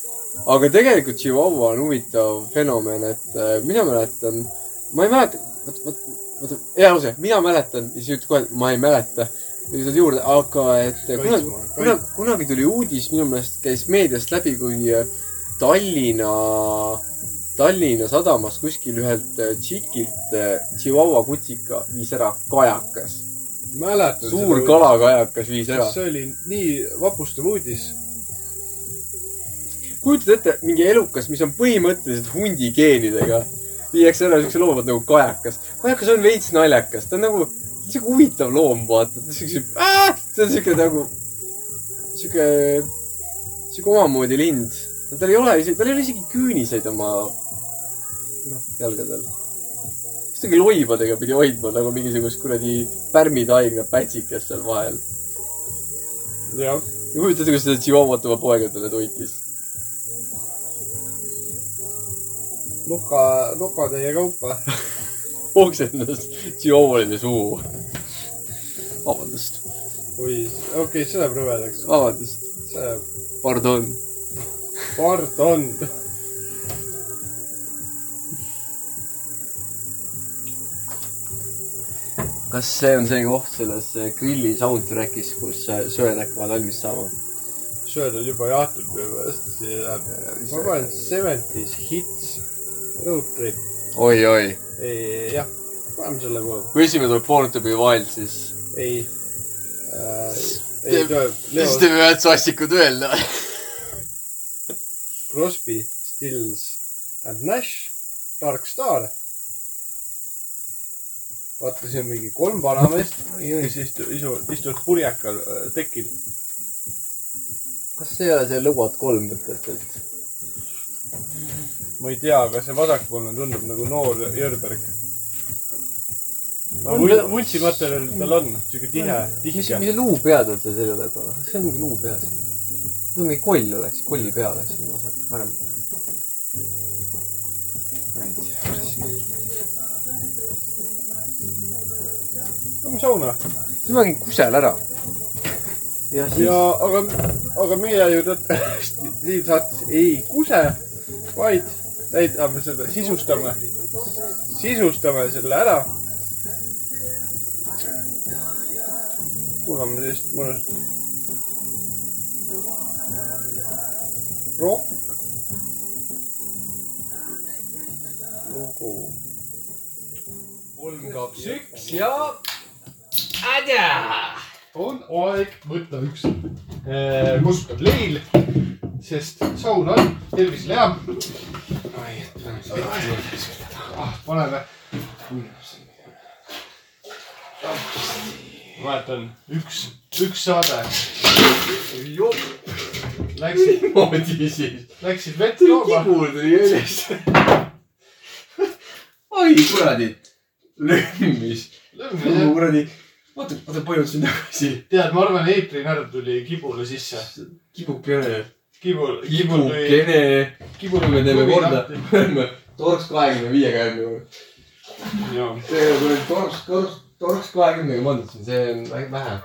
Speaker 10: aga tegelikult Chihuahua on huvitav fenomen , et äh, mina mäletan , ma ei mäleta , vot , vot , vot , hea lause , mina mäletan ja siis ütled kohe , et ma ei mäleta . ja siis saad juurde , aga et
Speaker 3: Kaitsma,
Speaker 10: kunagi ,
Speaker 3: kaitsma.
Speaker 10: kunagi , kunagi tuli uudis , minu meelest käis meediast läbi , kui äh, Tallinna , Tallinna sadamas kuskil ühelt äh, tšikilt äh, Chihuahua kutsika viis ära kajakas .
Speaker 3: mäletan .
Speaker 10: suur . kalakajakas viis ära .
Speaker 3: see oli nii vapustav uudis .
Speaker 10: kujutad ette , mingi elukas , mis on põhimõtteliselt hundi geenidega , viiakse ära siukse looma nagu kajakas . kajakas on veits naljakas , ta on nagu siuke huvitav loom , vaata , ta on siukse , see on siuke nagu , siuke , siuke omamoodi lind . tal ei ole isegi , tal ei ole isegi küüniseid oma , noh , jalgadel . kuidagi loibadega pidi hoidma nagu mingisugust kuradi pärmitaigna pätsikest seal vahel .
Speaker 3: jah .
Speaker 10: ja kujuta ette , kuidas seda tšihuahuat oma poegadele toitis .
Speaker 3: nuka , nukatäie kaupa .
Speaker 10: oksendas tšiooline suu . vabandust ,
Speaker 3: või , okei okay, , see läheb rõvedaks .
Speaker 10: vabandust ,
Speaker 3: see läheb
Speaker 10: pardon .
Speaker 3: Pardon .
Speaker 10: kas see on see koht selles äh, grilli soundtrack'is , kus sööjad hakkavad valmis saama ?
Speaker 3: sööd on juba jahtunud minu meelest , see läheb . ma panen Seventies Hits Road Trip .
Speaker 10: oi-oi ,
Speaker 3: jah , paneme selle kohe .
Speaker 10: kui esimene tuleb Born to be wild , siis
Speaker 3: ei , äh,
Speaker 13: ei tule ,
Speaker 14: siis
Speaker 13: Leo
Speaker 14: teeme ühed sassikud veel .
Speaker 13: Crosby , Stills and Nash , Dark Star . vaatasin mingi kolm vanameest ,
Speaker 15: inimesi istu- , isu- , istuvad purjekal äh, tekil .
Speaker 10: kas see ei ole see Lõuad kolm mõtetelt ?
Speaker 15: ma ei tea , aga see vasakpoolne tundub nagu noor Jörberg . no
Speaker 13: On
Speaker 15: vun-
Speaker 13: ta-
Speaker 15: vuntsimaterjal tal on , siuke tihe ,
Speaker 10: mis ,
Speaker 15: tihke .
Speaker 10: mis luupead on seal selja taga ? see on mingi luupea seal . see on mingi koll oleks , kolli pea oleks siin vasak , parem .
Speaker 15: Lähme Nagu sauna .
Speaker 16: siis ma käin kusel ära .
Speaker 10: ja siis
Speaker 15: ja , aga , aga meie ju tõtt- siin saates ei kuse , vaid täidame seda , sisustame , sisustame selle ära . kuulame sellist mõnust . rokk . lugu .
Speaker 16: kolm , kaks , üks ja .
Speaker 3: on aeg võtta üks äh, mustad leil , sest saun on tervisele hea . ah , paneme . ma mäletan , üks , üks saade . Läksid ,
Speaker 2: mismoodi siis ?
Speaker 3: läksid vett tooma .
Speaker 2: kibul tuli üles . oi kuradi , lömmis .
Speaker 3: tead ,
Speaker 2: kuradi , oota , oota , pojud siin tagasi .
Speaker 3: ma arvan , eetrinärv tuli kibule sisse .
Speaker 2: kibukene ,
Speaker 3: kibul , kibul tuli ,
Speaker 2: kibukene .
Speaker 3: kibul
Speaker 2: me
Speaker 3: tuli
Speaker 2: teeme korda
Speaker 3: kõvinahti. ,
Speaker 2: me oleme torks kahekümne viiega järgmine kord .
Speaker 3: Jaa.
Speaker 2: see ei ole kuradi torks , torks , torks kahekümnega pandud siin , see on vä- vähe .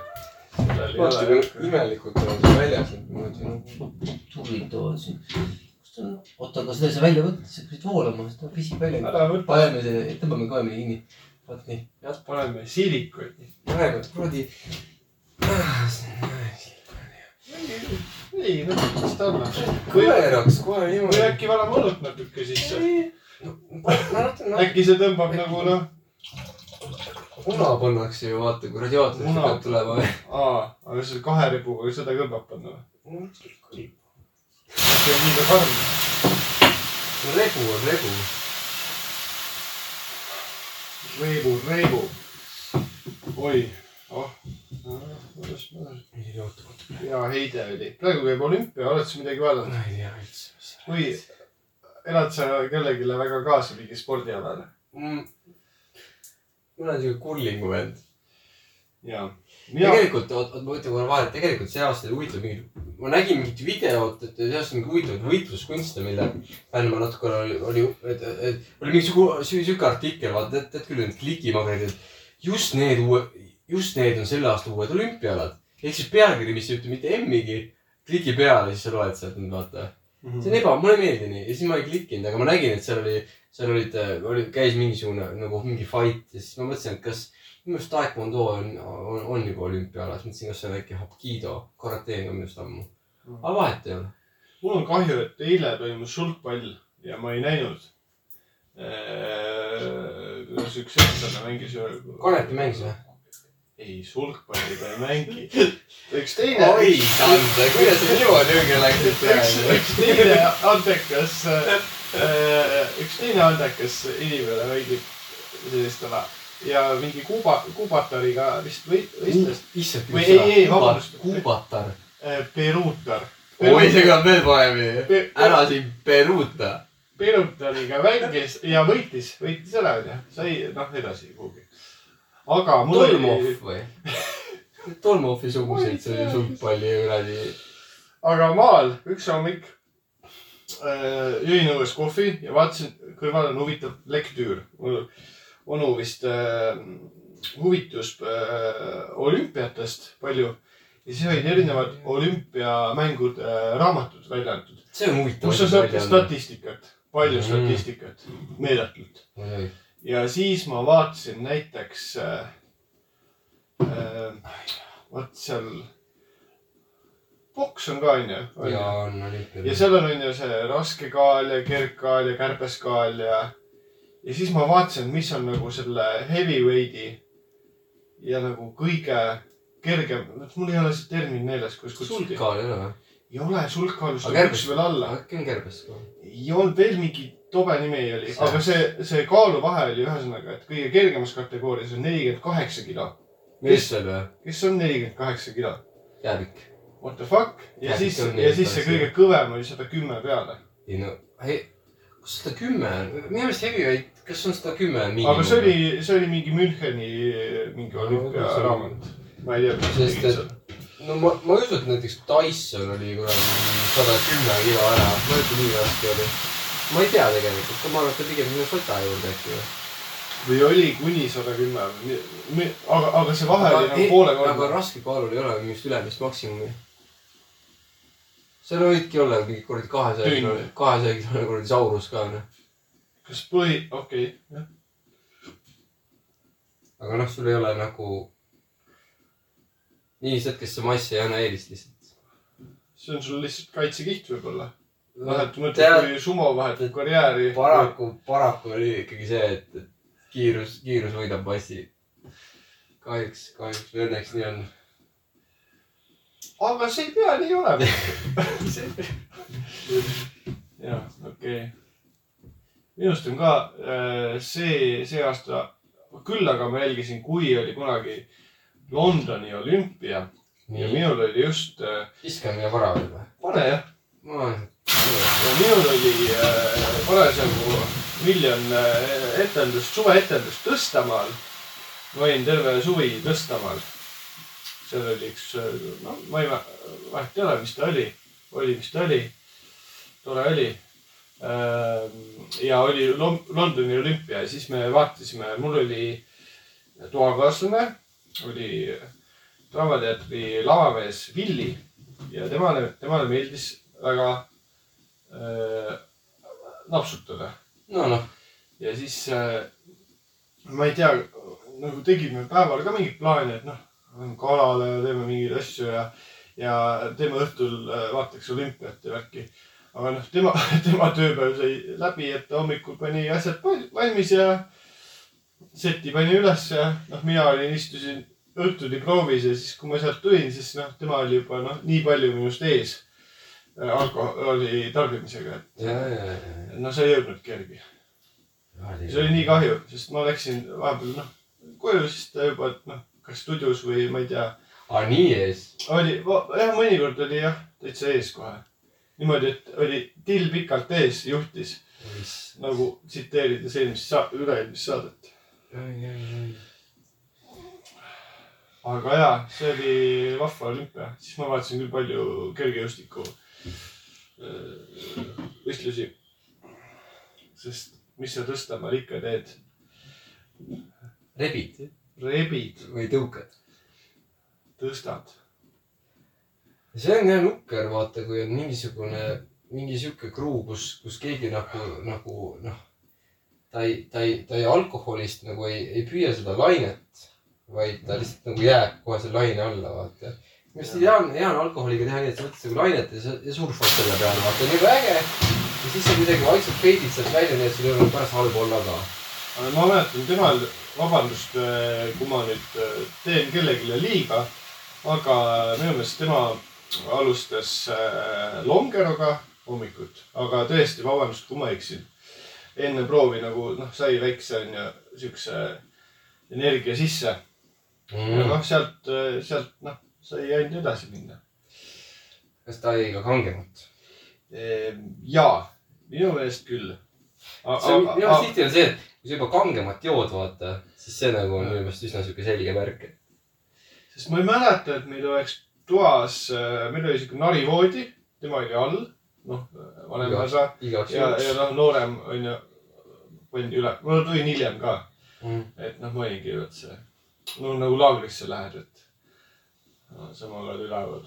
Speaker 3: Seal ei
Speaker 2: vaata
Speaker 3: ole.
Speaker 2: kui imelikult on see väljas , et ma mõtlen ,
Speaker 17: tublid toovad siin . kus ta on ? oota , aga seda ei saa välja võtta , see hakkas voolama , siis ta visib välja .
Speaker 3: ära võta ,
Speaker 2: paneme see , tõmbame kaemini kinni . vot nii , jah ,
Speaker 3: paneme siilikuid .
Speaker 2: praegu kuradi .
Speaker 17: Ah,
Speaker 3: ei , noh , mis ta annab . või ,
Speaker 2: koeraks kohe
Speaker 3: või
Speaker 2: niimoodi .
Speaker 3: äkki valame õlut natuke sisse .
Speaker 2: no
Speaker 3: äkki see tõmbab nagu noh ,
Speaker 2: muna pannakse ju vaata , kui radiaator
Speaker 3: Muna.
Speaker 2: hakkab tulema .
Speaker 3: aa , aga selle kahe ribuga seda kõmbab panna või ? see on liiga karm .
Speaker 2: regu on regu .
Speaker 3: reibu , reibu . oi , oh , mõnus , mõnus . hea heide oli . praegu käib olümpia , oled sa midagi vaadanud ?
Speaker 2: ma ei tea üldse , mis see
Speaker 3: või elad sa kellelegi väga kaasa mingi spordialal ?
Speaker 10: Mm.
Speaker 2: on . mul on siuke kullingu vend .
Speaker 3: jaa . mina ,
Speaker 2: tegelikult , oot , oot , ma ütlen korra vahele , tegelikult see aasta oli huvitav mingi , ma nägin mingit videot , et see aasta on mingi huvitavaid võitluskunste , mille fänn ma natukene oli , oli , et , et oli mingi sihuke , sihuke artikkel , vaata , tead , tead küll , need klikimagrid , et just need uue , just need on selle aasta uued olümpialad . ehk siis pealkiri , mis ei ütle mitte M-igi , kliki peale , siis sa loed sealt nüüd vaata .
Speaker 3: Mhm.
Speaker 2: see on eba , mulle ei meeldi nii ja siis ma ei klikkinud , aga ma nägin , et seal oli , seal olid , oli , käis mingisugune nagu mingi fight ja siis ma mõtlesin , et kas minu arust taekwondo on, on , on juba olümpiaalas , mõtlesin , kas see on äkki Hapkido , karate on ka minu arust ammu . aga vahet ei ole .
Speaker 3: mul on kahju , et eile toimus sulgpall ja ma ei näinud . kuidas üks eestlane mängis ühe .
Speaker 2: Kanepi mängis või ?
Speaker 3: ei , sulgpalli ta ei mängi . üks teine ,
Speaker 2: Sandra , kuidas sa niimoodi õige läksid
Speaker 3: üks , üks teine andekas , üks teine andekas inimene mängib sellist ala ja mingi kuuba , kuubatariga vist või , võistles .
Speaker 2: issand ,
Speaker 3: Või ei, ei, vabandust. Äh,
Speaker 2: Kuubatar .
Speaker 3: Peruutar .
Speaker 2: oi , see kõlab veel paremini . ära siin peruuta .
Speaker 3: Birutoniga mängis ja võitis , võitis ära onju , sai noh edasi kuhugi . aga mul
Speaker 2: Tolmov
Speaker 3: oli ,
Speaker 2: või ? Tolmovi suguseid , see oli sulgpalli kuradi .
Speaker 3: aga maal üks hommik äh, jõin õues kohvi ja vaatasin , kõrval on huvitav lektüür . mul onu vist äh, huvitus äh, olümpiatest palju ja siis olid erinevad olümpiamängud äh, raamatud välja antud ,
Speaker 2: see on huvitav .
Speaker 3: kus sa saad statistikat , palju mm. statistikat , meeletult . ja siis ma vaatasin näiteks äh, , äh, vot seal , poks on ka onju ,
Speaker 2: ja
Speaker 3: onju .
Speaker 2: on
Speaker 3: ja
Speaker 2: olümpiad .
Speaker 3: seal on onju see raske kaal ja kergkaal ja kärbeskaal ja , ja siis ma vaatasin , mis on nagu selle heavyweight'i ja nagu kõige kergem , mul ei ole see termin meeles , kuidas kutsuti .
Speaker 2: sulka ei ole või ?
Speaker 3: ei ole sulkaalust ,
Speaker 2: Aga
Speaker 3: üks veel alla .
Speaker 2: äkki on kärbes ka ?
Speaker 3: ei olnud veel mingi tobe nimi oli ,
Speaker 2: See-
Speaker 3: aga see , see kaaluvahe oli ühesõnaga , et kõige kergemas kategoorias on nelikümmend kaheksa kilo .
Speaker 2: meestel või ?
Speaker 3: kes on nelikümmend kaheksa kilo ?
Speaker 2: jäävik .
Speaker 3: What the fuck ja
Speaker 2: Jah,
Speaker 3: siis
Speaker 2: ikka on
Speaker 3: ja siis see
Speaker 2: 48
Speaker 3: kõige kõvem oli sada kümme peale .
Speaker 2: ei no , kus sada kümme on ? minu meelest heavyweight , kas on sada kümme miinimum ?
Speaker 3: aga see oli , see oli mingi Müncheni mingi olümpiaraamat . ma ei tea , mis see
Speaker 2: Sest
Speaker 3: tegi
Speaker 2: et-
Speaker 3: seal .
Speaker 2: no ma , ma ei usu , et näiteks Tyson oli kuradi sada kümme kilo ära , ma ei ütle nii raske oli . ma ei tea tegelikult , ma arvan , et ta pigem sinna sota juurde äkki või .
Speaker 3: või oli kuni sada kümme , aga , aga see vahe oli nagu poole
Speaker 2: aga
Speaker 3: korda .
Speaker 2: raske kaalul ei ole mingit ülemist maksimumi . seal võidki olla mingi kuradi kahesaja
Speaker 3: Tünn.
Speaker 2: kilo , kahesaja kilone kuradi saurus ka noh. onju .
Speaker 3: kas põhi , okei okay. ,
Speaker 2: aga noh , sul ei ole nagu inimesed , kes see massi ei anna eelist lihtsalt .
Speaker 3: see on sul lihtsalt kaitsekiht võib-olla . vahet , mõtled
Speaker 2: tead ,
Speaker 3: kui sumo vahetab karjääri .
Speaker 2: paraku , paraku oli ikkagi see , et , et kiirus , kiirus võidab massi . kahjuks , kahjuks või õnneks nii on .
Speaker 3: aga see ei pea nii olema . jah , okei okay. . minu arust on ka äh, see , see aasta , küll aga ma jälgisin , kui oli kunagi Londoni olümpia ja
Speaker 2: nii ,
Speaker 3: minul oli just äh, ,
Speaker 2: viskame ja vara veel või ?
Speaker 3: pane jah ,
Speaker 2: ma olen ,
Speaker 3: ja minul oli äh, parasjagu miljon äh, etendust , suveetendust Tõstamaal . ma olin terve suvi Tõstamaal . seal oli üks , no ma ei va- vahet ei ole , mis ta oli , oli , mis ta oli . tore oli . ja oli Lon- Londoni olümpia ja siis me vaatasime , mul oli toakaaslane , oli Draamateatri lavamees Villi ja temale , temale meeldis väga äh, napsutada
Speaker 2: no noh ,
Speaker 3: ja siis äh, ma ei tea , nagu tegime päeval ka mingeid plaane , et noh , lähme kalale ja teeme mingeid asju ja , ja teeme õhtul äh, vaataks olümpiat ja värki . aga noh , tema , tema tööpäev sai läbi , et ta hommikul pani asjad val- valmis ja seti pani üles ja noh , mina olin , istusin õhtuni proovis ja siis , kui ma sealt tulin , siis noh , tema oli juba noh , nii palju minust ees äh, alkoholi tarbimisega ,
Speaker 2: ja , ja , ja ,
Speaker 3: et no see ei jõudnudki järgi .
Speaker 2: ja .
Speaker 3: see oli nii kahju , sest ma läksin vahepeal noh koju , siis ta juba noh , kas stuudios või ma ei tea ,
Speaker 2: aa , nii ees .
Speaker 3: oli jah , mõnikord oli jah täitsa ees kohe . niimoodi , et oli till pikalt ees , juhtis nagu tsiteerides eelmist sa- , üle-eelmist saadet . aga jaa , see oli vahva olümpia , siis ma vaatasin küll palju kergejõustiku äh, võistlusi . sest mis sa Tõstamaal ikka teed ,
Speaker 2: rebid
Speaker 3: rebid ,
Speaker 2: või tõukad ?
Speaker 3: tõstad
Speaker 2: see on jah nukker , vaata , kui on mingisugune , mingi sihuke kruu , kus , kus keegi nagu , nagu noh , ta ei , ta ei , ta ei alkoholist nagu ei , ei püüa seda lainet , vaid ta lihtsalt nagu jääb kohe selle laine alla , vaata . minu arust hea on , hea on alkoholiga teha nii , et sa võtad nagu lainet ja sa ja surfad selle peale , vaata , nii äge . ja siis sa kuidagi vaikselt peidid sealt välja , nii et sul ei ole pärast halb olla ka .
Speaker 3: aga ma mäletan temal , vabandust , kui ma nüüd äh, teen kellelegi liiga , aga minu meelest tema alustas äh, longeroga hommikut , aga tõesti , vabandust , kui ma eksin . enne proovi nagu noh , sai väikse onju siukse energia sisse ja
Speaker 2: Mm.
Speaker 3: noh , sealt , sealt noh , sai ainult edasi minna .
Speaker 2: kas ta jäi ka kangemat ?
Speaker 3: Eh, jaa , minu meelest küll .
Speaker 2: see on , minu arust tihti on see , et kui sa juba kangemat jood , vaata , siis see nagu on minu meelest üsna sihuke selge märk , et
Speaker 3: sest ma ei mäleta , et meil oleks toas , meil oli siuke narivoodi , tema oli all , noh , vanem
Speaker 2: Jah.
Speaker 3: osa
Speaker 2: igaks
Speaker 3: ja , ja
Speaker 2: juhuks .
Speaker 3: noh , noorem onju , pandi üle , ma tulin hiljem ka ,
Speaker 2: Mm.
Speaker 3: et noh , ma olingi vot see , no nagu laagrisse lähed , et no, sama oled üleval .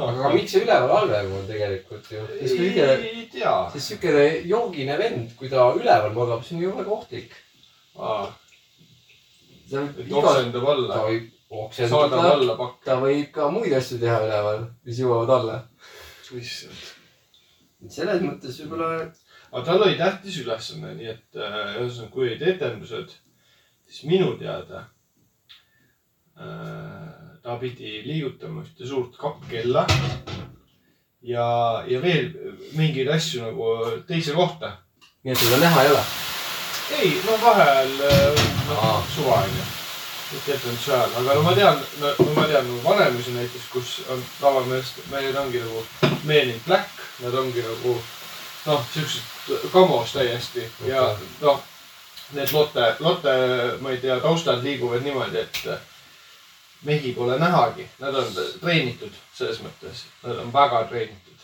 Speaker 2: aga miks see üleval halvem on tegelikult ju ? sest kõige ,
Speaker 3: ei tea ,
Speaker 2: sest siukene joogine vend , kui ta üleval magab , see on ju väga ohtlik . ta võib
Speaker 3: et
Speaker 2: iga ,
Speaker 3: oksendab alla
Speaker 2: ta , võib
Speaker 3: saadab
Speaker 2: oksendada ,
Speaker 3: alla pakk ,
Speaker 2: ta võib ka muid asju teha üleval , mis jõuavad alla .
Speaker 3: issand .
Speaker 2: selles mõttes võib-olla ,
Speaker 3: aga tal oli tähtis ülesanne , nii et äh, ühesõnaga , kui olid etendused , siis minu teada äh, ta pidi liigutama ühte suurt kappkella ja , ja veel mingeid asju nagu teise kohta .
Speaker 2: nii et seda näha ei ole .
Speaker 3: ei , no vaheajal äh, noh
Speaker 2: Aa. ,
Speaker 3: suva onju . et jätan see ajal , aga no ma tean , no ma tean nagu vanemusi näiteks , kus on tavameest , mehed ongi nagu men in black , nad ongi nagu noh , siuksed kamos täiesti ja noh , need Lotte , Lotte , ma ei tea , taustad liiguvad niimoodi , et äh, mehi pole nähagi , nad on treenitud selles mõttes , nad on väga treenitud .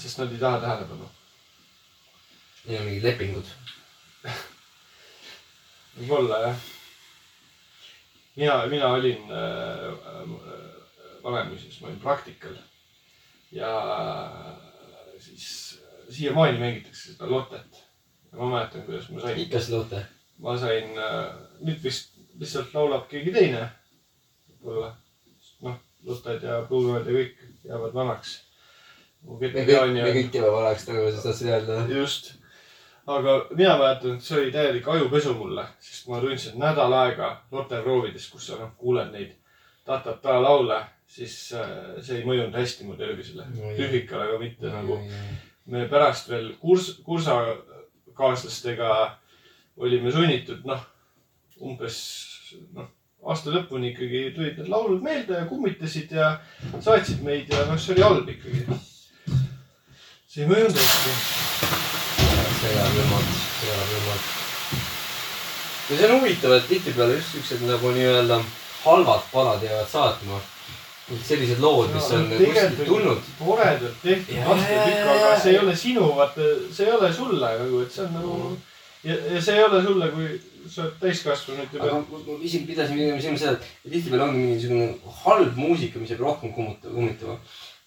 Speaker 3: sest nad ei taha tähelepanu .
Speaker 2: Neil on mingid lepingud .
Speaker 3: võib-olla jah . mina , mina olin äh, äh, Vanemuises , ma olin praktikal ja äh, siis siiamaani mängitakse seda Lottet . ma mäletan , kuidas ma sain ,
Speaker 2: ikka seda oote .
Speaker 3: ma sain äh, , nüüd vist lihtsalt laulab keegi teine võib-olla . noh , Lotted ja Blueworld ja kõik jäävad vanaks . mu
Speaker 2: me kõik ,
Speaker 3: kettaani
Speaker 2: me
Speaker 3: on
Speaker 2: kõik jääme vanaks tagasi , sa tahtsid öelda .
Speaker 3: just , aga mina mäletan , et see oli täielik ajupesu mulle , sest ma tundsin nädal aega notarproovides , kus sa noh kuuled neid ta-ta-ta laule , siis äh, see ei mõjunud hästi mu tervisele
Speaker 2: Oi. ,
Speaker 3: psüühikale ka mitte nagu . me pärast veel kurs- , kursakaaslastega olime sunnitud noh , umbes noh , aasta lõpuni ikkagi tulid need laulud meelde ja kummitasid ja saatsid meid ja noh , see oli halb ikkagi . see ei mõjunud hästi
Speaker 2: see jääb ülmalt , see jääb ülmalt . ja see on huvitav , et tihtipeale just siuksed nagu nii-öelda halvad palad jäävad saatma . sellised lood , mis on kuskilt tulnud .
Speaker 3: toredalt tehtud
Speaker 2: Jaa,
Speaker 3: laste
Speaker 2: jaa,
Speaker 3: tükk ,
Speaker 2: jaa,
Speaker 3: aga
Speaker 2: jaa.
Speaker 3: see ei ole sinu , vaata , see ei ole sulle nagu , et see on nagu
Speaker 2: Mm.
Speaker 3: ja , ja see ei ole sulle , kui sa oled täiskasvanud ja
Speaker 2: aga
Speaker 3: pead .
Speaker 2: ma ma isegi pidasin minema silma seda , et tihtipeale ongi mingisugune halb muusika , mis jääb rohkem kummut- kummitama .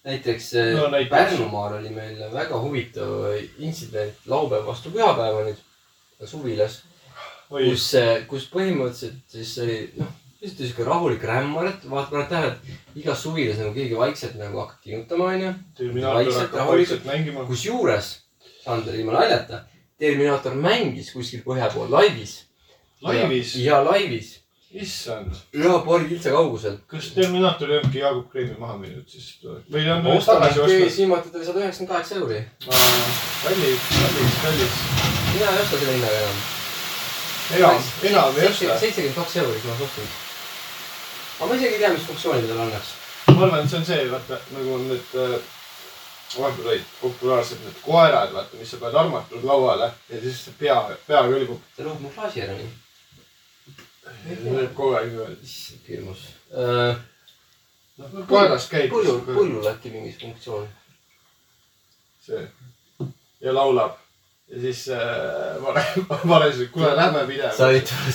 Speaker 2: näiteks
Speaker 3: No
Speaker 2: no,
Speaker 3: näiteks.
Speaker 2: Pärnumaal oli meil väga huvitav intsident laupäev vastu pühapäeva nüüd suvilas ,
Speaker 3: oi ,
Speaker 2: kus , kus põhimõtteliselt siis oli noh , lihtsalt sihuke rahulik rämmar , et vaata , paned tähele , et igas suvilas nagu keegi vaikselt nagu hakkab tiinutama , onju .
Speaker 3: terminaator
Speaker 2: vaikselt,
Speaker 3: hakkab
Speaker 2: rahulikult.
Speaker 3: vaikselt mängima .
Speaker 2: kusjuures , Sander , ilma naljata , Terminaator mängis kuskil põhja pool laivis .
Speaker 3: laivis ,
Speaker 2: ja laivis
Speaker 3: issand ,
Speaker 2: ja paari kiltsa kaugusel .
Speaker 3: kas Terminaator ei olnudki Jaagup Kreemi maha müünud siis ? või ta on
Speaker 2: ma
Speaker 3: veel
Speaker 2: ostan
Speaker 3: tagasi
Speaker 2: äkki
Speaker 3: ostnud ?
Speaker 2: viimati ta oli sada üheksakümmend kaheksa euri .
Speaker 3: kallis , kallis , kallis .
Speaker 2: mina ei osta selle hinnaga enam .
Speaker 3: enam , enam ei osta .
Speaker 2: seitsekümmend kaks euri , kui ma suhtun . aga ma isegi ei tea , mis funktsiooni tal annaks .
Speaker 3: ma arvan , et see on see , vaata nagu on need äh, vahepeal olid populaarsed need koerad , vaata , mis sa paned armatud lauale ja siis see pea , pea kõlgub .
Speaker 2: ta loob mu klaasi ära nii .
Speaker 3: lööb kogu aeg niimoodi .
Speaker 2: issand , hirmus . Äh,
Speaker 3: noh , koerast käib .
Speaker 2: pullul , pullul äkki mingi funktsioon .
Speaker 3: see ja laulab ja siis äh, Mare , Mare ütles , et kuule , lähme
Speaker 2: sa ei
Speaker 3: minema .,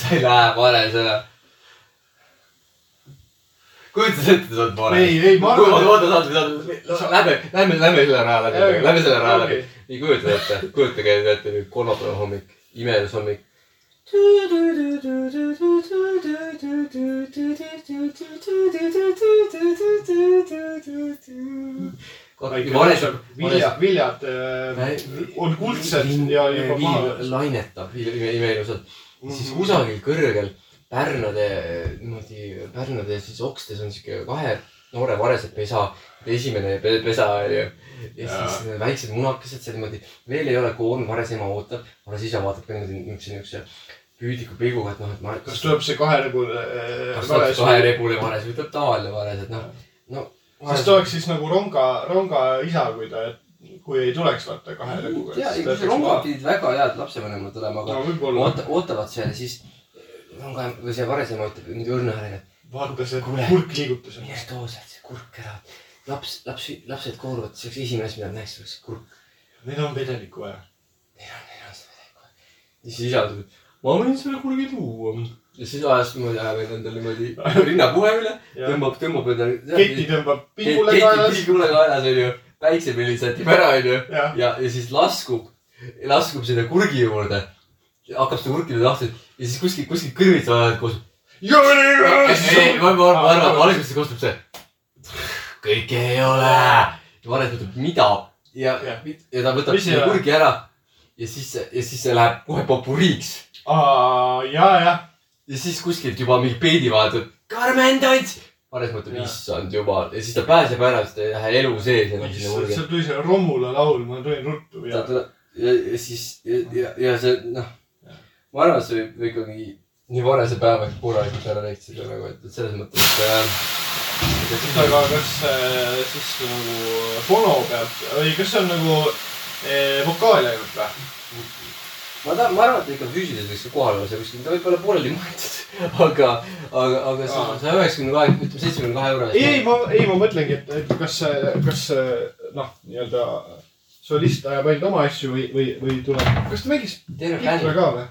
Speaker 2: sa ei lähe parem selle . kujutad ette , sa oled parem .
Speaker 3: ei , ei , ma
Speaker 2: oota ,
Speaker 3: arvan ,
Speaker 2: oota , oota , oota , lähme , lähme , lähme selle raja läbi , lähme selle raja läbi . ei kujuta ette , kujutage nüüd ette nüüd kolmapäeva hommik , imelus hommik .
Speaker 3: et . viljad , viljad äh, on kuldsed ja juba maha .
Speaker 2: lainetab imeilusalt , siis kusagil kõrgel pärnade niimoodi , pärnade siis okstes on siuke kahe noore varese pesa , esimene pe- pesa onju . ja siis need väiksed munakesed seal niimoodi , veel ei ole koorm , varese ema ootab , varese isa vaatab ka niimoodi niukse , niukse püüdiku pilguga , et noh , et ma .
Speaker 3: kas tuleb see kaheregune
Speaker 2: kas tuleb kahe
Speaker 3: äh, ?
Speaker 2: rebule vares või tuleb tavaline vares , et noh , no .
Speaker 3: kas ta oleks siis nagu ronga , ronga isa , kui ta , kui ei tuleks vaata kahe reguga .
Speaker 2: ja , ei , kusjuures rongad pidid väga head lapsevanemad olema , aga
Speaker 3: no võib-olla
Speaker 2: oota , ootavad seal ja siis on ka , või see varasem ütleb nüüd õrna häälega ,
Speaker 3: vaata see
Speaker 2: Kuule.
Speaker 3: kurk liigutus
Speaker 2: et
Speaker 3: on .
Speaker 2: mine too sealt see kurk ära . laps , laps , lapsed kooruvad , see oleks esimene asi , mida nad näeksid , oleks kurk .
Speaker 3: meil on vedelikku vaja .
Speaker 2: neil on , neil on seda tegu . ja siis isa ütleb , ma võin sulle kurgi tuua . ja siis ajas niimoodi , ajab endale niimoodi rinnapuhe üle , tõmbab , tõmbab
Speaker 3: keti
Speaker 2: endale .
Speaker 3: tõmbab pingule kaelas .
Speaker 2: pilgule kaelas onju , väikse pillid sätib ära onju
Speaker 3: jah ,
Speaker 2: ja , ja siis laskub , laskub sinna kurgi juurde . hakkab seda kurki lahti ja siis kuskil , kuskil kõrvits vahel koos ei , ma , ma , ma arvan , ma alguses kostub see . kõike ei ole . ja Maret mõtleb , mida ja , ja
Speaker 3: Jah.
Speaker 2: ta võtab
Speaker 3: Mis ei
Speaker 2: selle
Speaker 3: ole?
Speaker 2: kurgi ära ja siis , ja siis see läheb kohe popuriiks
Speaker 3: ja , jah .
Speaker 2: ja siis kuskilt juba mingi peedi vaatab . Karmen Tants . Mares mõtleb , issand jumal ja siis ta pääseb ära , siis ta ei lähe elu sees enam sinna
Speaker 18: issand ,
Speaker 2: hulga .
Speaker 18: seal tuli see Romula laul , ma tulin ruttu
Speaker 2: ta
Speaker 18: ja
Speaker 2: tuleb ja , ja siis ja , ja, ja see noh , ma arvan , et see võib ikkagi nii varase päevaks korralikult ära lehitseda nagu , et , et äh, selles mõttes , et
Speaker 18: et
Speaker 2: äh, .
Speaker 18: aga kas äh, siis nagu fono pealt või kas see on nagu eh, vokaal ainult või ?
Speaker 2: ma tahan , ma arvan , et ikka füüsiliselt võiks ka kohal olla seal kuskil , ta võib olla pooleli maetud , aga , aga , aga
Speaker 18: Aa.
Speaker 2: saja üheksakümne kahe , ütleme seitsmekümne kahe euro
Speaker 18: ei , ei
Speaker 2: eest .
Speaker 18: ma , ei ma mõtlengi , et , et kas , kas eh, noh , nii-öelda solist ajab ainult oma asju või , või , või tuleb , kas ta mängis
Speaker 2: terve
Speaker 18: kitarri
Speaker 2: bänd .
Speaker 18: ka või ?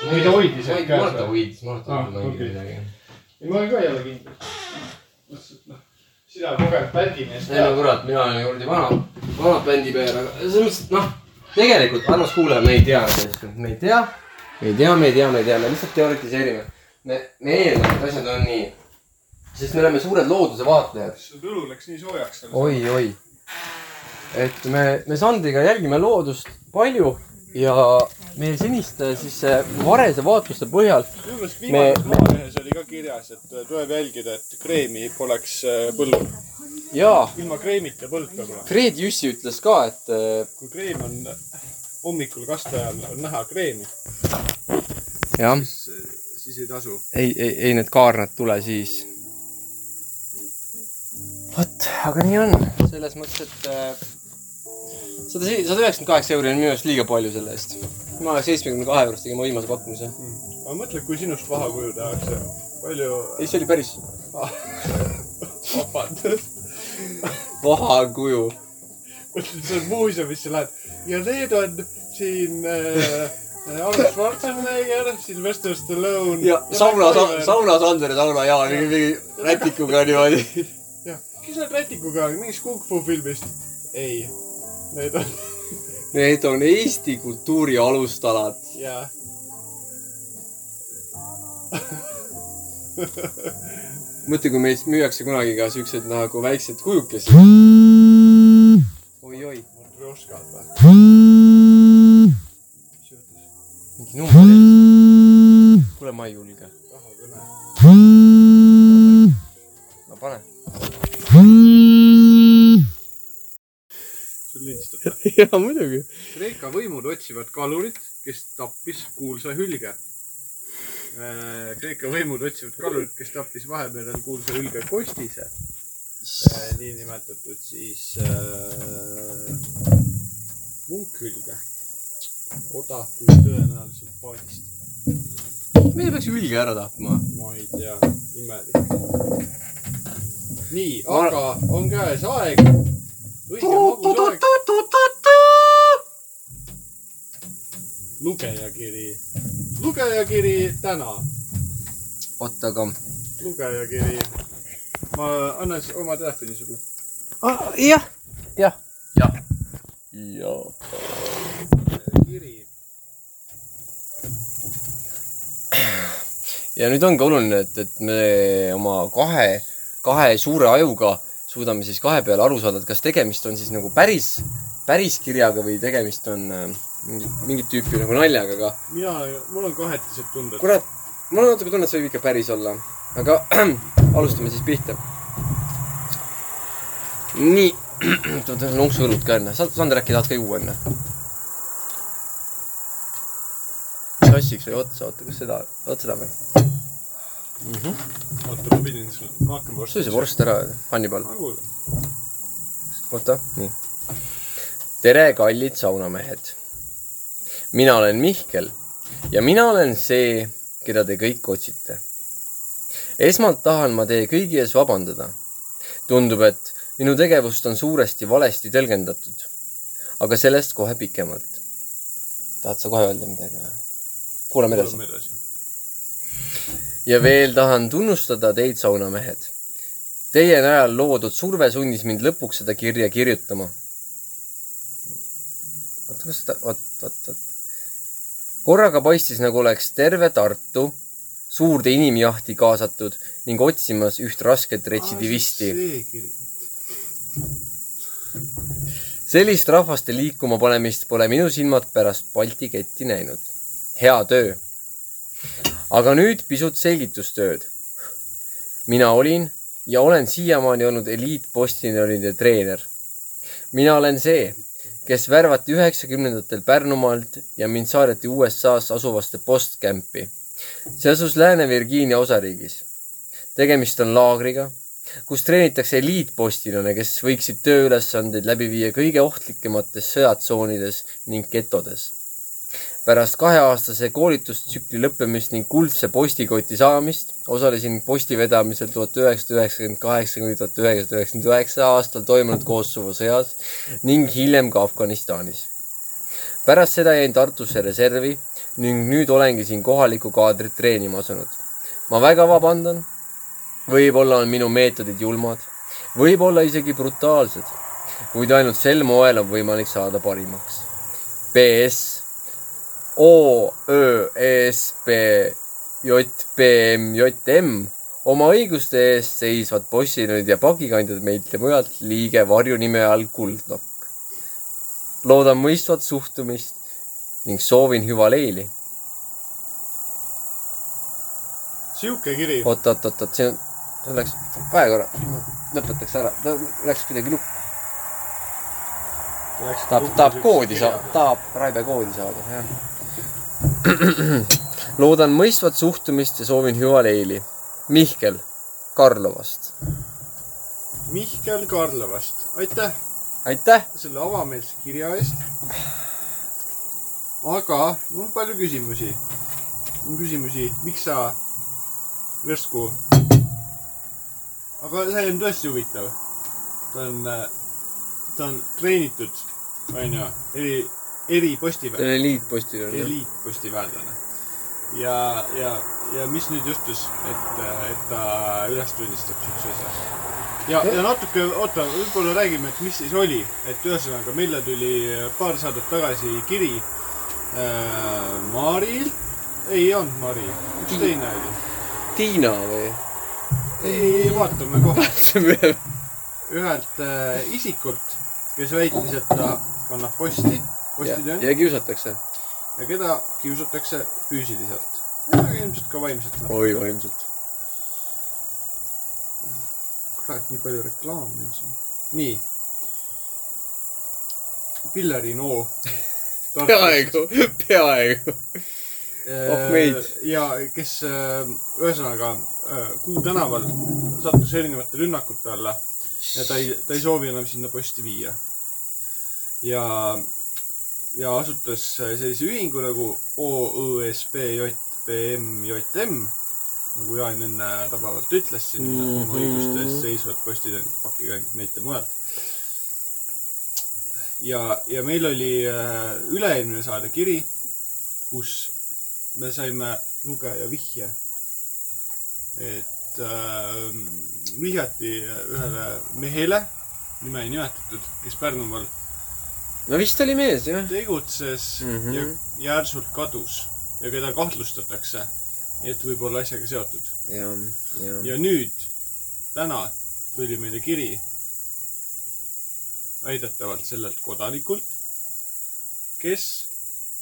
Speaker 18: või ta hoidis
Speaker 2: ma
Speaker 18: ainult käes
Speaker 2: ei , ma arvan , et ta
Speaker 18: või?
Speaker 2: hoidis , ma arvan , et ta
Speaker 18: Aa,
Speaker 2: hoidis
Speaker 18: okei.
Speaker 2: mängida midagi .
Speaker 18: ei , ma olen ka jälle kindel . mõtlesin , et noh , sina kogenud bändimees
Speaker 2: ei no
Speaker 18: tead .
Speaker 2: kurat , mina olen kuradi vana , vana bändipeer , aga selles mõttes , et noh , tegelikult armas kuulaja , me ei tea neid asju , me ei tea , me ei tea , me ei tea , me ei tea , me lihtsalt teoritiseerime . me , me eeldame , et asjad on nii , sest me oleme suured looduse vaatlejad .
Speaker 18: sul õlu läks nii soojaks .
Speaker 2: Oh,
Speaker 10: oi , oi . et me , me Sandiga jälgime loodust palju ja meie seniste siis äh, varese vaatluste põhjal
Speaker 3: minu meelest viimases maalehes oli ka kirjas , et äh, tuleb jälgida , et kreemi poleks äh, põllul .
Speaker 10: ja
Speaker 3: ilma kreemita põld peab olema .
Speaker 10: Fred Jüssi ütles ka , et äh,
Speaker 3: kui kreem on hommikul kaste ajal on näha kreemi ,
Speaker 10: jah ,
Speaker 3: siis ei tasu .
Speaker 10: ei , ei , ei need kaarnad tule siis . vot , aga nii on . selles mõttes , et äh, sada , sada üheksakümmend kaheksa euri on minu arust liiga palju selle eest . ma seitsmekümne kahe eurost tegin oma viimase pakkumise .
Speaker 3: aga mõtle , kui sinust paha kuju tehakse . palju
Speaker 10: ei , see oli päris
Speaker 3: vabandust .
Speaker 10: paha kuju
Speaker 3: mõtlesin , sa muuseumisse lähed ja need on siin äh, Arnold Schwarzenegger , Sylvester Stallone .
Speaker 10: ja sauna , saunas Ander ja sauna Jaan mingi , mingi rätikuga niimoodi .
Speaker 3: kes need rätikuga , mingist kung-fu filmist ? ei , need on
Speaker 10: Need on Eesti kultuuri alustalad .
Speaker 3: ja .
Speaker 10: mõtle , kui meist müüakse kunagi ka siuksed nagu väiksed kujukesed . oi-oi ,
Speaker 3: Matrjoškad või ?
Speaker 10: mingi number helistab . kuule , ma ei julge . no pane .
Speaker 3: sul lindistab .
Speaker 10: jaa , muidugi .
Speaker 3: Kreeka võimud otsivad kalurit , kes tappis kuulsa hülge . Kreeka võimud otsivad kalurit , kes tappis Vahemerel kuulsa hülge Kostise . niinimetatud siis äh, munkhülge . oda tuli tõenäoliselt paadist .
Speaker 10: meie peaks hülge ära tapma .
Speaker 3: ma ei tea , imelik . nii ,
Speaker 10: Ma-
Speaker 3: aga on käes aeg . õige magus aeg . lugejakiri , lugejakiri täna ,
Speaker 10: oota , aga .
Speaker 3: lugejakiri . ma annan s- oma telefoni sulle .
Speaker 10: jah , jah , jah .
Speaker 3: kiri ,
Speaker 10: ja nüüd ongi oluline , et , et me oma kahe , kahe suure ajuga suudame siis kahe peale aru saada , et kas tegemist on siis nagu päris , päris kirjaga või tegemist on äh, mingi- mingit tüüpi nagu naljaga , aga
Speaker 3: mina , mul on kahetised tunded .
Speaker 10: kurat , mul on natuke tunne , et see võib ikka päris olla , aga alustame siis pihta . nii , oota , ma tahan lonksu õlut ka enne , sa , Sander , äkki tahad ka juua enne ? sassiks sai otsa , oota , kas seda , oled seda või ?
Speaker 3: oota , ma pidin sulle , ma hakkan Nagu vorsti .
Speaker 10: söö see vorst ära , Hannibal .
Speaker 3: ma kuulan .
Speaker 10: oota , nii . tere , kallid saunamehed . mina olen Mihkel ja mina olen see , keda te kõik otsite . esmalt tahan ma teie kõigi ees vabandada . tundub , et minu tegevust on suuresti valesti tõlgendatud . aga sellest kohe pikemalt . tahad sa kohe öelda midagi või ? kuulame edasi .
Speaker 3: kuulame edasi .
Speaker 10: ja veel tahan tunnustada teid , saunamehed . Teie najal loodud surve sundis mind lõpuks seda kirja kirjutama . oota , kus seda , oot , oot , oot . korraga paistis , nagu oleks terve Tartu suurde inimjahti kaasatud ning otsimas üht rasket retsidivisti .
Speaker 3: see kiri .
Speaker 10: sellist rahvaste liikuma panemist pole minu silmad pärast Balti ketti näinud . hea töö . aga nüüd pisut selgitustööd . mina olin ja olen siiamaani olnud eliitpostiljonide treener . mina olen see , kes värvati üheksakümnendatel Pärnumaalt ja mind saadeti USA-s asuvaste postcampi . see asus Lääne-Virgiinia osariigis . tegemist on laagriga , kus treenitakse eliitpostiljone , kes võiksid tööülesandeid läbi viia kõige ohtlikumates sõjatsoonides ning getodes pärast kaheaastase koolitustsükli lõppemist ning kuldse postikoti saamist osalesin posti vedamisel tuhat üheksasada üheksakümmend kaheksa kuni tuhat üheksasada üheksakümmend üheksa aastal toimunud Kosovo sõjas ning hiljem ka Afganistanis . pärast seda jäin Tartusse reservi ning nüüd olengi siin kohalikku kaadrit treenima asunud . ma väga vabandan . võib-olla on minu meetodid julmad , võib-olla isegi brutaalsed , kuid ainult sel moel on võimalik saada parimaks . BS O , Ö , E , S , P , J , P , M , J , M oma õiguste eest seisvad bossinid ja pakikandjad meilt ja mujalt liige varjunime all Kuldnokk . loodan mõistvat suhtumist ning soovin hüva leili .
Speaker 3: sihuke kiri .
Speaker 10: oot , oot , oot , oot , see on , see läks , vaja korra , lõpetaks ära , ta läks kuidagi lukku , tahab , tahab koodi saada , tahab Raibe koodi saada , jah . loodan mõistvat suhtumist ja soovin hüva leili . Mihkel Karlovast .
Speaker 3: Mihkel Karlovast , aitäh
Speaker 10: aitäh ,
Speaker 3: selle avameelse kirja eest . aga mul on palju küsimusi . mul on küsimusi , miks sa Versku . aga see on tõesti huvitav . ta on , ta on treenitud , onju , eri ,
Speaker 10: ta
Speaker 3: eripostiväe ,
Speaker 10: oli liitpostiljon .
Speaker 3: eliitpostiväelane . ja , ja , ja mis nüüd juhtus , et , et ta üles tunnistab siukse asja ? ja , ja natuke , oota , võib-olla räägime , et mis siis oli , et ühesõnaga meile tuli paar saadet tagasi kiri äh, Maril , ei olnud Mari , üks teine oli .
Speaker 10: Tiina või ?
Speaker 3: ei , vaatame kohe ,
Speaker 10: see
Speaker 3: ühelt äh, isikult , kes väitis , et ta kannab posti ,
Speaker 10: ja,
Speaker 3: postitöö ja,
Speaker 10: ja kiusatakse .
Speaker 3: ja keda kiusatakse füüsiliselt , ilmselt ka vaimselt .
Speaker 10: oi , vaimselt .
Speaker 3: kurat , nii palju reklaami on siin . nii . Pilleri noo .
Speaker 10: peaaegu , peaaegu . Oh meid.
Speaker 3: Eh, ja kes äh, ühesõnaga äh, Kuu tänaval sattus erinevate rünnakute alla ja ta ei , ta ei soovi enam sinna posti viia . ja , ja asutas äh, sellise ühingu nagu OõSBJBMJM nagu Jaan enne tabavalt ütles siin mm
Speaker 10: Mhm.
Speaker 3: -hmm. oma õiguste eest seisvad postitõendid pakikandjad meilt ja mujalt . ja , ja meil oli äh, üle-eelmine saade kiri , kus me saime lugeja vihje , et äh, vihjati ühele mehele , nime ei nimetatud , kes Pärnumaal
Speaker 10: no vist oli mees jah .
Speaker 3: tegutses mm
Speaker 10: Mhm.
Speaker 3: -hmm. ja järsult kadus ja keda kahtlustatakse , et võib olla asjaga seotud .
Speaker 10: ja , ja .
Speaker 3: ja nüüd , täna tuli meile kiri väidetavalt sellelt kodanikult , kes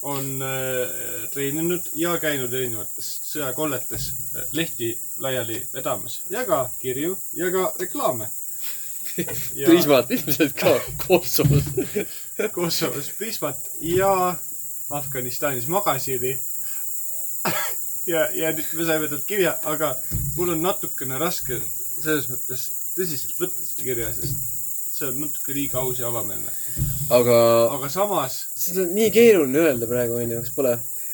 Speaker 3: on äh, treeninud ja käinud erinevates sõjakolletes äh, lehti laiali vedamas ja ka kirju ja ka reklaame .
Speaker 10: Prismat ilmselt ka Kosovos .
Speaker 3: Kosovos Prismat ja Afganistanis Magasini . ja , ja nüüd me saime talt kirja , aga mul on natukene raske selles mõttes tõsiselt võtta seda kirja , sest see on natuke liiga aus ja avameelne .
Speaker 10: aga
Speaker 3: aga samas ,
Speaker 10: seda on nii keeruline öelda praegu onju , kas pole ?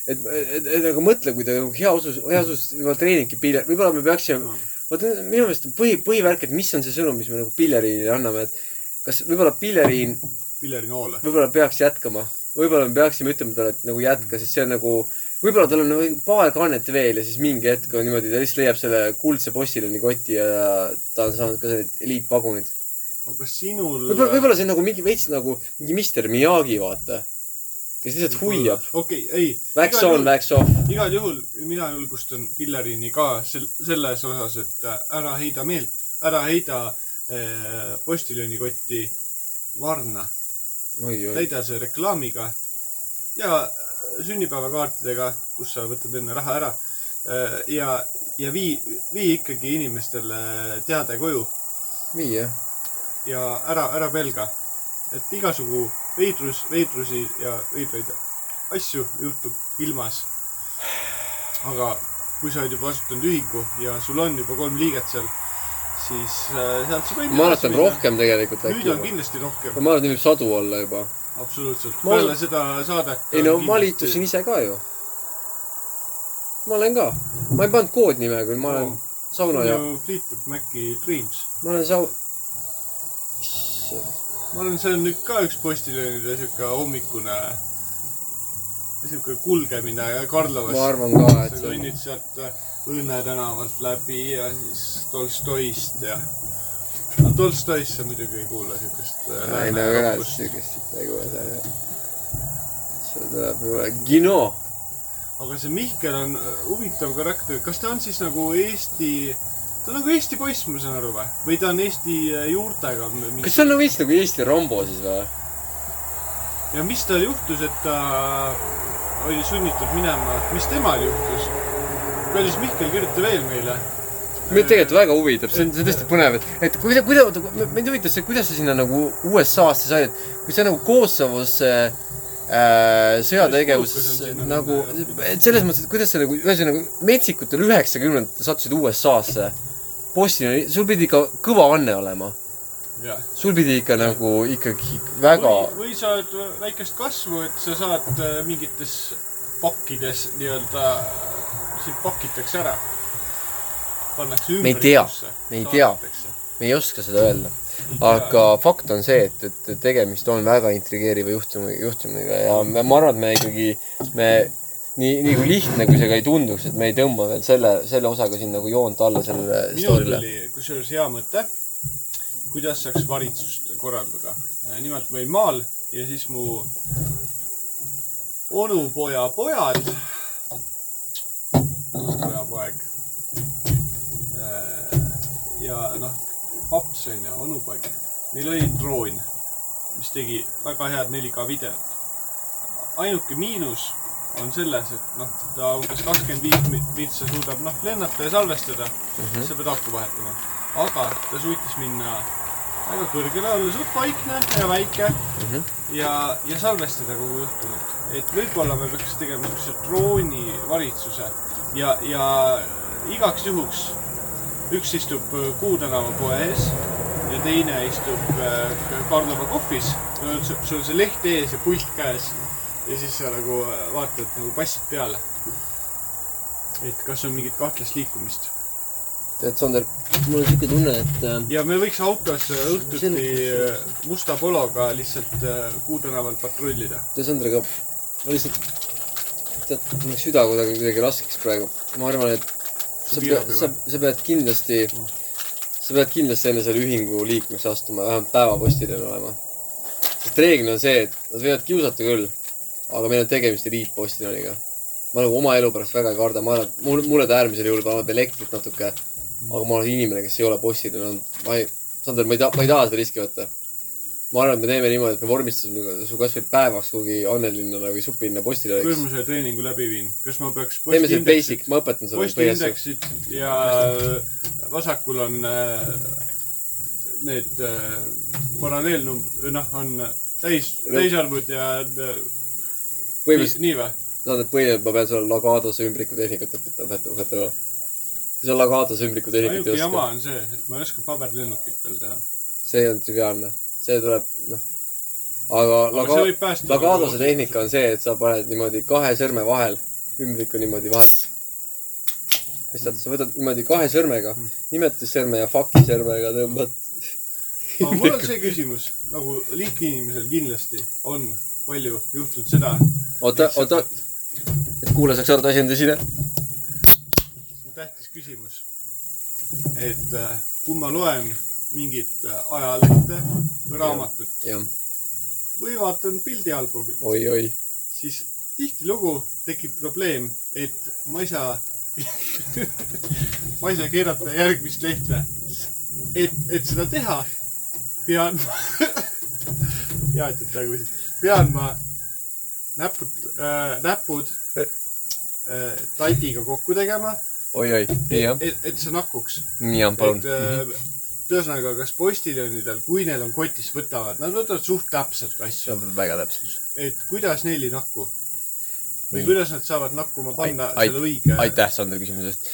Speaker 10: et , et , et aga mõtle , kui ta nagu heausus , heausus juba treenibki Pille- , võib-olla me peaksime , vot minu meelest on põhi , põhivärk , et mis on see sõnum , mis me nagu Pilleriinile anname , et kas võib-olla Pilleriin
Speaker 3: Pilleri noole .
Speaker 10: võib-olla peaks jätkama , võib-olla me peaksime ütlema talle , et nagu jätka , sest see on nagu , võib-olla tal on nagu paar kannet veel ja siis mingi hetk on niimoodi , ta lihtsalt leiab selle kuldse postiloni koti ja ta on saanud ka sellised eliitpagunid .
Speaker 3: aga sinul .
Speaker 10: võib-olla , võib-olla see on nagu mingi veits nagu mingi Mr Miyagi , vaata . kes lihtsalt huiab ..
Speaker 3: okei , ei .
Speaker 10: Wax on , wax off .
Speaker 3: igal juhul mina julgustan Pillerini ka sel- , selles osas , et äh, ära heida meelt , ära heida eh, postiljonikotti varna ,
Speaker 10: oi-oi .
Speaker 3: täida see äh, reklaamiga ja sünnipäevakaartidega , kus sa võtad enne raha ära Äh, ja , ja vii , vii ikkagi inimestele teade koju
Speaker 10: vii jah .
Speaker 3: ja ära , ära pelga . et igasugu veidrus , veidrusi ja veidraid asju juhtub ilmas . aga kui sa oled juba asutanud ühingu ja sul on juba kolm liiget seal , siis äh, sealt saab
Speaker 10: ma arvan , et on . rohkem tegelikult
Speaker 3: nüüd on
Speaker 10: äkki .
Speaker 3: kindlasti rohkem ,
Speaker 10: ma arvan , et neid võib sadu olla juba .
Speaker 3: absoluutselt .
Speaker 10: Ma olen-
Speaker 3: peale seda saadet .
Speaker 10: ei no ma liitusin . ise ka ju . ma olen ka , ma ei pannud koodnime , kui ma olen
Speaker 3: Oo.
Speaker 10: sauna ja
Speaker 3: ju Fleetwood Maci Dreams .
Speaker 10: ma olen sau- .
Speaker 3: ma arvan , see on nüüd ka üks postiljonide sihuke hommikune , sihuke kulgemine Karlovas .
Speaker 10: ma arvan ka ,
Speaker 3: sa
Speaker 10: et see on
Speaker 3: kõnnid sealt äh, Õnne tänavalt läbi ja siis Tolstoist ja . no Tolstoist sa muidugi ei kuula siukest . äh,
Speaker 10: ei no ka siukest sitta ei kuule seal jah . see tuleb ju , kino .
Speaker 3: aga see Mihkel on äh, huvitav karakter , kas ta on siis nagu Eesti , ta on nagu Eesti poiss , ma saan aru või ? või ta on Eesti äh, juurtega mingi
Speaker 10: kas see on nagu vist nagu Eesti Rambo siis või ?
Speaker 3: ja mis tal juhtus , et ta oli sunnitud minema , mis temal juhtus ? kallis Mihkel , kirjuta veel meile .
Speaker 10: mind tegelikult väga huvitab , see on , see on tõesti põnev , et , et kuidas , kuidas , mind huvitab see , kuidas sa sinna nagu USA-sse said , et kui sa nagu Kosovos äh, sõjategevuses
Speaker 3: Just fookus on sinna
Speaker 10: nagu
Speaker 3: minna, ,
Speaker 10: et selles mõttes , et kuidas sa nagu , ühesõnaga metsikutel üheksakümnendatel sattusid USA-sse . Bosnia , sul pidi ikka kõva anne olema ,
Speaker 3: jah .
Speaker 10: sul pidi ikka nagu ikkagi väga
Speaker 3: või, või sa oled väikest kasvu , et sa saad äh, mingites pakkides nii-öelda , sind pakitakse ära . pannakse
Speaker 10: Me ei
Speaker 3: ümber .
Speaker 10: tea. Me ei tea. me ei oska seda öelda . aga fakt on see , et , et tegemist on väga intrigeeriva juhtumi , juhtumiga ja me, ma arvan , et me ikkagi , me nii , nii kui lihtne , kui see ka ei tunduks , et me ei tõmba veel selle , selle osaga siin nagu joont alla sellele
Speaker 3: minul
Speaker 10: story'le .
Speaker 3: oli kusjuures hea mõte , kuidas saaks varitsust korraldada . nimelt ma olin maal ja siis mu onupoja pojad , onupojapoeg äh, ja noh , paps on ju , onupoeg , neil oli droon , mis tegi väga head 4K videot . ainuke miinus on selles , et noh , ta umbes kakskümmend viis vintsa suudab noh , lennata ja salvestada mm , -hmm. sa pead aku vahetama . aga ta suutis minna väga kõrgele , olles suht vaikne ja väike mm -hmm. ja , ja salvestada kogu juhtunut . et võib-olla me peaks tegema niisuguse droonivaritsuse ja , ja igaks juhuks üks istub äh, Kuu tänava poe ees ja teine istub äh, Karlova kohvis . sul on see leht ees ja pult käes ja siis sa nagu äh, vaatad nagu passid peale . et kas on mingit kahtlast liikumist
Speaker 10: tead , Sander , mul on siuke tunne , et äh,
Speaker 3: ja me võiks autos äh, õhtuti äh, musta pologa lihtsalt äh, Kuu tänaval patrullida .
Speaker 10: tead , Sandriga , ma lihtsalt , tead , mul läks süda kuidagi , kuidagi raskeks praegu . ma arvan , et sa
Speaker 3: piirab
Speaker 10: pead ,
Speaker 3: juba.
Speaker 10: sa , sa pead kindlasti , sa pead kindlasti enne selle ühingu liikmeks astuma , vähemalt päevapostiljon olema . sest reeglina on see , et nad võivad kiusata küll , aga meil on tegemist eliitpostiljoniga . ma nagu oma elu pärast väga ei karda , ma arvan , et mul , mulle ta äärmisel juhul paneb elektrit natuke , aga ma olen inimene , kes ei ole postiljon olnud , ma ei , Sander , ma ei taha , ma ei taha seda riski võtta . ma arvan , et me teeme niimoodi , et me vormistasime su kasvõi päevaks kuhugi Annelinna või supilinna
Speaker 3: kui ma
Speaker 10: postiljoniks .
Speaker 3: selle treeningu läbi viin , kas ma peaks
Speaker 10: teeme selle basic , ma õpetan sulle .
Speaker 3: postiindeksid ja äh, vasakul on äh, need äh, paralleelnumbrid , noh , on täis , täisarvud ja äh, nii,
Speaker 10: põhimõtteliselt ,
Speaker 3: nii või ?
Speaker 10: saad , et põhimõtteliselt ma pean sulle Lagadose ümbrikutehnikat õpetama , õpetama , õpetama . kui sa Lagadose ümbrikutehnikat
Speaker 3: ainuke
Speaker 10: ei
Speaker 3: jama
Speaker 10: oska ,
Speaker 3: on see , et ma ei oska paberlennukit veel teha .
Speaker 10: see on triviaalne , see tuleb , noh . aga
Speaker 3: aga see võib
Speaker 10: Laga- ,
Speaker 3: päästa . nagu
Speaker 10: Lagadose . tehnika on see , et sa paned niimoodi kahe sõrme vahel , ümbriku niimoodi vahelt . mis tähendab , sa võtad niimoodi kahe sõrmega , nimetissõrme ja fuck'i sõrmega tõmbad .
Speaker 3: aga mul on see küsimus , nagu lihtinimesel kindlasti on palju juhtunud seda .
Speaker 10: oota , oota , et kuulaja saaks aru , et asi on tõsine .
Speaker 3: see on tähtis küsimus . et äh, kui ma loen mingit äh, ajalehte või raamatut
Speaker 10: jah ,
Speaker 3: või vaatan pildialbumit ,
Speaker 10: oi-oi .
Speaker 3: siis tihtilugu tekib probleem , et ma ei saa , ma ei saa keerata järgmist lehte . et , et seda teha , pean ma , hea , et jääb praegu , pean ma näpud äh, , näpud äh, tatiga kokku tegema ,
Speaker 10: oi-oi , jah ,
Speaker 3: et , et see nakkuks .
Speaker 10: nii on , palun Mhm.
Speaker 3: et . äh, ühesõnaga , kas postiljonidel , kui neil on kotis , võtavad , nad võtavad suht täpselt asju ,
Speaker 10: väga täpselt .
Speaker 3: et kuidas neil ei nakku või
Speaker 10: Nii.
Speaker 3: kuidas nad saavad nakkuma panna
Speaker 10: Ai- ai-
Speaker 3: selle õige .
Speaker 10: aitäh , Sander , küsimuse eest .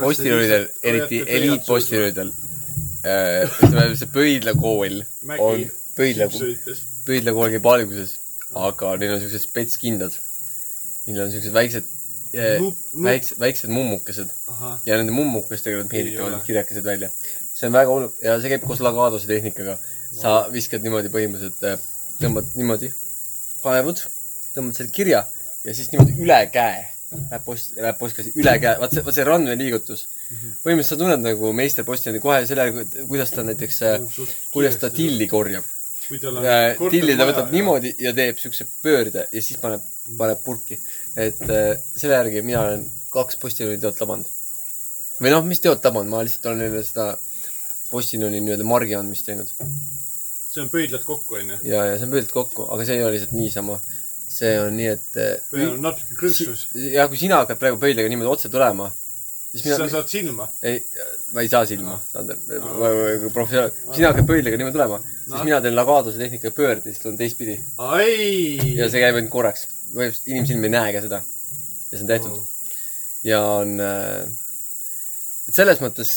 Speaker 10: postiljonidel ,
Speaker 3: lihtsalt
Speaker 10: eriti
Speaker 3: hoiate pöialt
Speaker 10: eliitpostiljonidel , ütleme , see pöidlakool
Speaker 3: Mägi
Speaker 10: on , pöidlakool ,
Speaker 3: üritas .
Speaker 10: pöidlakool käib alguses , aga neil on siuksed spetskindad , millel on siuksed väiksed ,
Speaker 3: Nup- nup-
Speaker 10: väiksed , väiksed mummukesed
Speaker 3: ahah ,
Speaker 10: ja nende mummukestega nad
Speaker 3: Ei
Speaker 10: meelitavad
Speaker 3: ole.
Speaker 10: need kirjakesed välja . see on väga oluline ja see käib koos lagaadose tehnikaga . sa viskad niimoodi põhimõtteliselt , tõmbad niimoodi , kaevud , tõmbad selle kirja ja siis niimoodi üle käe läheb post , läheb postkasti üle käe , vaat see , vaat see randme liigutus .
Speaker 3: Mhm.
Speaker 10: põhimõtteliselt sa tunned nagu meisterpostjani kohe selle järgi , kuidas ta näiteks , kuidas ta tilli korjab .
Speaker 3: kui tal on
Speaker 10: Äh, tilli ta
Speaker 3: maja
Speaker 10: võtab
Speaker 3: ja-
Speaker 10: niimoodi ja teeb siukse pöörde ja siis paneb , paneb purki . et äh, selle järgi mina olen kaks Postiljonit teod tabanud . või noh , mis teod tabanud , ma lihtsalt olen neile seda Postiljoni nii-öelda margi andmist teinud
Speaker 3: see on pöidlad kokku , onju .
Speaker 10: ja , ja see on pöörd kokku , aga see ei ole lihtsalt niisama . see on nii , et
Speaker 3: või
Speaker 10: äh,
Speaker 3: on natuke
Speaker 10: si-
Speaker 3: krõksus ,
Speaker 10: jah , kui sina hakkad praegu pöidlaga niimoodi otse tulema , siis
Speaker 3: siis sa
Speaker 10: mina ,
Speaker 3: saad silma .
Speaker 10: ei , ma ei saa silma , Sander , professionaal , kui sina hakkad pöidlaga niimoodi tulema , siis
Speaker 3: Noh.
Speaker 10: mina teen lagaaduse tehnikaga pöörde , siis tulen teistpidi
Speaker 3: ai
Speaker 10: ja , see käib ainult korraks , põhimõtteliselt inimsilm ei näe ka seda . ja see on tehtud . ja on , et selles mõttes ,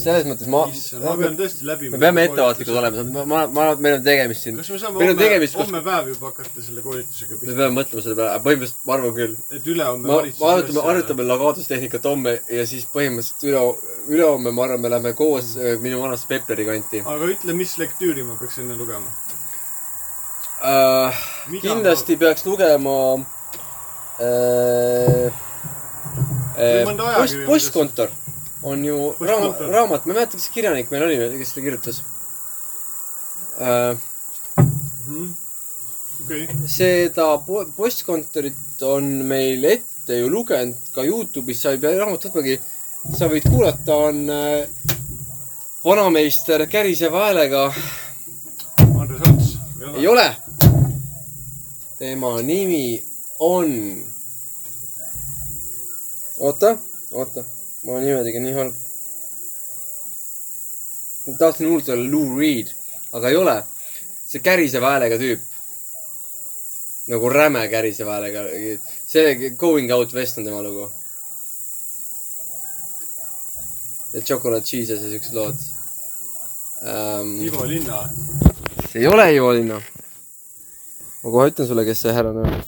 Speaker 10: selles mõttes ma ,
Speaker 3: issand , ma pean tõesti läbi .
Speaker 10: me peame ettevaatlikud . olema , ma , ma , ma , meil on tegemist siin ,
Speaker 3: kas me saame
Speaker 10: Meil on
Speaker 3: homme ,
Speaker 10: tegemist-
Speaker 3: homme päev juba hakata selle koolitusega
Speaker 10: me
Speaker 3: pihta ,
Speaker 10: peame mõtlema selle peale , põhimõtteliselt ma arvan küll .
Speaker 3: et ülehomme
Speaker 10: ma , me arutame , arutame lagaadustehnikat homme ja siis põhimõtteliselt üle , ülehomme , ma arvan , me läheme koos äh, minu vanasse Pepleri kanti
Speaker 3: aga ütle , mis lektüüri ma peaks enne lugema .
Speaker 10: äh, .
Speaker 3: Mida
Speaker 10: kindlasti peaks lugema äh,
Speaker 3: Või mõnda
Speaker 10: äh, post ,
Speaker 3: ajakirjandust.
Speaker 10: postkontor on ju raamat ,
Speaker 3: Postkontor.
Speaker 10: raamat , ma ei mäleta , kes see kirjanik meil oli , kes seda kirjutas äh, .
Speaker 3: okei ,
Speaker 10: seda po- postkontorit on meil ette ju lugenud ka Youtube'is , sa ei pea raamatut võtmagi , sa võid kuulata , on äh, vanameister käriseva häälega
Speaker 3: Andres Ants .
Speaker 10: ei ole . tema nimi on . oota , oota , ma olen nimedega nii halb . ma tahtsin hullult öelda Lou Reed , aga ei ole . see käriseva häälega tüüp . nagu räme käriseva häälega . see Going Out West on tema lugu . ja Chocolate Cheese ja see siuksed lood um,
Speaker 3: Ivo Linna .
Speaker 10: see ei ole Ivo Linna . ma kohe ütlen sulle , kes see härrane on .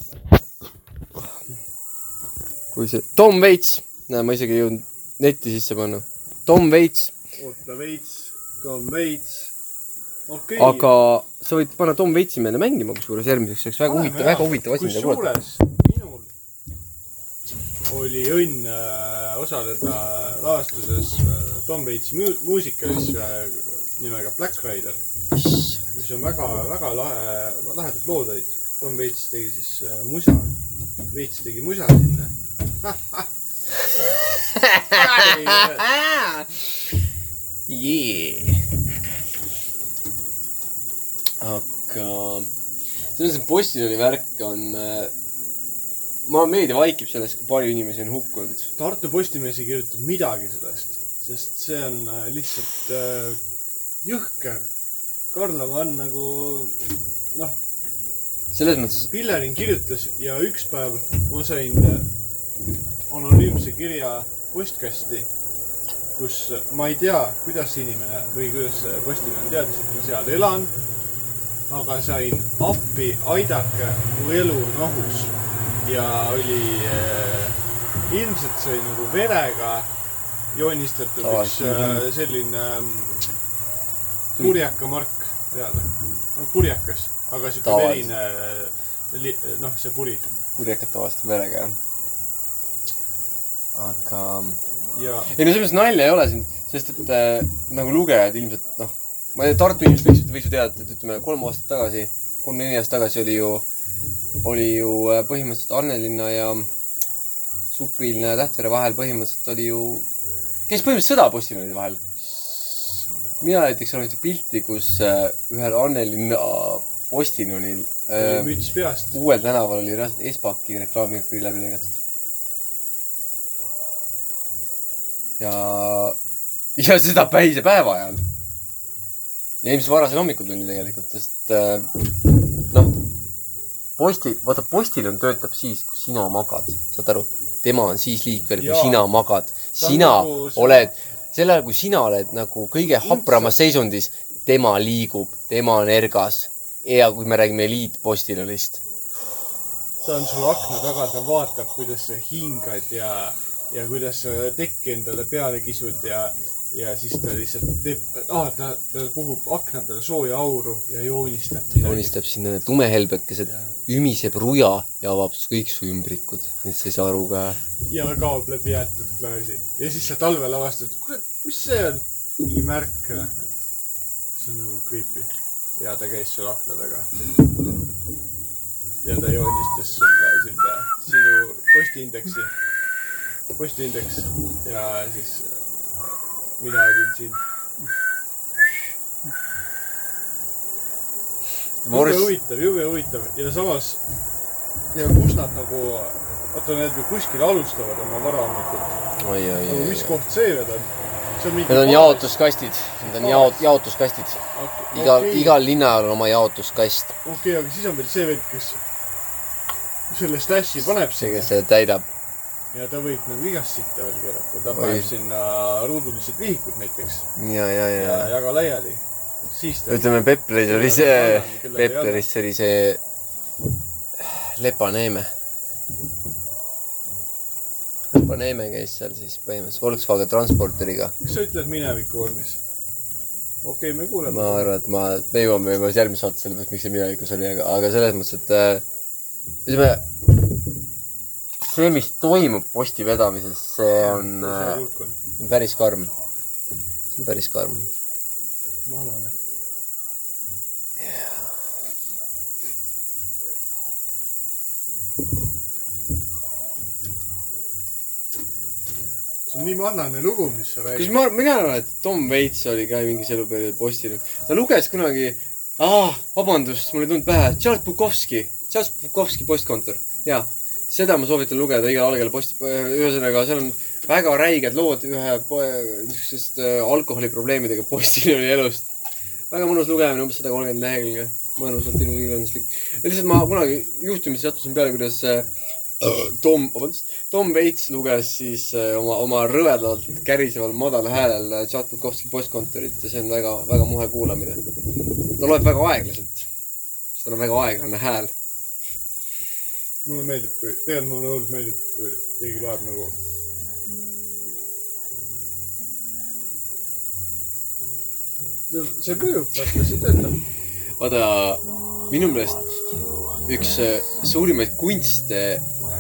Speaker 10: kui see , Tom Veits , näe , ma isegi ei jõudnud netti sisse panna . Tom Veits ,
Speaker 3: oota veits , Tom Veits . okei
Speaker 10: aga sa võid panna Tom Veitsi meile mängima , kusjuures järgmiseks , see oleks väga huvitav , väga huvitav asi , mida kuulata .
Speaker 3: kusjuures minul oli õnn äh, osaleda lavastuses äh, Tom Waits mu- muusikalis äh, nimega Black Rider , mis on väga-väga lahe , lahedad lood olid . Tom Waits tegi siis äh, musa , Waits tegi musa sinna
Speaker 10: yeah. . aga selles mõttes , et Postiljoni värk on , ma , meedia vaikib sellest , kui palju inimesi on hukkunud .
Speaker 3: Tartu Postimees ei kirjuta midagi sellest , sest see on äh, lihtsalt äh, jõhker . Karlova on nagu noh ,
Speaker 10: selles mõttes ,
Speaker 3: Pillerin kirjutas ja üks päev ma sain äh, anonüümse kirja postkasti , kus ma ei tea , kuidas see inimene või kuidas see Postimees teadis , et ma seal elan . aga sain appi , aidake , mu elu on ohus ja oli äh, ilmselt sai nagu verega joonistatud
Speaker 10: Aa,
Speaker 3: üks
Speaker 10: see on
Speaker 3: äh, selline ähm, purjaka mark peale , no purjekas , aga siuke
Speaker 10: Tavaliselt.
Speaker 3: verine äh, li- noh , see puri
Speaker 10: kurjakad tavaliselt verega , jah . aga ,
Speaker 3: ja
Speaker 10: ei no selles mõttes nalja ei ole siin , sest et äh, nagu lugejad ilmselt noh , ma ei tea , Tartu inimesed võiks , võiks ju teada , et ütleme kolm aastat tagasi , kolm-neli aastat tagasi oli ju , oli ju äh, põhimõtteliselt Annelinna ja Supilna ja Tähtvere vahel põhimõtteliselt oli ju , käis põhimõtteliselt sõda Postimehede vahel . mina näiteks olen ühte pilti , kus äh, ühel äh, Annelinna postiljonil
Speaker 3: oli müts peast .
Speaker 10: äh, Ehm. uuel tänaval oli reaalselt Espaki reklaamikõri läbi lõigatud . ja , ja seda päise päeva ajal . ja ilmselt varasel hommikutunni tegelikult , sest äh, noh , posti , vaata postiljon töötab siis , kui sina magad , saad aru ? tema on siis liikvel , kui
Speaker 3: Jaa.
Speaker 10: sina magad .
Speaker 3: on
Speaker 10: sina
Speaker 3: nagu see-
Speaker 10: oled , sel ajal , kui sina oled nagu kõige hapramas seisundis , tema liigub , tema on ergas . ja kui me räägime eliitpostiljonist ,
Speaker 3: ta on sul akna taga , ta vaatab , kuidas sa hingad ja , ja kuidas sa tekki endale peale kisud ja , ja siis ta lihtsalt teeb ah, , ta , ta puhub akna peale sooja auru ja joonistab midagi .
Speaker 10: joonistab sinna need tumehelbekesed , ümiseb ruja ja avab su- kõik su ümbrikud , nii et sa ei saa aru ka
Speaker 3: ja kaob läbi jäetud klaasi . ja siis sa talvel avastad , kurat , mis see on ? mingi märk . see on nagu creepy . ja ta käis sul akna taga . ja ta joonistas sulle sinna sinu postiindeksi , postiindeks ja siis äh, mina olin siin . jube
Speaker 10: Morss-
Speaker 3: huvitav , jube huvitav ja samas ja kus nad nagu , oota , need ju kuskil alustavad oma varahommikut .
Speaker 10: oi , oi ,
Speaker 3: aga
Speaker 10: oi ,
Speaker 3: mis koht see veel on ? see on mingi .
Speaker 10: Need on . jaotuskastid , need on jaot- , jaotuskastid . igal okay. , igal linnal on oma jaotuskast ,
Speaker 3: okei okay, , aga siis on veel see vend , kes selle slash'i paneb
Speaker 10: see ,
Speaker 3: sinna
Speaker 10: kes seda täidab .
Speaker 3: ja ta võib nagu igast sitta veel keerata , ta paneb sinna ruudulised vihikud näiteks
Speaker 10: ja , ja ,
Speaker 3: ja
Speaker 10: ja .
Speaker 3: jaga laiali . siis ta .
Speaker 10: ütleme , Pepleris oli see , Pepleris oli see Lepaneeme . Lepaneeme käis seal siis põhimõtteliselt Volkswagen Transporteriga .
Speaker 3: mis sa ütled mineviku vormis ? okei okay, , me kuuleme
Speaker 10: ma . arvan , et ma , me jõuame juba järgmise saate selle pealt , miks see minevikus oli , aga , aga selles mõttes , et äh, ütleme , see , mis toimub posti vedamises , see on äh,
Speaker 3: kurk on ,
Speaker 10: see on päris karm . see on päris karm .
Speaker 3: ma arvan , et see on nii manane lugu , mis sa
Speaker 10: kas
Speaker 3: räägid .
Speaker 10: ma , mina arvan , et Tom Waits oli ka mingis eluperioodil postil . ta luges kunagi , vabandust , mul ei tulnud pähe , Charles Bukowski , Charles Bukowski postkontor , jaa . seda ma soovitan lugeda igal algajal posti , ühesõnaga , seal on väga räiged lood ühe po- niisugusest äh, alkoholiprobleemidega postiljoni elust . väga mõnus lugemine , umbes sada kolmkümmend lehekülge , mõnusalt ilukirjanduslik . lihtsalt ma kunagi juhtumisi sattusin peale , kuidas äh, Tom , vabandust , Tom Waits luges siis äh, oma , oma rõvedalt käriseval madalal häälel äh, Charles Bukowski postkontorit ja see on väga , väga muhe kuulamine . ta loeb väga aeglaselt , sest tal on väga aeglane hääl .
Speaker 3: mulle meeldib , kui , tegelikult mulle nagu hullult meeldib , kui keegi loeb nagu . see mõjub , vaata , see töötab .
Speaker 10: vaata , minu meelest üks äh, suurimaid kunste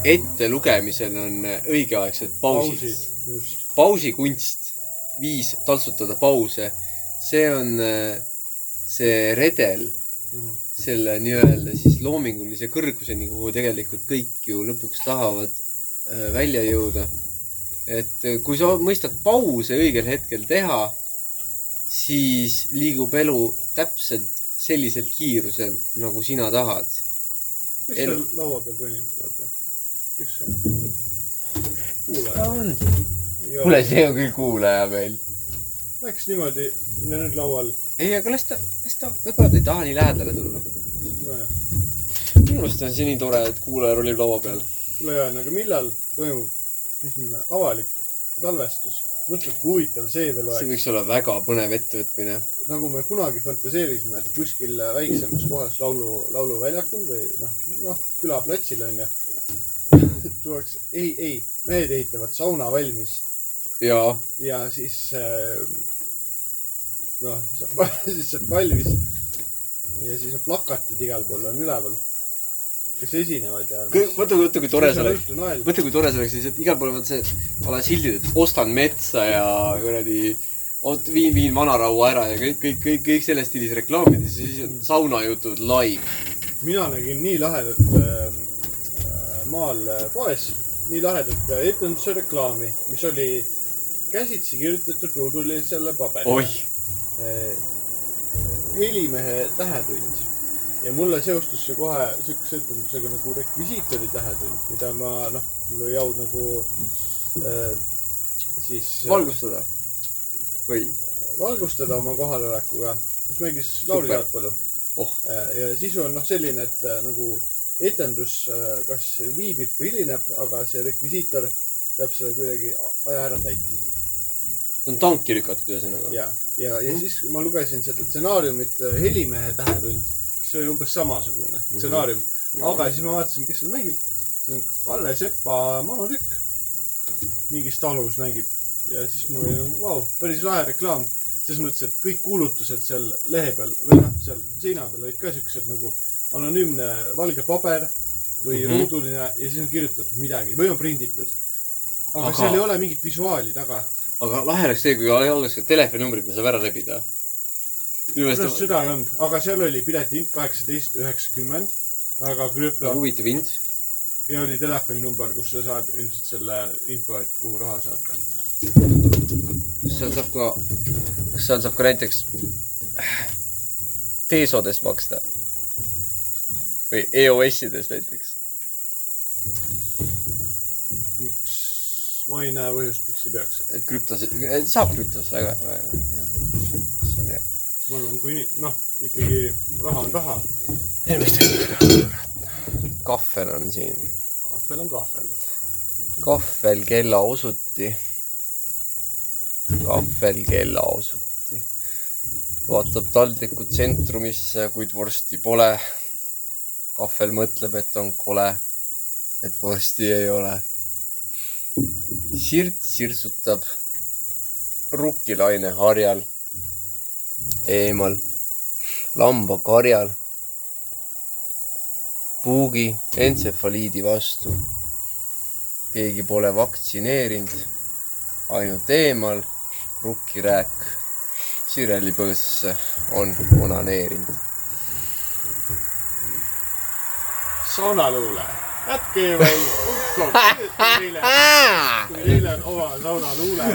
Speaker 10: ettelugemisel on äh, õigeaegsed pausid
Speaker 3: pausid ., just .
Speaker 10: pausikunst , viis taltsutada pause , see on äh, see redel selle nii-öelda siis loomingulise kõrguseni , kuhu tegelikult kõik ju lõpuks tahavad äh, välja jõuda . et äh, kui sa mõistad pause õigel hetkel teha , siis liigub elu täpselt sellisel kiirusel , nagu sina tahad .
Speaker 3: kes
Speaker 10: Elu.
Speaker 3: seal laua peal ronib , vaata . kes see on ? kuulaja .
Speaker 10: kuule , see on küll kuulaja meil .
Speaker 3: Läks niimoodi ja nüüd laual .
Speaker 10: ei , aga las ta , las ta , võib-olla ta ei taha nii lähedale tulla .
Speaker 3: nojah ,
Speaker 10: minu meelest on see nii tore , et kuulaja rollib laua peal .
Speaker 3: kuule , Jaan , aga millal toimub esimene avalik salvestus ? mõtle , kui huvitav see veel oleks
Speaker 10: see . võiks olla väga põnev ettevõtmine .
Speaker 3: nagu me kunagi fantaseerisime , et kuskil väiksemas kohas laulu , lauluväljakul või noh , noh külaplatsil onju tuleks , ei , ei , mehed ehitavad sauna valmis
Speaker 10: jaa .
Speaker 3: ja siis äh, noh , siis saab valmis . ja siis on plakatid igal pool on üleval , kes esinevad ja .
Speaker 10: mõtle , mõtle , kui tore see oleks .
Speaker 3: õhtu nael .
Speaker 10: mõtle , kui tore see oleks siis , et igal pool on see a la sildid , et ostan metsa ja kuradi , ot- , viin , viin vanaraua ära ja kõik , kõik , kõik , kõik selles stiilis reklaamid ja siis on saunajutud live .
Speaker 3: mina nägin nii lahedat äh, maal äh, poes , nii lahedat äh, etenduse reklaami , mis oli käsitsi kirjutatud ruudulisele paberile
Speaker 10: oih ,
Speaker 3: äh, . helimehe Tähetund ja mulle seostus see kohe siukese etendusega nagu Rekvisiitori Tähetund , mida ma noh , mul oli au nagu äh, siis
Speaker 10: valgustada . või ?
Speaker 3: valgustada oma kohalolekuga , kus mängis Lauri
Speaker 10: Super.
Speaker 3: Saatpalu
Speaker 10: Oh. .
Speaker 3: ja sisu on noh , selline , et äh, nagu etendus äh, kas viibib või hilineb , aga see rekvisiitor peab selle kuidagi a- aja ära täitma .
Speaker 10: ta on tanki lükatud , ühesõnaga .
Speaker 3: ja , ja , ja siis kui ma lugesin seda stsenaariumit äh, Helimehe tähetund , see oli umbes samasugune
Speaker 10: Mhm.
Speaker 3: stsenaarium mm . -hmm. aga siis ma vaatasin , kes seal mängib . see on Kalle Sepa manutükk . mingis talus mängib ja siis mul oli , vau , päris lahe reklaam . selles mõttes , et kõik kuulutused seal lehe peal või noh , seal seina peal olid ka siuksed nagu anonüümne valge paber või mm
Speaker 10: Mhm.
Speaker 3: -hmm. ruuduline ja siis on kirjutatud midagi või on prinditud . aga,
Speaker 10: Aga-
Speaker 3: aga seal ei ole mingit visuaali taga .
Speaker 10: aga lahe oleks see , kui al- oleks ka telefoninumbrid , mida saab ära rebida . minu
Speaker 3: kuidas
Speaker 10: meelest
Speaker 3: seda ei olnud , aga seal oli piletihind kaheksateist üheksakümmend , väga
Speaker 10: on
Speaker 3: krüpto
Speaker 10: huvitav hind .
Speaker 3: ja oli telefoninumber , kus sa saad ilmselt selle info , et kuhu raha saata .
Speaker 10: seal saab ka , kas seal saab ka näiteks teesodes maksta ? või EOS-ides näiteks ?
Speaker 3: miks , ma ei näe põhjust , miks ei peaks .
Speaker 10: et krüptos , saab krüptos väga , väga , see on hea .
Speaker 3: ma arvan , kui nii , noh , ikkagi raha on raha ,
Speaker 10: kahvel on siin ,
Speaker 3: kahvel on kahvel .
Speaker 10: kahvel kella osuti . kahvel kella osuti . vaatab taldriku tsentrumisse , kuid vorsti pole . kahvel mõtleb , et on kole , et vorsti ei ole . sirt sirsutab rukkilaine harjal , eemal , lambakarjal , puugi entsefaliidi vastu keegi pole vaktsineerinud , ainult eemal rukkirääk sireli põõsasse on onaneerinud .
Speaker 3: saunaluule , äkkkeeval.com , kui teil on oma saunaluule ,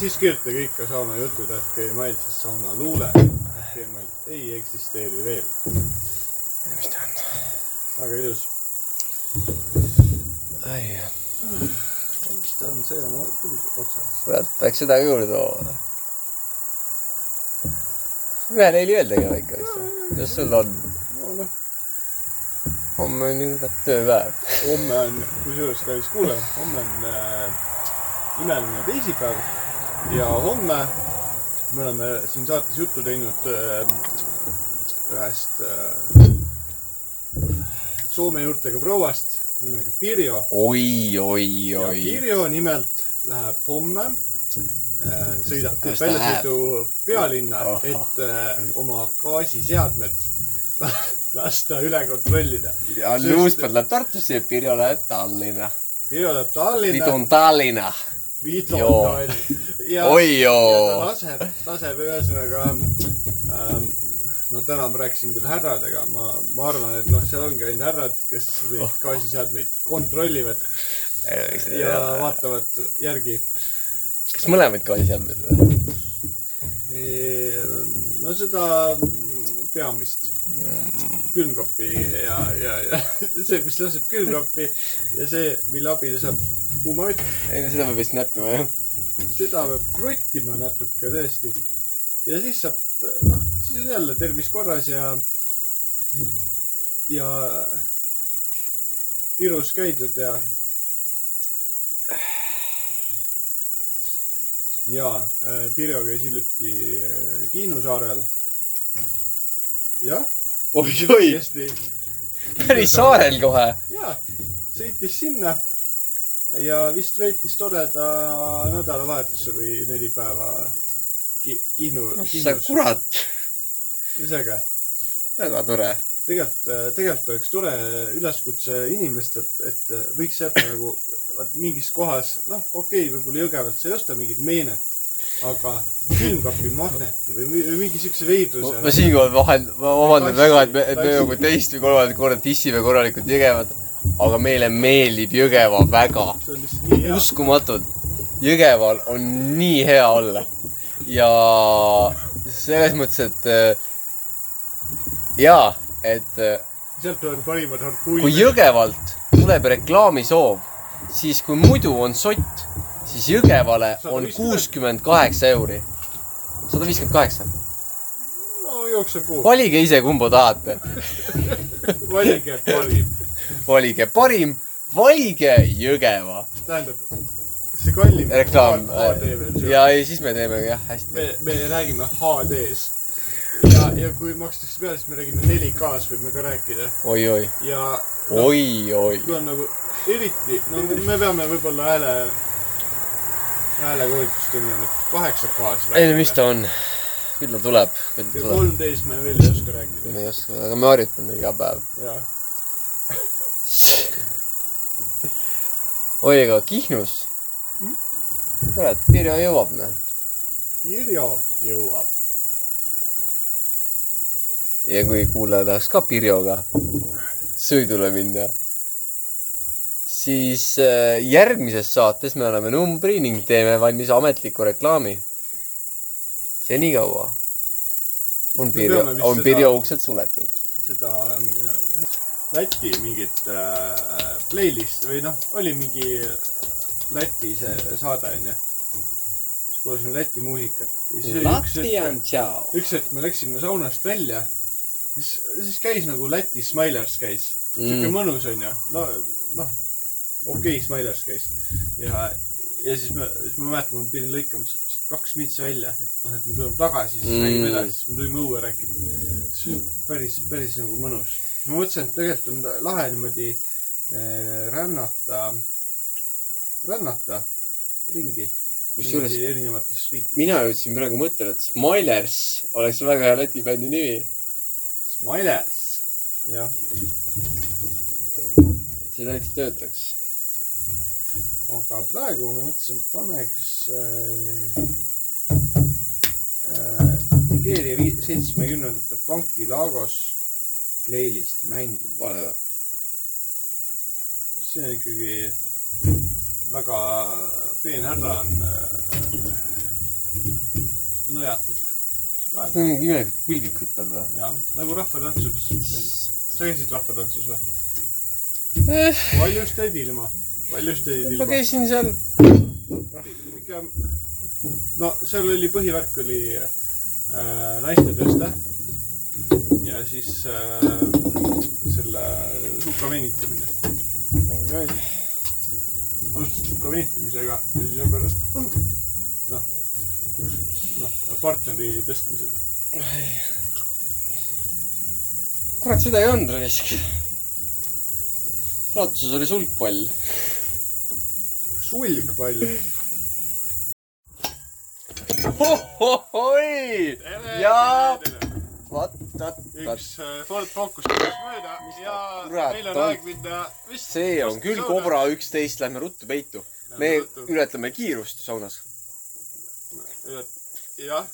Speaker 3: siis kirjutage ikka saunajutud äkkkeemail , siis saunaluule äkkkeemail ei eksisteeri veel .
Speaker 10: mis ta on ?
Speaker 3: väga ilus .
Speaker 10: ai ,
Speaker 3: mis ta on , see on küll otsas .
Speaker 10: kurat , peaks seda ka juurde tooma . ühele ei lööda ka ikka vist . kuidas sul on ?
Speaker 3: no noh ,
Speaker 10: homme on ju kurat tööpäev .
Speaker 3: homme on , kusjuures kallis kuulaja , homme on äh, imeline teisipäev ja homme me oleme siin saates juttu teinud äh, ühest äh, soome juurtega prouast nimega Pirjo .
Speaker 10: oi , oi ,
Speaker 3: ja
Speaker 10: oi .
Speaker 3: Pirjo nimelt läheb homme äh, , sõidab
Speaker 10: Kas
Speaker 3: teeb
Speaker 10: ta
Speaker 3: väljasõidu pealinna ,
Speaker 10: Ahah.
Speaker 3: et äh, oma gaasiseadmed lasta üle kontrollida .
Speaker 10: ja Luuspert läheb Tartusse ja Pirjo läheb Tallinna .
Speaker 3: Pirjo läheb Tallinna
Speaker 10: nüüd . on Tallinna . Joo.
Speaker 3: Vidlon ja,
Speaker 10: Oi
Speaker 3: ja
Speaker 10: joo.
Speaker 3: ta laseb , laseb ühesõnaga ähm, , no täna ma rääkisin küll härradega , ma , ma arvan , et noh , seal ongi ainult härrad , kes
Speaker 10: Oh.
Speaker 3: neid gaasiseadmeid kontrollivad ja vaatavad järgi .
Speaker 10: kas mõlemaid ka siis jääb veel ?
Speaker 3: no seda mm, peamist
Speaker 10: Mm.
Speaker 3: külmkappi ja , ja , ja see , mis laseb külmkappi ja see , mille abil saab kuumavett .
Speaker 10: ei no seda peab vist näppima jah .
Speaker 3: seda peab kruttima natuke tõesti . ja siis saab , noh , siis on jälle tervis korras ja , ja ilus käidud ja . ja äh, Pirjo käis hiljuti äh, Kihnu saarel . jah ,
Speaker 10: oi-oi ,
Speaker 3: tõesti
Speaker 10: päris saarel kohe .
Speaker 3: ja sõitis sinna ja vist veetis toreda nädalavahetuse või neli päeva ki- , Kihnu ,
Speaker 10: sa
Speaker 3: Kihnus .
Speaker 10: kurat ,
Speaker 3: ühesõnaga ,
Speaker 10: väga tore .
Speaker 3: tegelikult , tegelikult oleks tore üleskutse inimestelt , et võiks jätta nagu vaat mingis kohas , noh , okei okay, , võib-olla Jõgevalt sa ei osta mingit meenet , aga külmkapi magneti või, mi- või mingi siukse veidruse .
Speaker 10: ma siinkohal vahel , ma vabandan väga , et me , et me nagu teist või kolmandat korda tissime korralikult Jõgevat , aga meile meeldib Jõgeva väga .
Speaker 3: see on lihtsalt nii hea .
Speaker 10: uskumatult , Jõgeval on nii hea olla . ja selles mõttes , et äh, jaa , et äh,
Speaker 3: sealt tulevad parimad harpuunid .
Speaker 10: kui Jõgevalt tuleb reklaamisoov , siis kui muidu on sott , siis siis Jõgevale on kuuskümmend kaheksa euri . sada viiskümmend kaheksa .
Speaker 3: no jookseb kuhugi ,
Speaker 10: valige ise , kumba tahate .
Speaker 3: valige parim .
Speaker 10: valige parim , valige Jõgeva .
Speaker 3: tähendab , see kallim .
Speaker 10: reklaam .
Speaker 3: HD versioon .
Speaker 10: ja ei , siis me teeme jah , hästi .
Speaker 3: me , me räägime HD-s . ja , ja kui makstakse peale , siis me räägime 4K-s võime ka rääkida
Speaker 10: oi-oi ,
Speaker 3: ja
Speaker 10: oi-oi .
Speaker 3: kui on nagu eriti , no me peame võib-olla hääle , häälekuulitust tegema , et 8K-s
Speaker 10: ei no mis . ta on , küll ta tuleb , küll ta
Speaker 3: ja
Speaker 10: tuleb .
Speaker 3: 3D-s me veel ei oska rääkida ,
Speaker 10: me ei oska , aga me harjutame iga päev .
Speaker 3: jah .
Speaker 10: oi , aga Kihnus ? Hmm? kurat , Pirjo jõuab , noh .
Speaker 3: Irjo jõuab .
Speaker 10: ja kui kuulaja tahaks ka Pirjoga sõidule minna , siis äh, järgmises saates me anname numbri ning teeme valmis ametliku reklaami . senikaua on
Speaker 3: Me
Speaker 10: Pirjo
Speaker 3: peame , vist
Speaker 10: on
Speaker 3: seda-
Speaker 10: Pirjo uksed suletud .
Speaker 3: seda on Läti mingit äh, playlist või noh , oli mingi äh, Läti see saade onju . siis kuulasime Läti muusikat . ja siis oli üks hetk ,
Speaker 10: tšau .
Speaker 3: üks hetk me läksime saunast välja . siis , siis käis nagu Läti Smilers käis mm. . siuke
Speaker 10: Mm.
Speaker 3: mõnus onju . no , noh , okei okay, Smilers käis . ja , ja siis ma , siis ma mäletan , ma pidin lõikama sealt vist kaks mintsi välja , et noh , et me tuleme tagasi , siis mm. räägime
Speaker 10: Mm.
Speaker 3: edasi , siis me tulime õue rääkima see on päris , päris nagu mõnus . ma mõtlesin , et tegelikult on lahe niimoodi eh, rännata , rännata ringi .
Speaker 10: Kusjuures-
Speaker 3: niimoodi erinevates riikides .
Speaker 10: mina jõudsin praegu mõttele , et Smilers oleks väga hea Läti bändi nimi .
Speaker 3: Smilers , jah ,
Speaker 10: et see täitsa töötaks .
Speaker 3: aga praegu ma mõtlesin , et paneks äh, äh, Nigeeria vii- seitsmekümnendate Funky Lagos playlist mängima .
Speaker 10: pane või ?
Speaker 3: see on ikkagi väga peenhärra on äh, nõjatud .
Speaker 10: see on mingid imelikud põlvikud tal või ?
Speaker 3: jah , nagu rahvatantsus . sa käisid rahvatantsus või ?
Speaker 10: Eh.
Speaker 3: paljust jäid ilma , paljust jäid
Speaker 10: ma
Speaker 3: ilma .
Speaker 10: käisin seal
Speaker 3: ikka , no seal oli põhivärk oli äh, naiste tõste ja siis äh, selle suka venitamine .
Speaker 10: okay. .
Speaker 3: alustasid suka venitamisega ja siis on pärast noh , noh partneri tõstmised .
Speaker 10: kurat , seda ei olnud raisk . raatuses oli sulgpall .
Speaker 3: sulgpall .
Speaker 10: oi , ja vat , vat , vat ,
Speaker 3: üks äh, Ford Focus läks mööda ja
Speaker 10: kurat
Speaker 3: meil on
Speaker 10: on?
Speaker 3: aeg minna vist .
Speaker 10: see on küll . Cobra üksteist , lähme ruttu peitu . me ületame kiirust saunas .
Speaker 3: jah ,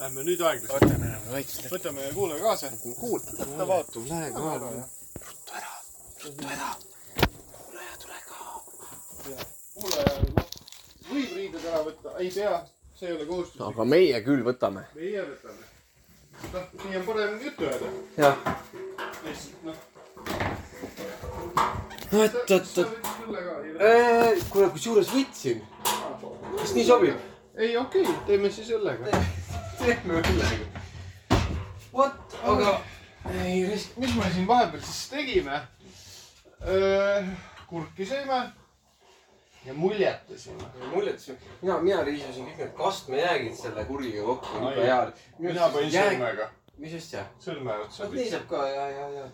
Speaker 3: lähme nüüd aeglaselt .
Speaker 10: võtame enam vaikselt .
Speaker 3: võtame kuulaja kaasa . kuulda , ta vaatab . Lähe kohe ära . ruttu ära , ruttu ära . kuulaja , tule ka . kuulaja , noh , võib riided ära võtta , ei pea , see ei ole kohustuslik .
Speaker 10: aga meie küll võtame .
Speaker 3: meie võtame . noh , nii on parem juttu öelda .
Speaker 10: jah .
Speaker 3: lihtsalt noh ,
Speaker 10: oot , oot ,
Speaker 3: sa
Speaker 10: oot .
Speaker 3: võid tulla ka .
Speaker 10: kuule , kusjuures võtsin . kas nii sobib ?
Speaker 3: ei , okei okay, , teeme siis õllega .
Speaker 10: teeme üle .
Speaker 3: vot , aga ei , mis me siin vahepeal siis tegime ? kurki sõime ja muljetasime .
Speaker 10: muljetusi , mina , mina riisusin kõik need kastmejäägid selle kurgiga kokku ,
Speaker 3: Ai.
Speaker 10: nii hea .
Speaker 3: mina panin . sõrmega ,
Speaker 10: mis asja ?
Speaker 3: sõrme otsa
Speaker 10: vot nii . saab ka ja , ja , ja .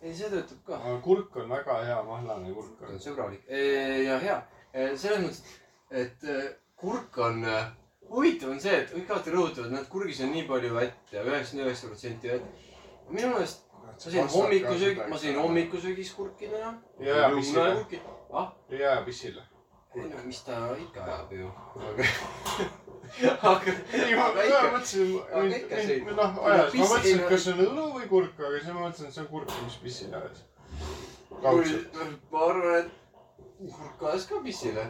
Speaker 10: ei , see töötab ka .
Speaker 3: kurk on väga hea mahlane kurk on .
Speaker 10: sõbralik Eh, ja hea . selles mõttes , et eh, kurk on , huvitav on see , et kõik alati rõhutavad , et kurgis on nii palju vett ja üheksakümmend üheksa protsenti vett . minu meelest ma sõin hommikusöögi , ma sõin . hommikusöögis kurki täna .
Speaker 3: ja , ja pissile ,
Speaker 10: ah ,
Speaker 3: ja , ja pissile .
Speaker 10: ei noh , mis ta ikka ajab ju . aga , aga ,
Speaker 3: ei , ma
Speaker 10: aga
Speaker 3: ma
Speaker 10: ikka
Speaker 3: mõtlesin ,
Speaker 10: Aga ikka sõid.
Speaker 3: noh , ajas ,
Speaker 10: Piss-
Speaker 3: ma mõtlesin ,
Speaker 10: ei,
Speaker 3: et
Speaker 10: no-
Speaker 3: kas see on õlu või kurk , aga siis ma mõtlesin , et see on kurk , mis pissile ajas . kaudselt .
Speaker 10: Mul- ma arvan , et kurk ajas ka pissile ,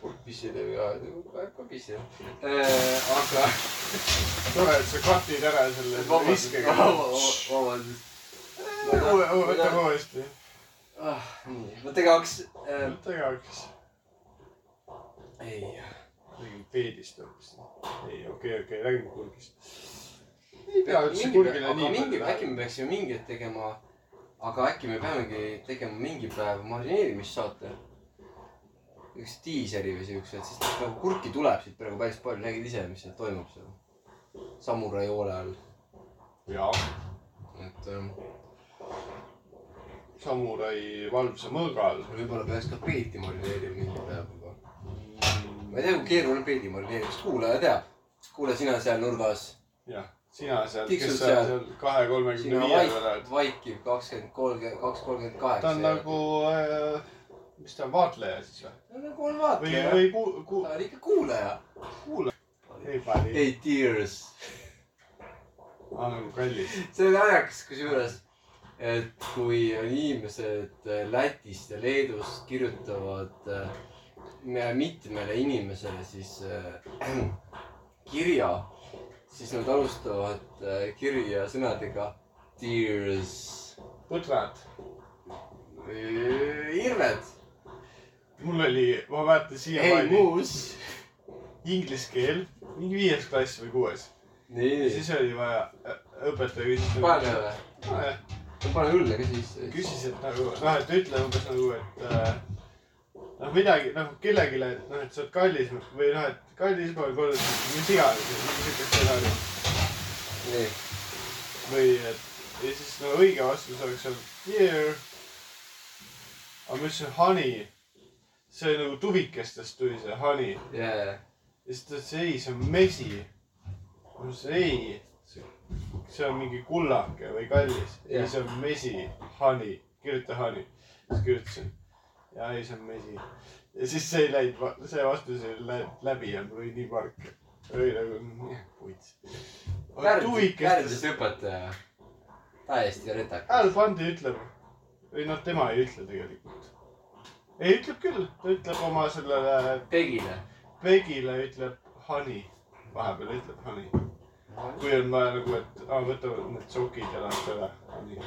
Speaker 10: kurk pissile ju ajas , kurk ajas ka pissile . aga ,
Speaker 3: tore , et sa katid ära selle
Speaker 10: vabandust ,
Speaker 3: viskega .
Speaker 10: vabandust .
Speaker 3: uue , uue , võta uuesti . äh,
Speaker 10: nii , võta kaks .
Speaker 3: võta kaks .
Speaker 10: ei ,
Speaker 3: räägime peedist hoopis . ei , okei , okei , räägime kurgist . ei pea üldse kurgile
Speaker 10: aga
Speaker 3: nii
Speaker 10: mingi ,
Speaker 3: palju
Speaker 10: äkki
Speaker 3: rääkima .
Speaker 10: me peaksime mingit tegema , aga äkki me peamegi tegema mingi päev marineerimissaate . üks diiseri või siukse , et siis nagu kurki tuleb siit praegu päris palju , nägid ise , mis seal toimub seal samurai hoole all ,
Speaker 3: jaa ,
Speaker 10: et ähm,
Speaker 3: samurai valvsa mõõga all .
Speaker 10: võib-olla peaks ka peeti marineerima mingi päev juba . ma ei tea , kui keeruline on peeti marineerida , kas kuulaja teab ? kuule , sina seal nurgas ,
Speaker 3: jah , sina seal ,
Speaker 10: Tiksud
Speaker 3: kes sa
Speaker 10: seal.
Speaker 3: seal kahe , kolmekümne
Speaker 10: sina
Speaker 3: viie peal
Speaker 10: vaik-
Speaker 3: oled .
Speaker 10: vaikiv kakskümmend kolmkümmend , kaks kolmkümmend kaheksa .
Speaker 3: ta on nagu äh, , mis ta on , vaatleja siis või ?
Speaker 10: nagu on
Speaker 3: või ,
Speaker 10: vaataja ,
Speaker 3: või ku- , ku- ,
Speaker 10: ta on ikka kuulaja .
Speaker 3: ei pani ,
Speaker 10: Eight years .
Speaker 3: aa nagu kallis .
Speaker 10: see on naljakas kusjuures , et kui inimesed äh, Lätist ja Leedust kirjutavad äh, me- mitmele inimesele siis äh, kirja , siis nad alustavad äh, kirja sõnadega tears ,
Speaker 3: põdrad .
Speaker 10: Äh, hirved ,
Speaker 3: mul oli , ma mäletan
Speaker 10: ei
Speaker 3: siiamaani hey, ,
Speaker 10: muus .
Speaker 3: inglise keel , mingi viies klass või kuues . ja
Speaker 10: nii ,
Speaker 3: siis oli vaja , õpetaja küsis .
Speaker 10: paneme või ?
Speaker 3: nojah ,
Speaker 10: pane õlle ka siis .
Speaker 3: küsis , et nagu noh , et ütle umbes nagu , et äh, noh , midagi nagu kellelegi , et noh , et sa oled kallis või noh , et kallis ma olen kodus , mis iganes , siukest stsenaariumi .
Speaker 10: nii ,
Speaker 3: või et ja siis no õige vastus oleks olnud dear . aga ma ütlesin honey . see oli nagu tuvikestest tuli see honey
Speaker 10: jajah .
Speaker 3: ja siis ta ütles ei , see on mesi . ma ütlesin ei , see on mingi kullake või kallis yeah. . ei , see on mesi , honey , kirjuta honey . siis kirjutasin ja ei , see on mesi . ja siis see ei läinud , see vastus ei läinud läbi ja mul oli nii park . oli nagu , puits .
Speaker 10: Pärnus õpetaja , täiesti retakas .
Speaker 3: Al Fondi ütleb , või noh , tema ei ütle tegelikult . ei , ütleb küll , ta ütleb oma sellele
Speaker 10: Pegile .
Speaker 3: Pegile ütleb honey , vahepeal ütleb honey . kui on vaja nagu , et aa, võta need sokid ja las ära , honey .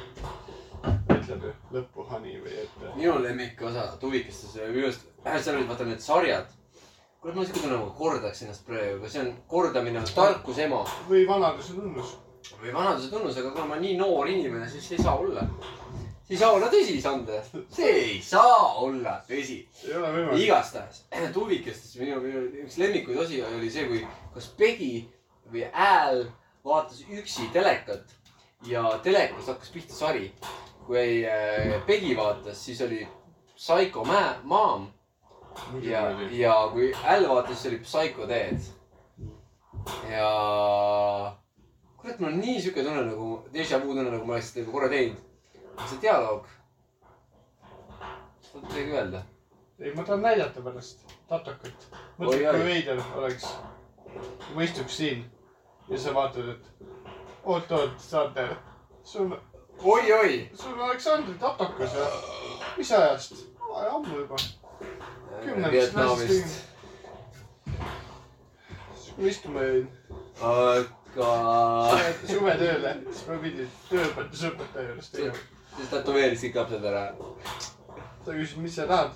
Speaker 3: ütleb ju lõppu honey või et .
Speaker 10: minu lemmikosa tuvikestes ja minu arust , äh, seal olid vaata need sarjad . kuule , ma isegi nagu kordaks ennast praegu , aga see on , kordamine on tarkuse ema
Speaker 3: või vanaduse tunnus .
Speaker 10: või vanaduse tunnus , aga kuna ma olen nii noor inimene , siis ei saa olla . see ei saa olla tõsi , Sander . see ei saa olla tõsi .
Speaker 3: ei ole võimalik .
Speaker 10: igastahes tuvikestes minu , minu üks lemmikuid osi oli see , kui kas Pegi või Al vaatas üksi telekat ja telekas hakkas pihta sari . kui äh, Pegi vaatas , siis oli Psycho Ma- Mom ja , ja kui Al vaatas , siis oli Psycho Dad . ja kurat , mul on nii siuke tunne nagu , déjà vu tunne nagu ma oleks seda juba korra teinud . see dialoog . tahad midagi öelda ?
Speaker 3: ei , ma tahan näidata pärast tatakat .
Speaker 10: Oi,
Speaker 3: mõtle ,
Speaker 10: oi.
Speaker 3: kui veider oleks . ma istuks siin ja sa vaatad , et oot-oot , Sander , sul ,
Speaker 10: oi-oi
Speaker 3: sul oleks olnud tatakas või ? mis ajast ? ammu juba . kümnendast
Speaker 10: Vietnamist .
Speaker 3: siis kui me istume
Speaker 10: aga
Speaker 3: suve- suvetööle , siis ma pidin tööõpetuse õpetaja juures tegema .
Speaker 10: siis tätoveerisid kõik lapsed ära .
Speaker 3: ta küsis , mis sa tahad ?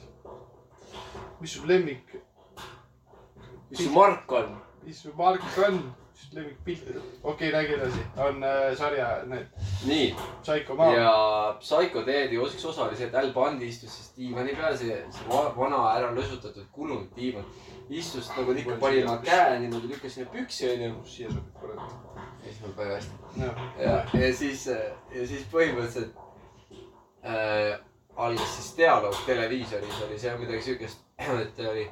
Speaker 3: mis su lemmik ,
Speaker 10: mis su mark on ?
Speaker 3: mis su mark on ? mis su lemmikpilt ? okei okay, , räägi edasi , on äh, sarja need
Speaker 10: nii ,
Speaker 3: Psycho Mom .
Speaker 10: ja Psycho Daddy üks osa oli see , et Al Bundy istus siis diivani peal , see , see va- vana ära lösutatud kulunud diivan . istus nagu ta ikka pani oma käe niimoodi , lükkas sinna püksi onju .
Speaker 3: siia sobib korraga .
Speaker 10: ei , see tuleb väga hästi . ja
Speaker 3: jah ,,
Speaker 10: ja siis , ja siis põhimõtteliselt äh, algas siis dialoog televiisoris oli seal midagi siukest , et oli ,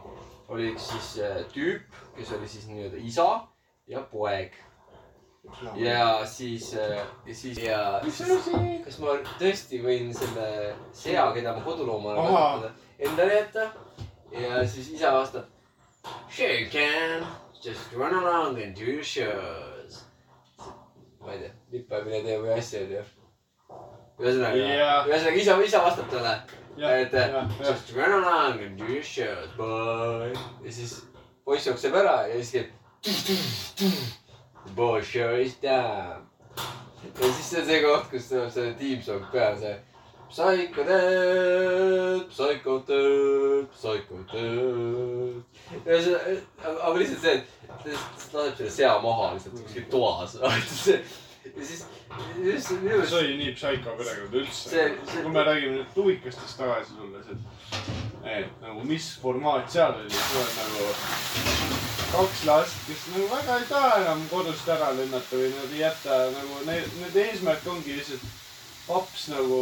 Speaker 10: oli üks siis äh, tüüp , kes oli siis nii-öelda isa ja poeg . ja siis äh, , ja siis ja siis, kas ma tõesti võin selle sea , keda ma koduloomale
Speaker 3: Ahaa.
Speaker 10: kasutan , endale jätta ? ja siis isa vastab . Sure you can , just run along and do your shows . ma ei tea , lippamine teeb ühe asja onju . ühesõnaga
Speaker 3: Jah. ,
Speaker 10: ühesõnaga isa , isa vastab talle , et
Speaker 3: jah ,
Speaker 10: äh,
Speaker 3: jah .
Speaker 10: just run along and do your shows , boy . ja siis poiss jookseb ära ja siis käib . The boy sure is down . ja siis see on see koht , kus tuleb see team song peale , see . Psycho Dead , Psycho Dead , Psycho Dead . ühesõnaga , aga lihtsalt see , et ta lihtsalt laseb selle sea maha lihtsalt kuskil toas . ja siis , just minu
Speaker 3: see
Speaker 10: meelest
Speaker 3: oli nii psycho perekond üldse
Speaker 10: See- . see-
Speaker 3: kui me räägime nüüd tuvikastest tagasi tulles , et , et nagu mis formaat seal oli , see on nagu kaks last , kes nagu väga ei taha enam kodust ära lennata või nad ei jäta nagu , nende eesmärk ongi lihtsalt paps nagu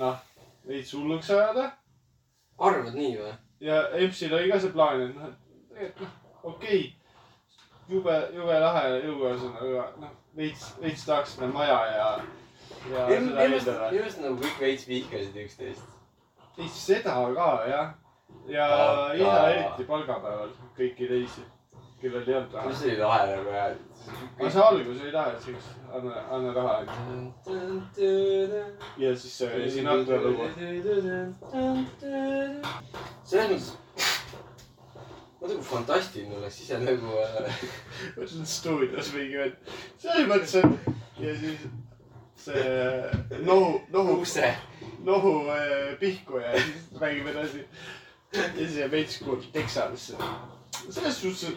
Speaker 3: noh , veits hulluks ajada .
Speaker 10: arvad nii või ?
Speaker 3: ja EMS-il oli ka see plaan , et noh , et tegelikult noh , okei okay, , jube , jube lahe jõukohasena , aga noh , veits , veits tahaks seda maja ja , ja
Speaker 10: minu
Speaker 3: seda
Speaker 10: meelest ,
Speaker 3: eeldada .
Speaker 10: minu meelest nagu kõik veits vihkasid üksteist .
Speaker 3: ei , seda ka jah . ja
Speaker 10: Aga-
Speaker 3: isa eriti palgapäeval kõiki teisi , kellel ei olnud raha .
Speaker 10: mis oli lahe nagu ja .
Speaker 3: aga see algus oli lahe , et siis anna , anna raha onju. ja siis see oli Sinatra lugu .
Speaker 10: selles mõttes , vaata kui nagu fantastiline oleks ise nagu äh,
Speaker 3: mõtlen stuudios mingi vend , selles mõttes , et ja siis see nohu , nohu
Speaker 10: ukse .
Speaker 3: nohu äh, pihku ja siis räägime edasi . ja siis jääb veits kuhugi teksadusse . selles suhtes , et .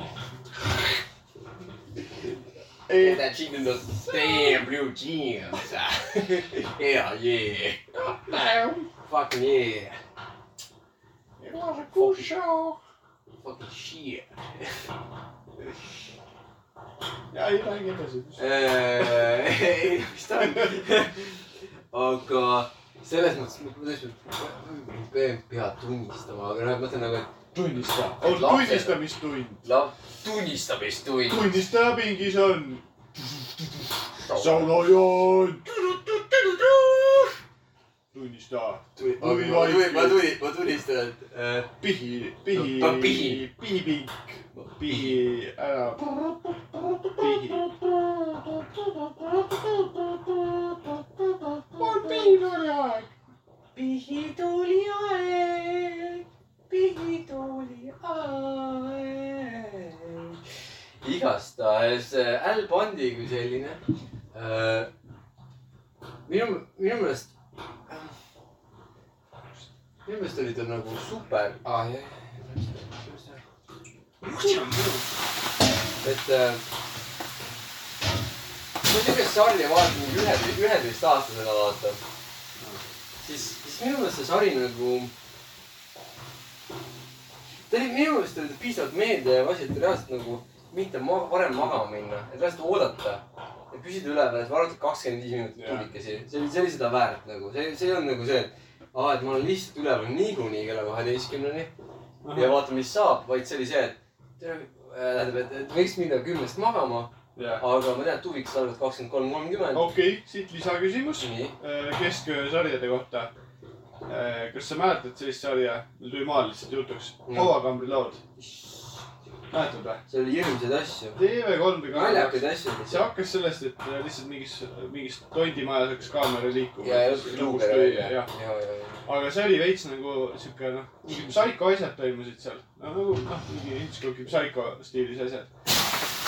Speaker 3: ei ,
Speaker 10: That chicken does damn blue jeans . Yeah , yeah . Fucking yeah . Fucking shit .
Speaker 3: ja ei räägi edasi .
Speaker 10: ei , mis ta on . aga selles mõttes , ma tõesti , pean nagu pead tunnistama , aga noh , ma mõtlen nagu ,
Speaker 3: tunnista , on
Speaker 10: Lapsed.
Speaker 3: tunnistamistund .
Speaker 10: et laps tunnistamistund .
Speaker 3: tunnistaja pingis on saunajoon . tunnista ,
Speaker 10: ma tunnistan , ma tunnistan , ma tunnistan , et äh,
Speaker 3: pihi , pihi
Speaker 10: No, ta pihi. ,
Speaker 3: pihipink , pihi ära , pihi . on piinuri aeg .
Speaker 9: pihitooli aeg , pihitooli aeg .
Speaker 10: igastahes äh, Al Bondi kui selline äh, . minu , minu meelest äh, , minu meelest oli ta nagu super ah, . et äh, . kui siukest sarja vaatad mingi ühe , üheteistaastasena vaata , siis , siis minu meelest see sari nagu ta oli minu meelest oli ta piisavalt meeldejääv asi , et reaalselt nagu mitte ma varem magama minna , et reaalselt oodata ja püsida üleval , et vaadata kakskümmend viis minutit
Speaker 3: Jah.
Speaker 10: tuulikesi , see oli , see oli seda väärt nagu , see , see on nagu see , et aa , et ma olen lihtsalt üleval niikuinii kella kaheteistkümneni ja vaatame , mis saab , vaid see oli see , et tere, äh, tähendab , et , et võiks minna kümnest magama , aga ma tean , et tuvikas algab kakskümmend kolm , kolmkümmend .
Speaker 3: okei , siit lisaküsimus Äh,
Speaker 10: nii ,
Speaker 3: kesköösarjade kohta . kas sa mäletad sellist sarja , mul tuli maal lihtsalt jutuks ,
Speaker 10: Mm.
Speaker 3: Hauakambri laud . mäletad või ?
Speaker 10: seal oli hirmsaid asju ,
Speaker 3: TV3-ga .
Speaker 10: naljakaid asju .
Speaker 3: see hakkas sellest , et lihtsalt mingis , mingis tondimajas hakkas kaamera liikuma .
Speaker 10: ja , ja luuge välja . ja ,
Speaker 3: jah ,
Speaker 10: ja , ja .
Speaker 3: aga see oli veits nagu siuke noh , mingi psycho asjad toimusid seal . no nagu noh , mingi Hitchcocki psycho stiilis asjad .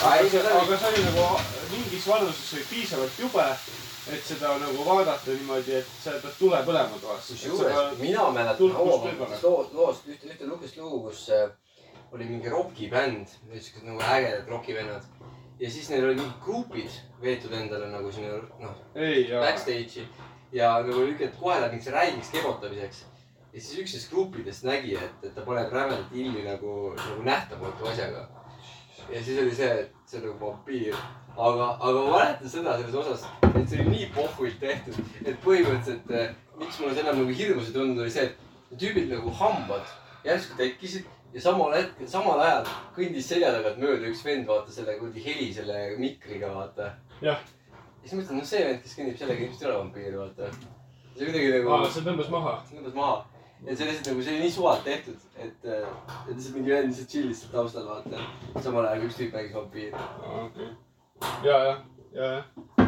Speaker 3: aga see , aga see oli nagu mingis vanuses oli piisavalt jube , et seda nagu vaadata niimoodi , et sa pead tule põlema toas .
Speaker 10: kusjuures mina mäletan
Speaker 3: tulnukust
Speaker 10: Hoomamatist
Speaker 3: võib-olla.
Speaker 10: loo , loost ühte , ühte lukust lugu , kus äh, oli mingi rokibänd , siuksed nagu ägedad rokivennad . ja siis neil olid mingid grupid veetud endale nagu sinna noh ,
Speaker 3: ei , jaa .
Speaker 10: backstage'i ja nagu lükati kohe läheb mingiks räigiks kebotamiseks . ja siis üks neist gruppidest nägi , et , et ta paneb rämedalt illi nagu , nagu nähtamatu asjaga . ja siis oli see , et see on nagu vampiir . aga , aga ma mäletan seda selles osas , et see oli nii pohhuilt tehtud , et põhimõtteliselt eh, miks mulle see enam nagu hirmus ei tundunud , oli see , et need tüübid nagu hambad järsku tekkisid ja samal hetkel , samal ajal kõndis selja tagant mööda üks vend , vaata selle kuradi heli selle mikriga , vaata .
Speaker 3: Jah.
Speaker 10: ja siis mõtlesin , noh , see vend , kes kõnnib sellega , ilmselt ei ole vampiir , vaata . see kuidagi nagu
Speaker 3: aa , see tõmbas maha .
Speaker 10: tõmbas maha . ja see lihtsalt nagu , see oli nii suvalt tehtud , et , et lihtsalt mingi vend lihtsalt chill'is seal taustal , vaata . samal ajal kui üks tüüp mängis vampiiri .
Speaker 3: okei . ja , ja , ja , ja .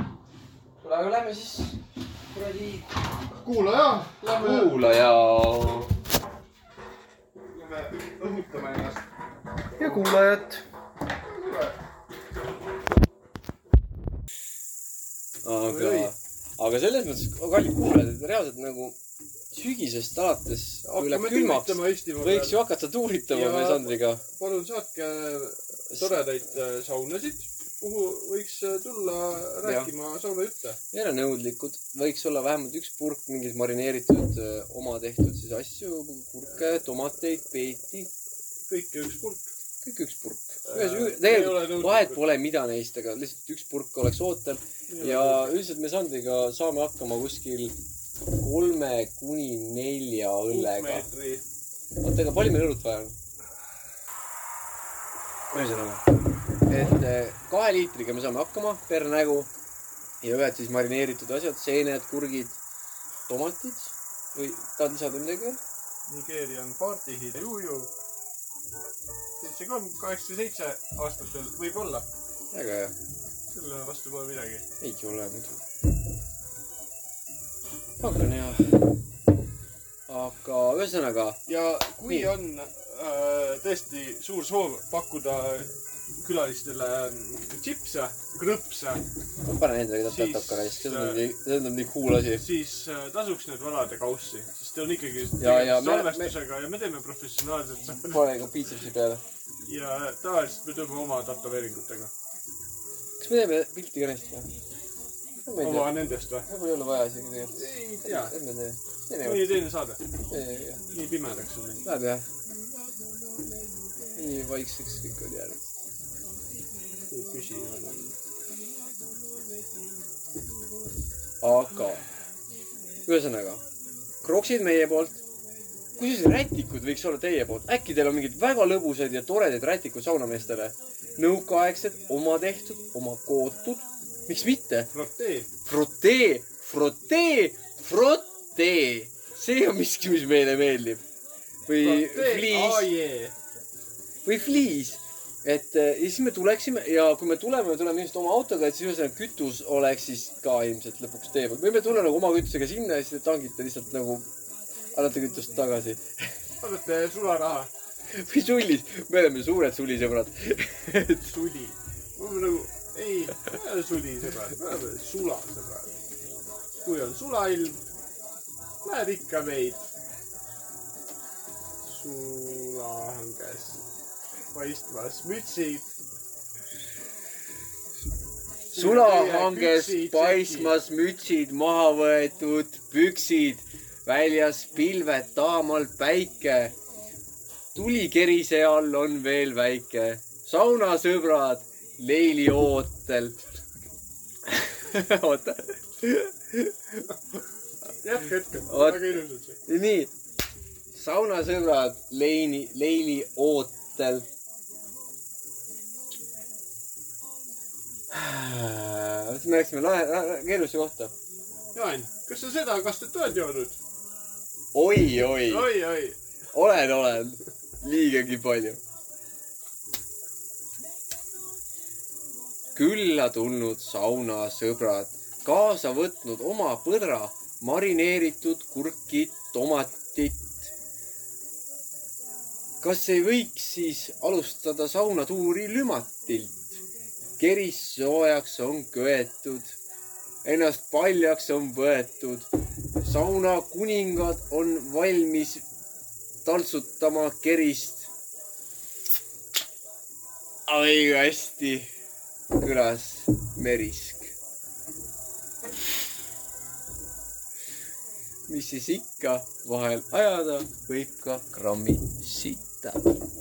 Speaker 10: kuule , aga lähme siis kuradi
Speaker 3: kuula ja , lähme .
Speaker 10: kuulaja .
Speaker 3: õhutame ennast .
Speaker 19: ja kuulajad .
Speaker 10: oh, aga , aga selles mõttes , kallid kuulajad , et reaalselt nagu sügisest alates üle
Speaker 3: hakkame
Speaker 10: külmaks ,
Speaker 3: tunnitama Eestimaa
Speaker 10: võiks
Speaker 3: peal .
Speaker 10: ju hakata tuuritama
Speaker 3: Ja-
Speaker 10: me Sandriga .
Speaker 3: palun saatke toredaid äh, saunasid , kuhu võiks äh, tulla rääkima saunajutte .
Speaker 10: järelenõudlikud , võiks olla vähemalt üks purk mingeid marineeritud öö, oma tehtud siis asju , kurke , tomateid , peeti ,
Speaker 3: kõike üks purk . Äh,
Speaker 10: kõik üks purk . ühes , tegelikult vahet . pole , mida neist , aga lihtsalt üks purk oleks ootel ja üldiselt me Sandriga saame hakkama kuskil kolme kuni nelja õllega .
Speaker 3: meetri .
Speaker 10: oota , aga palju meil õlut vaja on ? ühesõnaga , et eh, kahe liitriga me saame hakkama per nägu ja ühed siis marineeritud asjad , seened , kurgid , tomatid või tahad lisada midagi veel ?
Speaker 3: Nigeerian party hiida juju . seitsekümmend , kaheksakümmend seitse aastatel võib-olla ,
Speaker 10: väga hea ,
Speaker 3: selle vastu pole midagi .
Speaker 10: ei ole muidu . aga on hea . aga ühesõnaga ,
Speaker 3: ja kui
Speaker 10: Nii.
Speaker 3: on äh, tõesti suur soov pakkuda külalistele mm, tšipse , krõpse ,
Speaker 10: ma panen endale
Speaker 3: Siis,
Speaker 10: tataka raisk , see tundub nii , see tundub nii cool asi .
Speaker 3: siis äh, tasuks need valada kaussi , sest ta on ikkagi
Speaker 10: Ja- ja
Speaker 3: tegelikult
Speaker 10: me-
Speaker 3: salvestusega ja me teeme professionaalselt
Speaker 10: pane ka piitsipsi peale .
Speaker 3: ja tavaliselt me teeme oma tätoveeringutega .
Speaker 10: kas me teeme pilti ka neist või ? ma ei tea
Speaker 3: oma , nendest või ?
Speaker 10: võib-olla ei ole vaja isegi tegelikult .
Speaker 3: ei tea ,
Speaker 10: emme tee . teeme
Speaker 3: mõni teine saade ,
Speaker 10: jah .
Speaker 3: nii pimedaks on läinud .
Speaker 10: Läheb jah . nii vaikseks kõik oli ära .
Speaker 3: küsi enam .
Speaker 10: aga , ühesõnaga , kroksid meie poolt . kuidas rätikud võiks olla teie poolt , äkki teil on mingid väga lõbusad ja toredad rätikud saunameestele ? nõukaaegsed , oma tehtud , oma kootud , miks mitte ?
Speaker 3: protee .
Speaker 10: frotee , frotee , frotee , see on miski , mis meile meeldib . või fliis . või fliis , et eh, ja siis me tuleksime ja kui me tuleme , me tuleme ilmselt oma autoga , et siis ühesõnaga kütus oleks siis ka ilmselt lõpuks tee peal või me tuleme nagu oma kütusega sinna ja siis te tangite lihtsalt nagu , annate kütust tagasi
Speaker 3: annate sularaha .
Speaker 10: või sullis , me oleme suured sulisõbrad .
Speaker 3: suli . ma olen nagu , ei , ma ei ole sulisõbrad , me oleme sulasõbrad . kui on sulailm , näed ikka meid . sulahanges paistmas mütsid .
Speaker 10: sulahanges paistmas mütsid , maha võetud püksid , väljas pilved , taamal päike . tuli kerise all on veel väike , saunasõbrad leili ootel . oota ,
Speaker 3: jah , hetkel ,
Speaker 10: Oot.
Speaker 3: väga ilusalt see .
Speaker 10: nii , saunasõbrad leini , leili ootel . me läksime lahe , keerulisse kohta .
Speaker 3: Jaan , kas sa seda kastet oled joonud ?
Speaker 10: oi , oi
Speaker 3: oi , oi ,
Speaker 10: olen , olen liigagi palju . külla tulnud saunasõbrad , kaasa võtnud oma põdra marineeritud kurki tomatit . kas ei võiks siis alustada saunatuuri Lümatilt ? keris soojaks on köetud , ennast paljaks on võetud , sauna kuningad on valmis taltsutama kerist . õige hästi kõlas merisk . mis siis ikka , vahel ajada võib ka grammi sitta .